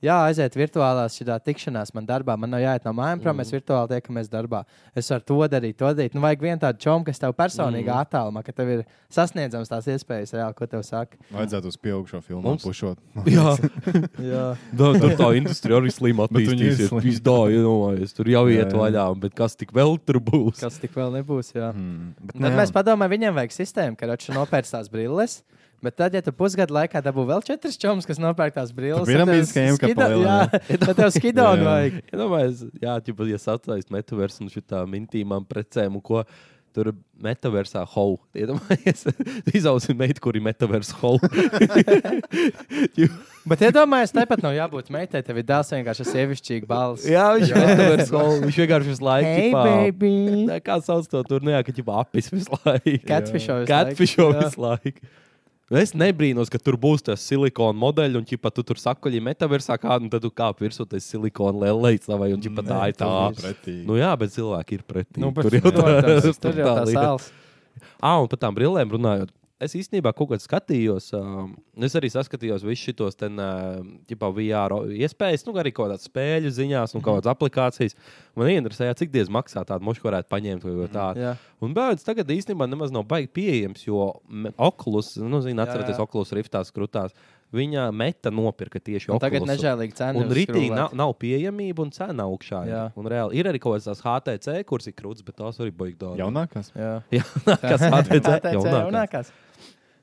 Speaker 3: jā, aiziet virtuālās šādā tikšanās man darbā, man nav jāiet no mājām, prom, mm. mēs virtuāli tiekamies darbā. Es varu to darīt, to darīt. Nu, vajag vienu tādu čomu, kas tev personīgi mm. attālumā, ka tev ir sasniedzams tās iespējas, reāli, ko tev saka.
Speaker 1: Vajadzētu uz pieaugušo filmu Mums...
Speaker 2: Mums-
Speaker 1: pušot.
Speaker 2: Jā,
Speaker 3: Jā.
Speaker 2: da, tur tā industrija arī slima
Speaker 1: Bet viņi ir
Speaker 2: attīstīsies.
Speaker 1: slimi.
Speaker 2: Pizdā, iedomājies, tur jau
Speaker 1: Jā,
Speaker 2: iet
Speaker 1: jā.
Speaker 2: vaļā, bet kas tik vēl tur būs?
Speaker 3: Kas tik vēl nebūs? Jā.
Speaker 1: Mm. Bet,
Speaker 3: Tad mēs padomājam, viņiem vajag sistēmu, ka račs nopērts tās brilles. Bet tad, ja tu pusgadu laikā dabū vēl četras čomas, kas nopērk tās brilles,
Speaker 1: Tad vienam
Speaker 3: tev
Speaker 1: ir schēma, ka
Speaker 3: skido-
Speaker 1: palielina.
Speaker 3: jā, tad tev skidonu
Speaker 1: Jā.
Speaker 3: vajag.
Speaker 2: Iedomājies, jā, ķipa, ja sacēlīs metaversu un šitām intīmām precēm un ko. Tur metaversā hau. Iedomājies, izaugsmē meita, kur ir metaversa hau.
Speaker 3: Bet iedomājieties, tāpat nav jābūt meitai. Tev ir dēls vienkārši sievišķīgi balss.
Speaker 2: jā, viņš ir metaversa hau. Viņš vienkārši visu laiku.
Speaker 3: Hey,
Speaker 2: ķipā,
Speaker 3: baby!
Speaker 2: Nē, Kā sauc to tur, nu, jā, ka ķipa, apis visu laiku.
Speaker 3: Catfish jau
Speaker 2: Catfish jau visu laiku. Nu, Es nebrīnos, ka tur būs tas silikona modeļš, un ķipa, tu tur sakoļi metaversā kādu, un tad tu kāp virsū tas silikona lēlēji savai, un ķipa, tā ir tā.
Speaker 1: Pretī.
Speaker 2: Nu jā, bet cilvēki ir pretī.
Speaker 3: Nu, bet,
Speaker 2: tur jau
Speaker 3: protams,
Speaker 2: tā-
Speaker 3: tur jau tā
Speaker 2: lieta.
Speaker 3: sāls.
Speaker 2: Ah, un par tām brillēm runājot. Es īstenībā kaut kādā skatījos, um, es arī saskatījos visus šos ten, uh, ģipā, VR o- iespējas, nu, arī kaut kādas spēļu ziņās, un
Speaker 3: Mhm.
Speaker 2: kaut kādas aplikācijas. Man interesēja, cik diez maksā tādu mošu, ko varētu paņemt vai kaut tādu.
Speaker 3: Jā.
Speaker 2: Un bērns tagad īstenībā nemaz nav baigi pieejams, jo me- Oculus, nu, zina,
Speaker 3: Jā,
Speaker 2: atcerieties,
Speaker 3: jā.
Speaker 2: Oculus riftās, krūtās. Viņa meta nopirka tieši
Speaker 3: Un Tagad
Speaker 2: Oculusu.
Speaker 3: nežēlīgi cena.
Speaker 2: Un rītīgi nav, nav pieejamība un cena augšā. ir.
Speaker 3: Jā.
Speaker 2: Un reāli, ir arī kaut kādas tās HTC, kuras ir krūtis, bet tās arī baigas dārgi.
Speaker 1: Jaunākās?
Speaker 3: Jā,
Speaker 2: Jā, kas HTC? jaunākās.
Speaker 3: jaunākās.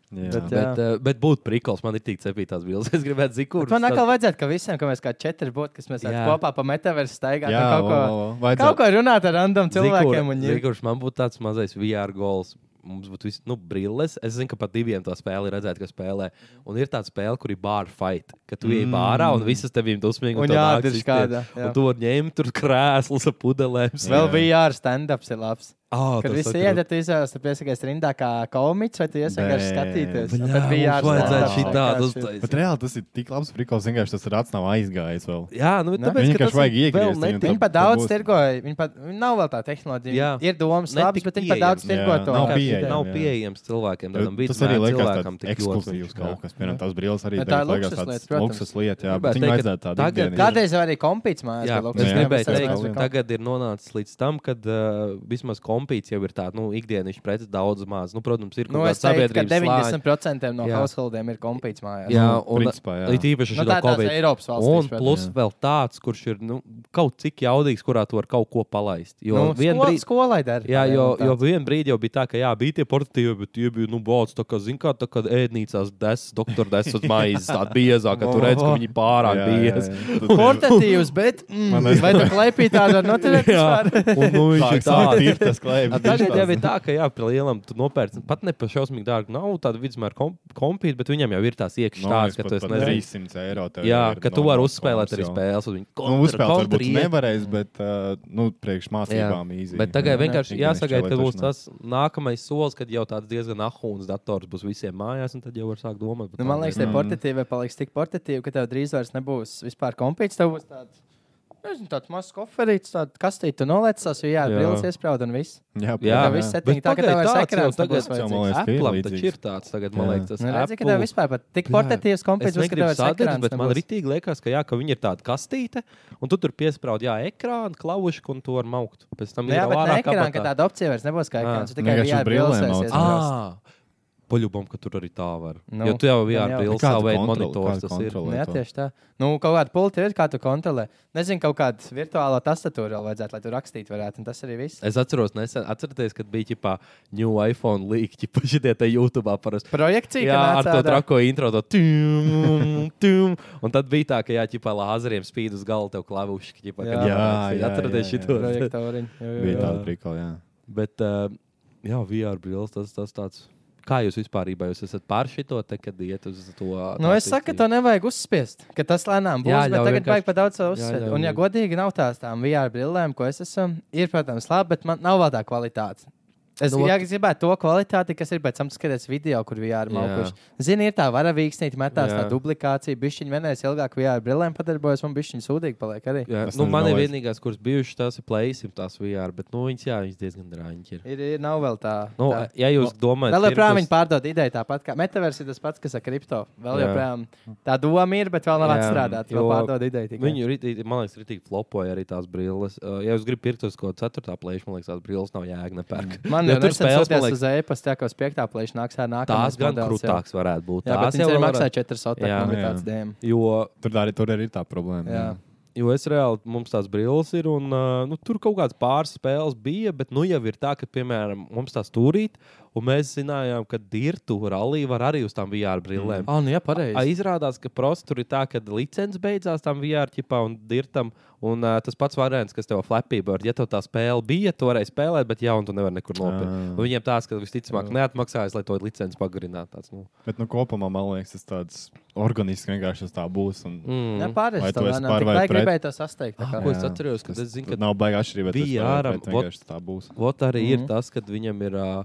Speaker 1: Jā.
Speaker 3: Bet, jā.
Speaker 2: Bet, uh, bet būtu prikals, man ir tik cepītās bildes. Es gribētu zināt, kur
Speaker 3: Bet Man atkal vajadzētu, ka visiem, ka mēs kā četri būtu, kas mēs
Speaker 2: Jā.
Speaker 3: varētu kopā pa metaversu staigāt
Speaker 1: jā,
Speaker 3: un kaut ko,
Speaker 1: vajadzētu.
Speaker 3: kaut ko runāt ar random cilvēkiem. un
Speaker 2: ir.
Speaker 3: ņirt.
Speaker 2: Kurš man būtu tāds mazais VR goals? Mums būtu visi, nu, brilles. Es zinu, ka pat diviem tā spēle ir redzēta, ka spēlē. Un ir tāda spēle, kur ir bāra fight. Kad tu ej bārā un visas tevīm dusmīgi
Speaker 3: Mm. Un
Speaker 2: tev nāk
Speaker 3: jāatdzīst
Speaker 2: šis tie-
Speaker 3: kādā, jā.
Speaker 2: Un tu vari ņemt tur krēslus ar pudelēm.
Speaker 3: Vēl VR stand-ups ir labs.
Speaker 2: oh,
Speaker 3: Kad visi iet, tad tu izvēlies, tu piesakies rindā kā komiķis, vai tu iesakās
Speaker 1: Nē.
Speaker 3: skatīties.
Speaker 1: Bļā,
Speaker 3: Tad VR
Speaker 1: mums vajadzētu
Speaker 3: stand-ups
Speaker 2: šitādu
Speaker 3: vienkārši ir-
Speaker 2: uztaisīt.
Speaker 1: Bet reāli tas ir tik labs prikals, vienkārši tas rāds nav aizgājis vēl.
Speaker 2: Jā, nu, bet
Speaker 3: Ne?
Speaker 2: tāpēc,
Speaker 1: Viņi
Speaker 2: ka
Speaker 1: vienkārši
Speaker 2: tas
Speaker 1: vajag
Speaker 2: ir vēl
Speaker 1: iegriezt
Speaker 2: netiek-
Speaker 1: viņu
Speaker 3: Viņi
Speaker 1: Tad-
Speaker 3: pat
Speaker 1: tad
Speaker 3: daudz
Speaker 1: būs-
Speaker 3: tirgoja. Viņi pat viņi nav vēl tā tehnoloģija.
Speaker 2: Jā.
Speaker 3: viņi- Ir domas,
Speaker 2: Ne
Speaker 3: labas,
Speaker 2: tik
Speaker 3: bet viņi pat daudz
Speaker 2: pieejami.
Speaker 3: tirgo
Speaker 1: Jā,
Speaker 3: to.
Speaker 1: nav
Speaker 2: Nav
Speaker 1: pieejams,
Speaker 2: pieejams, nav
Speaker 1: jā.
Speaker 2: pieejams cilvēkiem.
Speaker 1: tas
Speaker 2: Tādam
Speaker 1: arī
Speaker 2: vidusmēram
Speaker 1: liekas
Speaker 2: cilvēkam
Speaker 1: tāds
Speaker 2: tik ļoti
Speaker 1: ekskluzīvs
Speaker 2: viņš- jā.
Speaker 1: kaut kas. Piemēram, tās brilles arī
Speaker 3: Bet tā
Speaker 1: tagad
Speaker 3: ir
Speaker 1: liekas
Speaker 3: luksus lieta,
Speaker 1: tāds
Speaker 3: protams.
Speaker 1: luksus lieta. Jā,
Speaker 2: Gribētu
Speaker 1: bet viņam
Speaker 2: teikt, ka
Speaker 1: vajadzētu tādu
Speaker 2: tagad-
Speaker 1: ikdienu.
Speaker 3: Kādreiz jau arī kompīts mājās.
Speaker 2: Jā,
Speaker 3: bija luksurs,
Speaker 2: es
Speaker 1: jā,
Speaker 2: gribēju
Speaker 1: tas
Speaker 2: teikt,
Speaker 1: vēl
Speaker 2: ka
Speaker 1: viens.
Speaker 2: tagad ir nonācis līdz tam, kad uh, vismaz kompīts jau ir tāds nu, ikdienas preci daudz maz. Nu, protams, ir
Speaker 3: Nu,
Speaker 2: kaut
Speaker 3: es
Speaker 2: kāds
Speaker 3: teiktu, ka
Speaker 2: sabiedrības slāņi.
Speaker 3: 90% no
Speaker 2: Jā.
Speaker 3: householdiem ir kompīts mājās.
Speaker 2: Jā,
Speaker 1: Nu,
Speaker 2: un
Speaker 1: principā, jā.
Speaker 2: it īpaši
Speaker 3: nu,
Speaker 2: šito
Speaker 3: tā ir
Speaker 2: Covid.
Speaker 3: tāds Eiropas
Speaker 2: Un
Speaker 3: valsts.
Speaker 2: plus jā. vēl tāds, kurš ir nu, kaut cik jaudīgs, kurā tu vari kaut ko palaist. Jo
Speaker 3: nu,
Speaker 2: nu, vienā brīdī,
Speaker 3: skolai dara.
Speaker 2: Jā, jo, jo vienā brīdī jau bija tā, ka jā, bija tie portatīvi, bet tie bija nu, baudas, tā kā, zin, kā tā, kad ēdnīcās desas, doktora desas maizes, tāda biezā, ka tu redz, ka viņi pārāk biezi.
Speaker 1: Porta
Speaker 3: portatīvs, bet mm, vai tu klēpī tādu noturēt?
Speaker 2: un nu, viņš ir
Speaker 1: tā
Speaker 2: tāds.
Speaker 1: ir tas klājām.
Speaker 2: Tagad jau ir tā, ka jā, par lielam tu nopērci pat ne par šausmīgi dārgu naudu, tādu vidusmēra kom kompīti, bet viņam jau ir tās
Speaker 1: nu,
Speaker 2: iekšstāsts, ka tu esi nezinu.
Speaker 1: 300 eiro. tev
Speaker 2: Jā,
Speaker 1: ir
Speaker 2: ka tu
Speaker 1: normāls
Speaker 2: vari uzspēlēt
Speaker 1: koms
Speaker 2: arī
Speaker 1: jau.
Speaker 2: spēles. un viņi
Speaker 1: Nu,
Speaker 2: kontra,
Speaker 1: uzspēlēt,
Speaker 2: kontra
Speaker 1: varbūt
Speaker 2: iet.
Speaker 1: nevarēs, bet uh, nu, priekšmācībām īsi.
Speaker 2: Bet tagad
Speaker 3: Jā, jā.
Speaker 2: vienkārši
Speaker 1: Ikdienas
Speaker 2: jāsagaida, ka būs
Speaker 1: čalotāšanā.
Speaker 2: tas nākamais solis, kad jau tāds diezgan ahūns dators būs visiem mājās, un tad jau var sākt domāt. par
Speaker 3: Nu, man
Speaker 2: tām
Speaker 3: liekas,
Speaker 2: lietām.
Speaker 3: tie portatīvi paliks tik portatīvi, ka tev drīz vairs nebūs vispār kompīts. Tev būs tāds, nezinu, tāds mazs koferīts, tāds kastīts, tu nolec tās, jo jā,
Speaker 2: Jā. Ah,
Speaker 3: brīlis iesprāud un viss.
Speaker 1: Jā,
Speaker 2: Jā,
Speaker 3: Tev
Speaker 1: jā.
Speaker 3: viss
Speaker 2: Bet
Speaker 3: setting tā, ka tev
Speaker 2: pagaid,
Speaker 3: vairs
Speaker 2: tāds jau
Speaker 3: ekrāns
Speaker 2: tagad-
Speaker 1: Tas jau,
Speaker 3: nebūs vajadzīgs.
Speaker 1: man liekas,
Speaker 2: Apple
Speaker 1: pieeja
Speaker 2: taču
Speaker 1: līdzīgs.
Speaker 2: ir tāds, tagad,
Speaker 1: Jā.
Speaker 2: man liekas, tas
Speaker 3: Nu, redzi, ka
Speaker 2: Apple-
Speaker 3: tev vispār pat tik
Speaker 2: Jā.
Speaker 3: portatīvs
Speaker 2: Es
Speaker 3: kompīts, ka
Speaker 2: negribu
Speaker 3: tev vairs
Speaker 2: sākt, bet
Speaker 3: ekrāns
Speaker 2: man
Speaker 3: nebūs.
Speaker 2: rītīgi liekas, ka, jā, ka viņi ir tāda kastīte, un tu tur piesprādi jā, ekrānu, klaušu, un to var maukt. Pēc tam
Speaker 3: Nu, jā,
Speaker 2: ir
Speaker 3: bet ne
Speaker 2: vārā
Speaker 3: ekrānā, ka tāda opcija vairs nebūs
Speaker 2: Ā.
Speaker 3: kā ekrāns. tu Tikai
Speaker 1: Vienkārši uz
Speaker 3: jā, brīlis
Speaker 1: brillēm
Speaker 3: vairs
Speaker 1: mauc.
Speaker 3: iesprāst.
Speaker 2: Ah! Paļubam, ka tur arī tā var. Nu,
Speaker 3: Nu,
Speaker 2: jo tu jau
Speaker 3: gan
Speaker 2: jā,
Speaker 3: jau.
Speaker 2: brīlis
Speaker 1: Kāda
Speaker 2: savu veidu
Speaker 1: kontrole,
Speaker 2: monitors
Speaker 1: kāda
Speaker 2: tas ir.
Speaker 1: kontrole?
Speaker 3: Jā,
Speaker 1: to.
Speaker 3: tieši tā. Nu, kaut kāda politika ir, kā tu kontrolē. Nezinu, kaut kādu virtuālo tastatūru vēl vajadzētu, lai tu rakstīt varētu. Un tas arī viss.
Speaker 2: Es atceros, nesen, atcerieties, kad bija ģipā new iPhone leak, ģipā šitie te YouTube parasti.
Speaker 3: Projekcija,
Speaker 2: Jā,
Speaker 3: ka
Speaker 2: ar to
Speaker 3: nāc ārā.
Speaker 2: trako intro, to tūm, tūm. Un tad bija tā, ka, jā, ķipā lāzeriem spīd uz galda tev klavuši, ka, ķipā,
Speaker 3: Jā.
Speaker 1: Jā, jā,
Speaker 2: atradēs
Speaker 1: jā, jā.
Speaker 2: šito.
Speaker 3: Projektoriņi. Jā, jā,
Speaker 1: Bija
Speaker 3: jā.
Speaker 1: tāda prikala, jā.
Speaker 2: Bet, uh, jā, VR brīlis, tas, tas tāds. Kā jūs vispār jūs esat pār šito, te, kad iet uz to?
Speaker 3: Nu, es saku, ka to nevajag uzspiest, ka tas lēnām būs. Jā,
Speaker 2: Jāļauj
Speaker 3: jau, tagad
Speaker 2: vienkārši-
Speaker 3: vajag pat daudz to uzsvērt.
Speaker 2: Jāļauj.
Speaker 3: Un, ja godīgi, nav tās tām VR brillēm, ko es esmu, ir, protams, labi, bet man nav vēl tā kvalitāte. Es
Speaker 2: Nu,
Speaker 3: nu,
Speaker 2: ot-
Speaker 3: gribēju to kvalitāti, kas ir pēc tam skaties video, kur VR
Speaker 2: Jā.
Speaker 3: mākuši. Zini, ir tā varavīksnīt, metās
Speaker 2: Jā.
Speaker 3: tā duplikācija, bišķiņ vienreiz ilgāk VR brillēm padarbojas, man bišķiņ sūdīgi paliek arī.
Speaker 2: Jā,
Speaker 1: Tas
Speaker 2: nu,
Speaker 1: nezinu,
Speaker 2: man ir
Speaker 1: nelaiž.
Speaker 2: vienīgās, kuras bijušas tās ir plēsim, tās VR, bet, nu, viņas, jā, viņas diezgan drāņķi ir.
Speaker 3: Ir, ir nav vēl tā.
Speaker 2: Nu,
Speaker 3: tā.
Speaker 2: ja jūs domājat,
Speaker 3: Vēl
Speaker 2: tirgus-
Speaker 3: joprojām viņi pārdod ideju tāpat, kā metaverss ir tas pats, kas ar kripto. Vēl
Speaker 2: Jā.
Speaker 3: joprojām tā doma ir, bet vēl nav
Speaker 2: Jā,
Speaker 3: atstrādāta.
Speaker 2: jo
Speaker 3: Vēl pārdod ideju tikai.
Speaker 2: Viņu ritīgi, man liekas, ritīgi flopoja arī tās brilles. Uh, ja jūs gribat pirkt uz kaut kāda ceturtā plēša, man liekas, tās brilles nav jēga nepērk.
Speaker 3: Man
Speaker 2: Jo
Speaker 3: jau
Speaker 2: tur
Speaker 3: tur
Speaker 2: nu, spēles, man
Speaker 3: spēlēties uz e-pasta, kā uz piektā plēša nāks ar nākamo.
Speaker 2: Tās gan krūtākas varētu būt.
Speaker 3: Jā, bet
Speaker 2: tās
Speaker 3: viņš arī
Speaker 2: var-
Speaker 3: maksāja 4
Speaker 2: Jā.
Speaker 3: sotus.
Speaker 2: Mm.
Speaker 3: Jā, bija
Speaker 1: Jā.
Speaker 3: tāds dēm.
Speaker 2: Jo,
Speaker 1: Tur arī tur arī ir tā problēma.
Speaker 3: Jā.
Speaker 2: jo es reāli, mums tās brilles ir, un uh, nu, tur kaut kādas pāris spēles bija, bet nu jau ir tā, ka, piemēram, mums tās turīt, un mēs zinājām, ka dirtu rallī var arī uz tām VR brillēm.
Speaker 3: Ah, nu jā,
Speaker 2: A,
Speaker 3: pareizi.
Speaker 2: izrādās, ka prosti tur ir tā, ka licence beidzās tam VR ķipā un dirtam. Un, uh, tas pats variants, kas tev ir Flappy Bird. Ja tev tā spēle bija, tu varēji spēlēt, bet jaunu tu nevari nekur nopirkt.
Speaker 1: Ā.
Speaker 2: Un Viņiem tās, ka visticamāk neatmaksājas, lai to licenci pagarinātu. tāds, Nu.
Speaker 1: Bet, nu, kopumā man liekas, tas tāds organisks vienkārši tas tā būs. Un...
Speaker 2: Mm.
Speaker 1: Vai
Speaker 3: Jā, pārējais
Speaker 1: tu
Speaker 3: tam
Speaker 1: esi
Speaker 3: lēnām.
Speaker 1: par vai
Speaker 3: Tikai
Speaker 1: pret?
Speaker 3: gribēju to sasteigt. tā
Speaker 2: Ah,
Speaker 3: kā.
Speaker 2: ko es atceros, kad es zinu,
Speaker 1: tur
Speaker 2: ka
Speaker 1: nu, nav baigta atšķirība. bet es
Speaker 2: bija
Speaker 1: varu,
Speaker 2: ārā,
Speaker 1: bet
Speaker 2: vot-
Speaker 1: vienkārši tā būs.
Speaker 2: Vot arī mm -hmm. ir tas, kad viņam ir uh,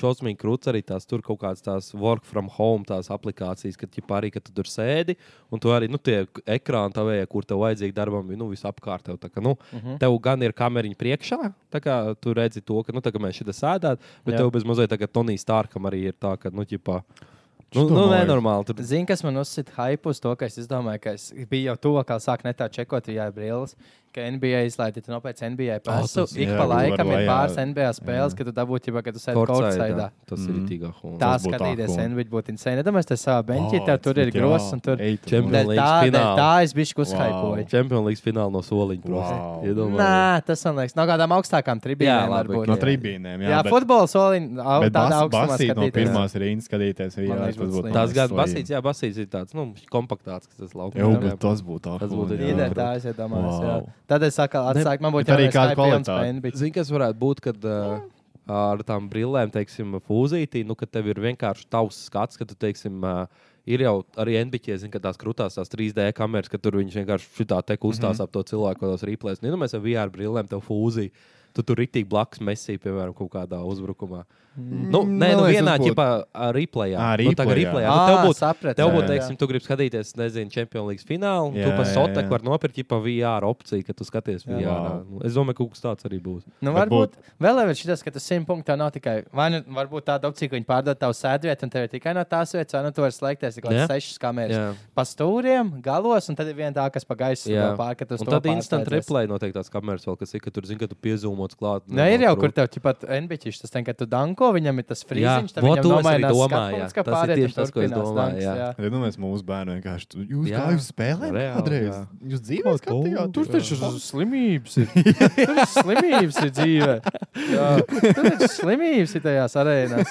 Speaker 2: šausmīgi krūts arī tās tur kaut kādas tās work from home tās aplikācijas, kad jau arī kad tu tur sēdi un tu arī nu, tie ekrāni tavējie, kur tev vajadzīgi darbam, ir nu, visapkārt tev. tā Kā, nu, mm -hmm. Tev gan ir kameriņa priekšā, tā kā tu redzi to, ka nu, tā, kā mēs šeit sēdām, bet Jā.
Speaker 3: Jā.
Speaker 2: tev bez mazliet tagad Tonijs Stārkam arī ir tā, ka nu, ģipā, nu,
Speaker 1: Šito
Speaker 2: nu
Speaker 1: man liekas.
Speaker 2: nenormāli. Tur,
Speaker 3: Zini, kas man uzsita hype uz to, ka es domāju, ka es biju jau to, kā sāk netā čekot, ja ir brīlis, ka NBA izlaiž, tad nopietni NBA pasu.
Speaker 2: Ah, tas-
Speaker 3: Ik
Speaker 1: jā,
Speaker 3: pa
Speaker 1: tu vari
Speaker 3: laikam ir
Speaker 1: lejā.
Speaker 3: pāris NBA spēles, kad tu dabūji, ja tu sēdi kaut kādā.
Speaker 2: Tas mm -hmm. ir tīgā home.
Speaker 3: Tā
Speaker 1: Tas būtu
Speaker 3: skatīties,
Speaker 1: akūni.
Speaker 3: NBA būtu insane. Domāju, tas savā benčī,
Speaker 1: Ā,
Speaker 3: tev tur ir
Speaker 1: bet jā,
Speaker 3: gross un tur.
Speaker 1: ej tu,
Speaker 2: Čempion-
Speaker 1: man liekas.
Speaker 3: Dēļ
Speaker 2: Leagues
Speaker 3: tā, dēļ
Speaker 2: fināls.
Speaker 3: tā es biju uzhaipoju.
Speaker 2: Champions League fināla no soliņa.
Speaker 1: Wow.
Speaker 2: Wow.
Speaker 3: Nē, tas man liekas, no kādām augstākām
Speaker 2: Jā,
Speaker 3: tribīnēm.
Speaker 2: labi,
Speaker 3: varbūt.
Speaker 1: No
Speaker 2: Jā.
Speaker 1: tribīnēm.
Speaker 3: Jā, futbola soliņa au-
Speaker 1: Bet
Speaker 3: tādā
Speaker 1: bas,
Speaker 3: augstumā
Speaker 1: basīt no
Speaker 3: skatīties.
Speaker 1: pirmās rīnas skatīties, jā,
Speaker 3: liekas,
Speaker 1: tas
Speaker 3: būtu
Speaker 1: būtu
Speaker 3: slikti.
Speaker 2: Tas
Speaker 1: man
Speaker 2: gan
Speaker 1: liekas,
Speaker 2: basīts,
Speaker 1: slikti.
Speaker 2: jā, basīts ir tāds nu, kompaktāks, kas tas laukums.
Speaker 1: Jā, bet tas būtu tā.
Speaker 2: Tas būtu
Speaker 1: jā.
Speaker 2: ideāli.
Speaker 3: Ideja tā, es iedomājos. jā.
Speaker 1: Wow.
Speaker 3: Tad es atkal
Speaker 2: Ne,
Speaker 3: atsāku, man būtu
Speaker 1: bet arī
Speaker 3: jāveic
Speaker 1: kāda
Speaker 3: hype-jums
Speaker 1: kvalitāte.
Speaker 3: pa NBA.
Speaker 2: Zini, kas varētu būt, kad uh, ar tām brillēm, teiksim, fūzītī, nu, kad tev ir vienkārši tavs skats, kad tu, teiksim, uh, ir jau arī NBA, zin, kad tās krūtās tās 3D kameras, kad tur viņš vienkārši šitā te kustās
Speaker 1: Mhm.
Speaker 2: mm -hmm. ap to cilvēku, kas rīplēs. Nu, mēs ar VR brillēm tev fūzī. Tu tur rītīgi blakus mesī, piemēram, kaut kādā uzbrukumā. Nu, nē,
Speaker 1: man
Speaker 2: nu,
Speaker 1: liekas,
Speaker 2: vienā
Speaker 1: tas būtu-
Speaker 2: ķipā, ar replay.
Speaker 1: Ā,
Speaker 2: Nu, tā kā
Speaker 1: replayā.
Speaker 2: replay.
Speaker 3: Mm, Ā,
Speaker 2: Nu, tev būtu
Speaker 3: sapratu,
Speaker 2: Tev
Speaker 3: jā,
Speaker 2: būtu,
Speaker 3: jā.
Speaker 2: teiksim, tu gribi skatīties, nezinu, Champions League finālu.
Speaker 1: Jā,
Speaker 2: Jā, tu pa
Speaker 1: jā,
Speaker 2: sotek
Speaker 1: jā.
Speaker 2: var nopirkt jau VR opciju, ka tu skaties VR.
Speaker 1: Vau.
Speaker 2: Nu, Es domāju, ka kaut kas tāds arī būs.
Speaker 3: Nu,
Speaker 1: Bet
Speaker 3: varbūt vēl ir šis, ka tas simt punktu tev nav tikai. Vai nu varbūt tāda opcija, ka viņi pārdod tavu sēdvietu, un tev ir tikai no tās vietas, vai nu tu vari slēgties tik
Speaker 2: Jā.
Speaker 3: līdz
Speaker 2: Jā.
Speaker 3: sešas kameras. Pa stūriem, galos, un tad ir viena tā, kas pa gaisu
Speaker 2: Jā.
Speaker 3: pārkatus.
Speaker 2: Un tad instant replay noteikti tās kameras vēl, kas ir, ka tur zini, ka tu piezīmots klāt.
Speaker 3: Nē, ir jau, kur
Speaker 2: tā.
Speaker 3: tev pat NBC, tas ten, ka tu danko, viņam ir tas frīziņš, tad
Speaker 2: vot
Speaker 3: viņam
Speaker 2: to es arī
Speaker 3: nomainās
Speaker 2: domāju,
Speaker 3: skatpunkts,
Speaker 2: jā.
Speaker 3: ka
Speaker 2: Tas ir
Speaker 3: pārējie
Speaker 2: tieši
Speaker 3: tur
Speaker 2: tas, ko es
Speaker 3: turpinās
Speaker 2: domāju,
Speaker 3: danks,
Speaker 2: jā.
Speaker 3: jā.
Speaker 1: Ja nu mēs mūsu bērnu vienkārši. tu- Jūs
Speaker 2: Jā.
Speaker 1: kā jūs spēlējat?
Speaker 2: Reāli,
Speaker 1: Kādreiz.
Speaker 2: jā.
Speaker 1: Jūs dzīvojat, skatījāt. Tur taču
Speaker 3: ir slimības. ir. Tur ir slimības ir dzīve. Jā, tur ir slimības ir tajās arēnās.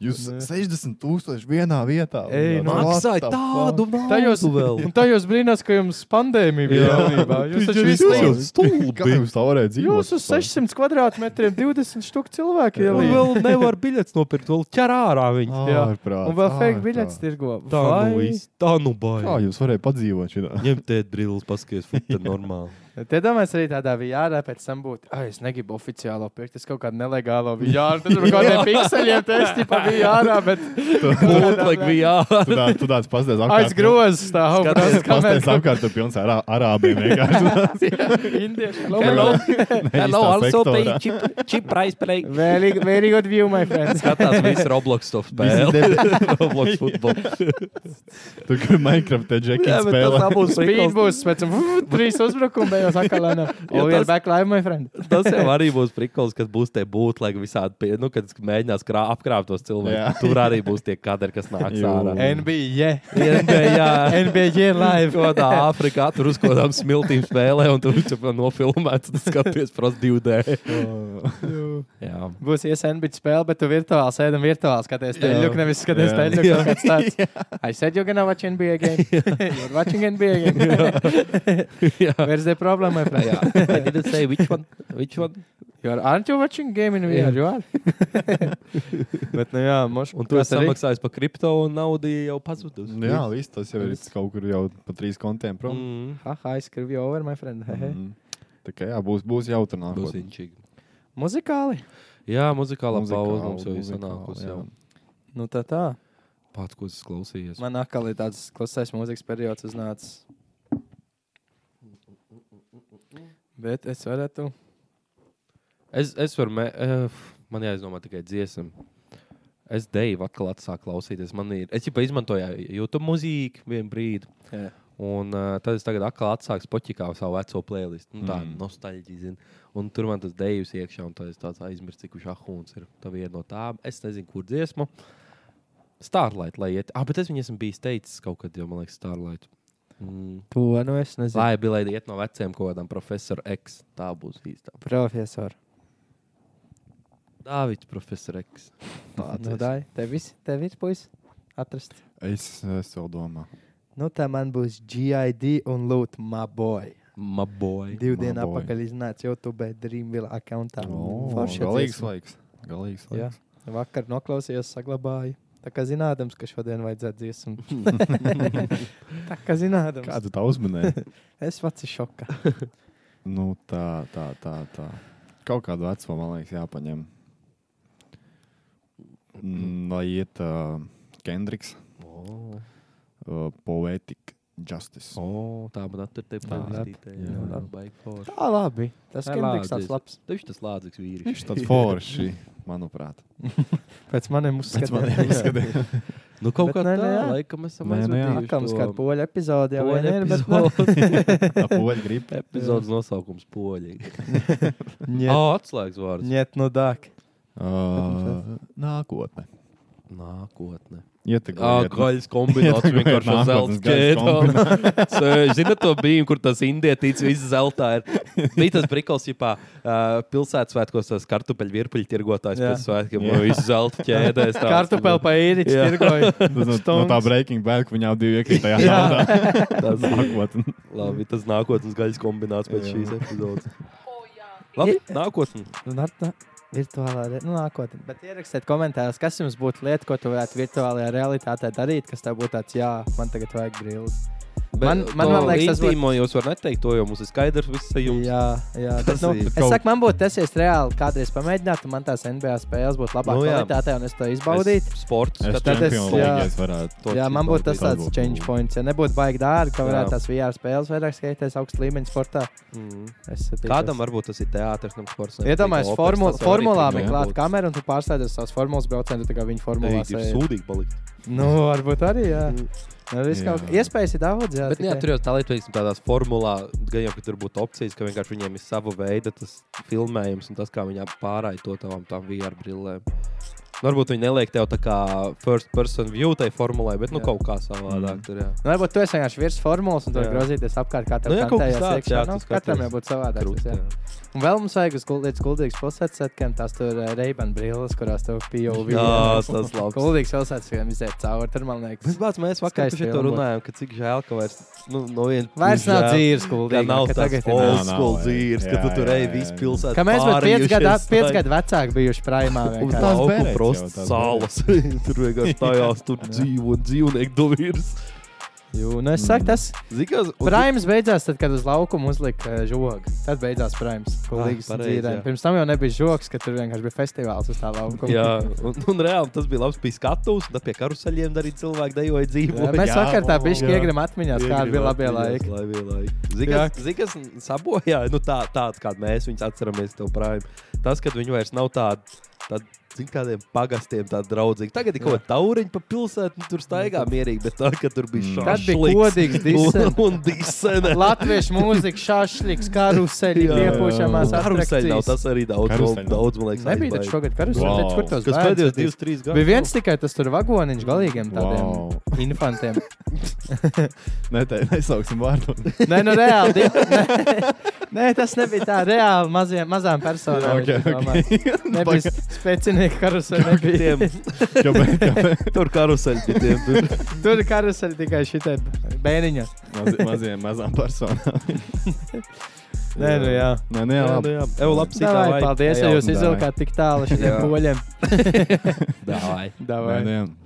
Speaker 1: jūs 60 tūkstoši vienā vietā.
Speaker 3: Ej, nu,
Speaker 2: Maksāj tādu
Speaker 3: Tajos,
Speaker 2: naudu vēl.
Speaker 3: un tajos brīnās, ka jums pandēmija bija jaunībā. Jūs taču
Speaker 1: Viņš
Speaker 3: visu
Speaker 1: ir stulbi. Kā jūs tā varēja
Speaker 3: Jūs uz 600 kvadrātmetriem 20 stūku cilvēku
Speaker 1: Un
Speaker 3: ielīdzi.
Speaker 4: Vēl nevar biļetes nopirkt, vēl ķer ārā viņas. jā.
Speaker 1: Ārprāt,
Speaker 3: Un vēl fake
Speaker 1: ārprāt.
Speaker 3: biļetes tirgo.
Speaker 4: Tā nu,
Speaker 3: Vai?
Speaker 4: viss, tā nu
Speaker 1: Kā
Speaker 4: baigi.
Speaker 1: jūs varējāt padzīvot šitā?
Speaker 4: Ņem tēt brilles, paskaties, futē normāli.
Speaker 3: Te domās arī tādā vijārā pēc tam būtu, ah, es negribu oficiālo pirkt, es kaut kādu nelegālo vijāru. Tad tur kaut kādiem pikseļiem testi pa vijārā, bet
Speaker 4: Būt laik VR.
Speaker 1: Tu tā- tu tāds pasties apkārt.
Speaker 3: aiz grozas oh, stāv.
Speaker 1: Tas
Speaker 3: brāl,
Speaker 1: pasties
Speaker 3: kamēr-
Speaker 1: apkārt, tu pilns ar ā- arābiem vienkārši.
Speaker 3: Indieši.
Speaker 4: Hello,
Speaker 1: Neīstā
Speaker 4: also
Speaker 1: sektorā.
Speaker 4: pay cheap, cheap price play.
Speaker 3: Very, very good view, my friends.
Speaker 2: Skatās, viss Roblox top
Speaker 1: Visi
Speaker 2: spēle. Roblox futbol.
Speaker 1: Tur, kur Minecraft te džekins spēlē.
Speaker 2: būs
Speaker 3: Speed būs pēc tam vuv, trīs uzbrukumi beigās atkal. lēnām. Oh, we are
Speaker 2: tas-
Speaker 3: back live, my friend.
Speaker 2: Tas jau arī būs priklis, kad būs tie būtlēki visādi, pie, nu, kad mēģinās krā, apkrāpt tos
Speaker 1: Jā.
Speaker 2: cilvēkus. Tur arī būs tie kadri, kas nāks
Speaker 1: Jū.
Speaker 2: ārā.
Speaker 3: NBA.
Speaker 2: NBA,
Speaker 3: NBA live.
Speaker 2: Kaut kādā Āfrikā tur uz kaut kādām smiltīm spēlē, un tur tur nofilmēts, un skaties, prasa 2D. Jā,
Speaker 3: Būs iesaistīta spēle, bet tu virtuāli sēdi un virtuāli skaties teļu, nevis skaties
Speaker 1: Jā.
Speaker 3: teļu.
Speaker 2: Jā.
Speaker 3: Kāds tāds - I said you're gonna watch NBA game. You're watching NBA game.
Speaker 2: jā.
Speaker 3: Where's the problem, my friend?
Speaker 2: jā. I didn't say which one. Which one.
Speaker 3: You're, aren't you watching game in
Speaker 2: Jā.
Speaker 3: VR? You are. bet, nu jā, mums.
Speaker 2: Un tu esi samaksājis par kripto, un naudu jau pazudusi.
Speaker 1: Jā, viss tas jau ir kaut kur jau pa trīs kontiem prom.
Speaker 2: Mm.
Speaker 3: Haha, I screw you over, my friend. Mm.
Speaker 1: Mhm. Tā kā jā, būs, būs jautri
Speaker 2: Būs
Speaker 1: nākotnē.
Speaker 2: inčīgi.
Speaker 3: Muzikāli.
Speaker 2: Jā, muzikālā
Speaker 1: Muzikāli,
Speaker 2: pauze mums jau ir
Speaker 1: muzikāli,
Speaker 2: sanākusi.
Speaker 1: jā.
Speaker 2: jau.
Speaker 3: Nu, tā tā.
Speaker 2: Pats, ko esmu klausījies.
Speaker 3: Man atkal ir tāds klasisks mūzikas periods uznācis. Bet es varētu.
Speaker 2: Es, es varu, mē, uh, man jāizdomā tikai dziesma. Es deju, atkal atsāku klausīties. Man ir, es jau izmantoju YouTube mūziku vienu brīdi.
Speaker 3: Jā.
Speaker 2: Un uh, tad es tagad atkal atsāku spoķikā savu veco playlist. Nu, tā
Speaker 1: Mm.
Speaker 2: mm. nostalģija, zina. Un tur man tas dejus iekšā, un tad es tāds aizmirsu, cik viņš ahūns ir. Tā viena no tām. Es nezinu, kur dziesmu. Starlight, lai iet. Ah, bet es viņu esmu bijis teicis kaut kad, jo man liekas, Starlight. Mm.
Speaker 3: To nu es nezinu.
Speaker 2: Lai bija, lai iet no veciem kaut kādam profesoram X. Tā būs īsta.
Speaker 3: Profesor.
Speaker 2: Dāvids, profesor X.
Speaker 3: Nu,
Speaker 2: Tāds.
Speaker 3: dai, tev viss, tev ir puisis atrast.
Speaker 1: Es, es vēl domāju.
Speaker 3: Nu, tā man būs GID un Loot my boy.
Speaker 2: Maboja.
Speaker 3: Divu
Speaker 1: My
Speaker 3: dienu
Speaker 1: boy.
Speaker 3: atpakaļ iznāca YouTube Dreamville akkontā.
Speaker 1: O,
Speaker 3: Forša
Speaker 1: Galīgs
Speaker 3: dziesma.
Speaker 1: laiks. Galīgs
Speaker 3: Jā.
Speaker 1: laiks.
Speaker 3: Vakar noklausījos, saglabāju. Tā kā zinādams, ka šodien vajadzētu dziesmu. tā kā zinādams.
Speaker 1: Kā tu tā uzmanēji?
Speaker 3: Es pats esmu šokā.
Speaker 1: Nu, tā, tā, tā, tā. Kaut kādu vecumu, man liekas, jāpaņem. Mm, Lai iet uh, Kendriks,
Speaker 2: Oh.
Speaker 1: uh, Poetic Justice.
Speaker 2: Oh, tā man tur te
Speaker 3: Tā,
Speaker 2: patīk.
Speaker 1: jā, jā.
Speaker 2: Viņš
Speaker 1: Ah,
Speaker 3: Tā labi. Tas
Speaker 2: Tā
Speaker 3: Kendricks
Speaker 2: labi.
Speaker 3: tāds labs.
Speaker 2: tas lādzīgs
Speaker 1: Viņš
Speaker 2: vīrišķis.
Speaker 1: ir tāds forši, manuprāt.
Speaker 3: Pēc maniem uzskatiem.
Speaker 1: maniem uzskatiem.
Speaker 2: Nu, kaut
Speaker 3: Bet
Speaker 2: kā
Speaker 3: nē,
Speaker 2: tā,
Speaker 3: nē, jā.
Speaker 2: laikam, esam
Speaker 1: Nē, nu jā.
Speaker 3: Akams, kā
Speaker 2: aizvadījuši to
Speaker 3: poļu epizode jau vien ir, bet nu,
Speaker 2: poļu
Speaker 1: Tā poļi grib.
Speaker 2: epizodes nosaukums poļi. Jā,
Speaker 3: ņet,
Speaker 2: oh, atslēgas vārds.
Speaker 3: ņet no dāk.
Speaker 1: Uh, nākotne.
Speaker 2: Nākotne.
Speaker 1: Ietekmē.
Speaker 2: Ah,
Speaker 3: Nu,
Speaker 2: gaļas kombinācija vienkārši ar zelta
Speaker 1: Nākotnes gaļas
Speaker 2: ķēdi. Ziniet, to bija, kur tas indietīts viss zeltā ir. Bija tas brīnums, ja uh, pilsētas svētkos tas kartupeļu virpuļu tirgotājs
Speaker 3: Jā.
Speaker 2: pēc svētkiem,
Speaker 1: Jā.
Speaker 2: jo viss zelta ķēdēs.
Speaker 3: Kartupēl pa īriķi
Speaker 2: Jā.
Speaker 3: tirgoju.
Speaker 1: No, Nu, no tā Breaking Bad, ka viņām divi iekrita tajā naudā.
Speaker 2: Tas
Speaker 1: Nākotne.
Speaker 2: labi, tas nākotnes gaļas kombinācija pēc
Speaker 1: Jā.
Speaker 2: šīs epizodes. Labi, nākotnē.
Speaker 3: Nu, Marta, virtuālā re... nu, nākotnē. Bet ierakstiet komentāros, kas jums būtu lieta, ko tu varētu virtuālajā realitātē darīt, kas tev būtu tāds, jā, man tagad vajag grilles. Man- man vēl liekas, tas
Speaker 2: tas bija. Jūs varat neteikt to, jo mums ir skaidrs viss jums.
Speaker 3: Jā, jā. Bet,
Speaker 2: Tas
Speaker 3: nu,
Speaker 2: ir
Speaker 3: es
Speaker 2: kaut-
Speaker 3: saku, man būtu tas, ja es reāli kādreiz pamēģinātu, un man tās NBA spēles būtu labākas
Speaker 2: Nu,
Speaker 3: nu,
Speaker 2: jā.
Speaker 3: kvalitātē, un es to izbaudītu.
Speaker 2: Es Sports.
Speaker 1: Es
Speaker 2: skatos.
Speaker 3: Tad es-
Speaker 1: čempionu
Speaker 3: jā.
Speaker 1: līgā es varētu.
Speaker 2: To
Speaker 3: Jā, man būtu tas
Speaker 1: izbaudīt.
Speaker 3: tāds
Speaker 1: Tas būtu
Speaker 3: change
Speaker 1: būtu.
Speaker 3: point. Ja nebūtu baigi dārgi, ka
Speaker 2: Jā.
Speaker 3: varētu tās VR spēles vairāk skatīties augsta līmeņa sportā.
Speaker 2: Mm.
Speaker 3: Es satikos.
Speaker 2: Kādam varbūt tas ir teātris, nevis sports. nevis
Speaker 3: Iedomājieties,
Speaker 2: operas,
Speaker 3: formu,
Speaker 2: tas arī
Speaker 3: formulā
Speaker 2: tik
Speaker 1: jā.
Speaker 2: var
Speaker 3: meklēt
Speaker 2: būt.
Speaker 3: kameru, un tu pārstājies savas formulas braucienu, tā kā viņa formulā
Speaker 2: Ei, ir
Speaker 3: sēž.
Speaker 2: sūdīgi palikt.
Speaker 3: Nu, varbūt arī, jā.
Speaker 2: Mm.
Speaker 3: Nu, viss
Speaker 1: Jā.
Speaker 3: kaut kā iespējas ir daudz, jā.
Speaker 2: Bet, nu, jā,
Speaker 3: tikai-
Speaker 2: tur jau tā līnija, ka tādā formulā, gan jau ka tur būtu opcijas, ka vienkārši viņiem ir sava veida tas filmējums un tas, kā viņi pārāja to tavām tām VR brillēm. Nu, Varbūt viņi neliek tev tā kā first person view tai formulai, bet nu
Speaker 3: Jā.
Speaker 2: jā. kaut kā savādāk tur. Jā.
Speaker 3: Nu, varbūt tu esi vienkārši virs formulas un tur
Speaker 2: Jā.
Speaker 3: grozīties apkārt, kā tev
Speaker 2: Nu, jā, kaut kas
Speaker 3: kantējās
Speaker 2: tāds,
Speaker 3: iekšā.
Speaker 2: jā,
Speaker 3: Nu,
Speaker 2: tas
Speaker 3: Katram
Speaker 2: katrs
Speaker 3: jābūt savādāk.
Speaker 2: Krūti,
Speaker 3: tas, jā.
Speaker 2: jā.
Speaker 3: Un vēl mums vajag uz guld- līdz gudrīgas pilsētas sakām, tās tur eh, reibana brilles, kurās tev POV.
Speaker 2: Jā, tas labs.
Speaker 3: Gudrīgas pilsētas sakām iziet cauri, tur man
Speaker 2: Mēs,
Speaker 3: liekas.
Speaker 2: bāc, mēs vakar par
Speaker 3: Skaisti
Speaker 2: šo
Speaker 3: filma būtu.
Speaker 2: runājām, ka cik žēl, ka vairs nu, no vienas
Speaker 3: Vairs nav dzīves
Speaker 2: Tā
Speaker 3: gudrīgas.
Speaker 2: nav tāda
Speaker 1: Nav, nav,
Speaker 2: old school
Speaker 1: jā.
Speaker 2: dzīves, ka
Speaker 1: Jā,
Speaker 2: tu tur
Speaker 1: jā,
Speaker 2: ej
Speaker 1: jā, jā.
Speaker 2: visu pilsētu.
Speaker 3: Ka mēs bijām pieci gadi,
Speaker 2: pārījušies,
Speaker 3: pieci
Speaker 2: tā-
Speaker 3: gadi vecāki bijuši primā.
Speaker 2: Uz
Speaker 3: vienkārši.
Speaker 1: tās
Speaker 2: lauku
Speaker 1: beretes jau,
Speaker 2: prosts
Speaker 1: tās
Speaker 2: salas. tur vienkārši stājās, tur dzīvo un dzīvnieku dovīrs.
Speaker 3: Jū, nu es saku, tas
Speaker 2: Zikās,
Speaker 3: primes beidzās, tad, kad uz laukuma uzlika eh, žogu. Tad beidzās primes. Gudrīgas
Speaker 2: Ah, pareizi,
Speaker 3: dzīvēm.
Speaker 2: jā.
Speaker 3: Pirms tam jau nebija žoks, ka tur vienkārši bija festivāls uz tā laukuma.
Speaker 2: Jā, un, un reāli tas bija labs pie skatuves, un tad pie karuseļiem arī cilvēki dejoja dzīvo.
Speaker 3: Jā, mēs
Speaker 1: Jā,
Speaker 3: vakarā tā
Speaker 1: o,
Speaker 3: bišķi
Speaker 1: jā.
Speaker 3: iegram atmiņās, kāda bija labie laiki. Jā.
Speaker 2: Zini, kas sabojāja nu, tā, tāds, kāds mēs viņus atceramies, to prāmu. Tas, kad viņi vairs nav tādi. Tād, Zinu, kādiem pagastiem tā draudzīgi. Tagad ir kaut kāda tauriņa pa pilsētu, un tur staigā mierīgi, bet tā, ka tur bija šāds.
Speaker 3: Mm. Tad bija godīgs disens.
Speaker 2: un disene.
Speaker 3: Latviešu mūzika, šāšliks, karuseļi,
Speaker 2: Jā, jā, jā.
Speaker 3: piepūšamās
Speaker 2: Un karuseļi nav,
Speaker 3: atrakcijas.
Speaker 2: Tas arī daudz,
Speaker 1: Karuseļi nav.
Speaker 2: daudz man liekas,
Speaker 3: Nebija taču
Speaker 2: aizbaiga.
Speaker 3: šogad karuseļi,
Speaker 1: Wow.
Speaker 3: taču kur tos
Speaker 2: Kas
Speaker 3: bērns
Speaker 2: pēdējos
Speaker 3: vadīs?
Speaker 2: divus, trīs gadus?
Speaker 3: Bija viens tikai tas tur vagoniņš galīgiem tādiem wow.
Speaker 1: Wow.
Speaker 3: infantiem.
Speaker 1: Nē, tā nesauksim vārdu.
Speaker 3: Nē, nu reāli. di- Nē, nē, tas nebija tā reāli maziem, mazām personām.
Speaker 1: Ok,
Speaker 3: Okay, okay. Nebija specinieki karuseļi. Nebija.
Speaker 2: Tiem, tur karuseļi bija tiem. Tur.
Speaker 3: Tur karuseļi tikai šitie bēniņi.
Speaker 1: Mazajām mazām personām.
Speaker 3: Nē, nu jā.
Speaker 1: Nē, nē,
Speaker 2: Jā,
Speaker 1: labi.
Speaker 2: jā. Evo, labi,
Speaker 3: Davai, paldies, ja jūs
Speaker 1: davai.
Speaker 3: izvilkāt tik tālu šiem
Speaker 2: Jā.
Speaker 3: poļiem.
Speaker 2: Davai.
Speaker 1: Nē,
Speaker 3: Davai.
Speaker 1: nu nē.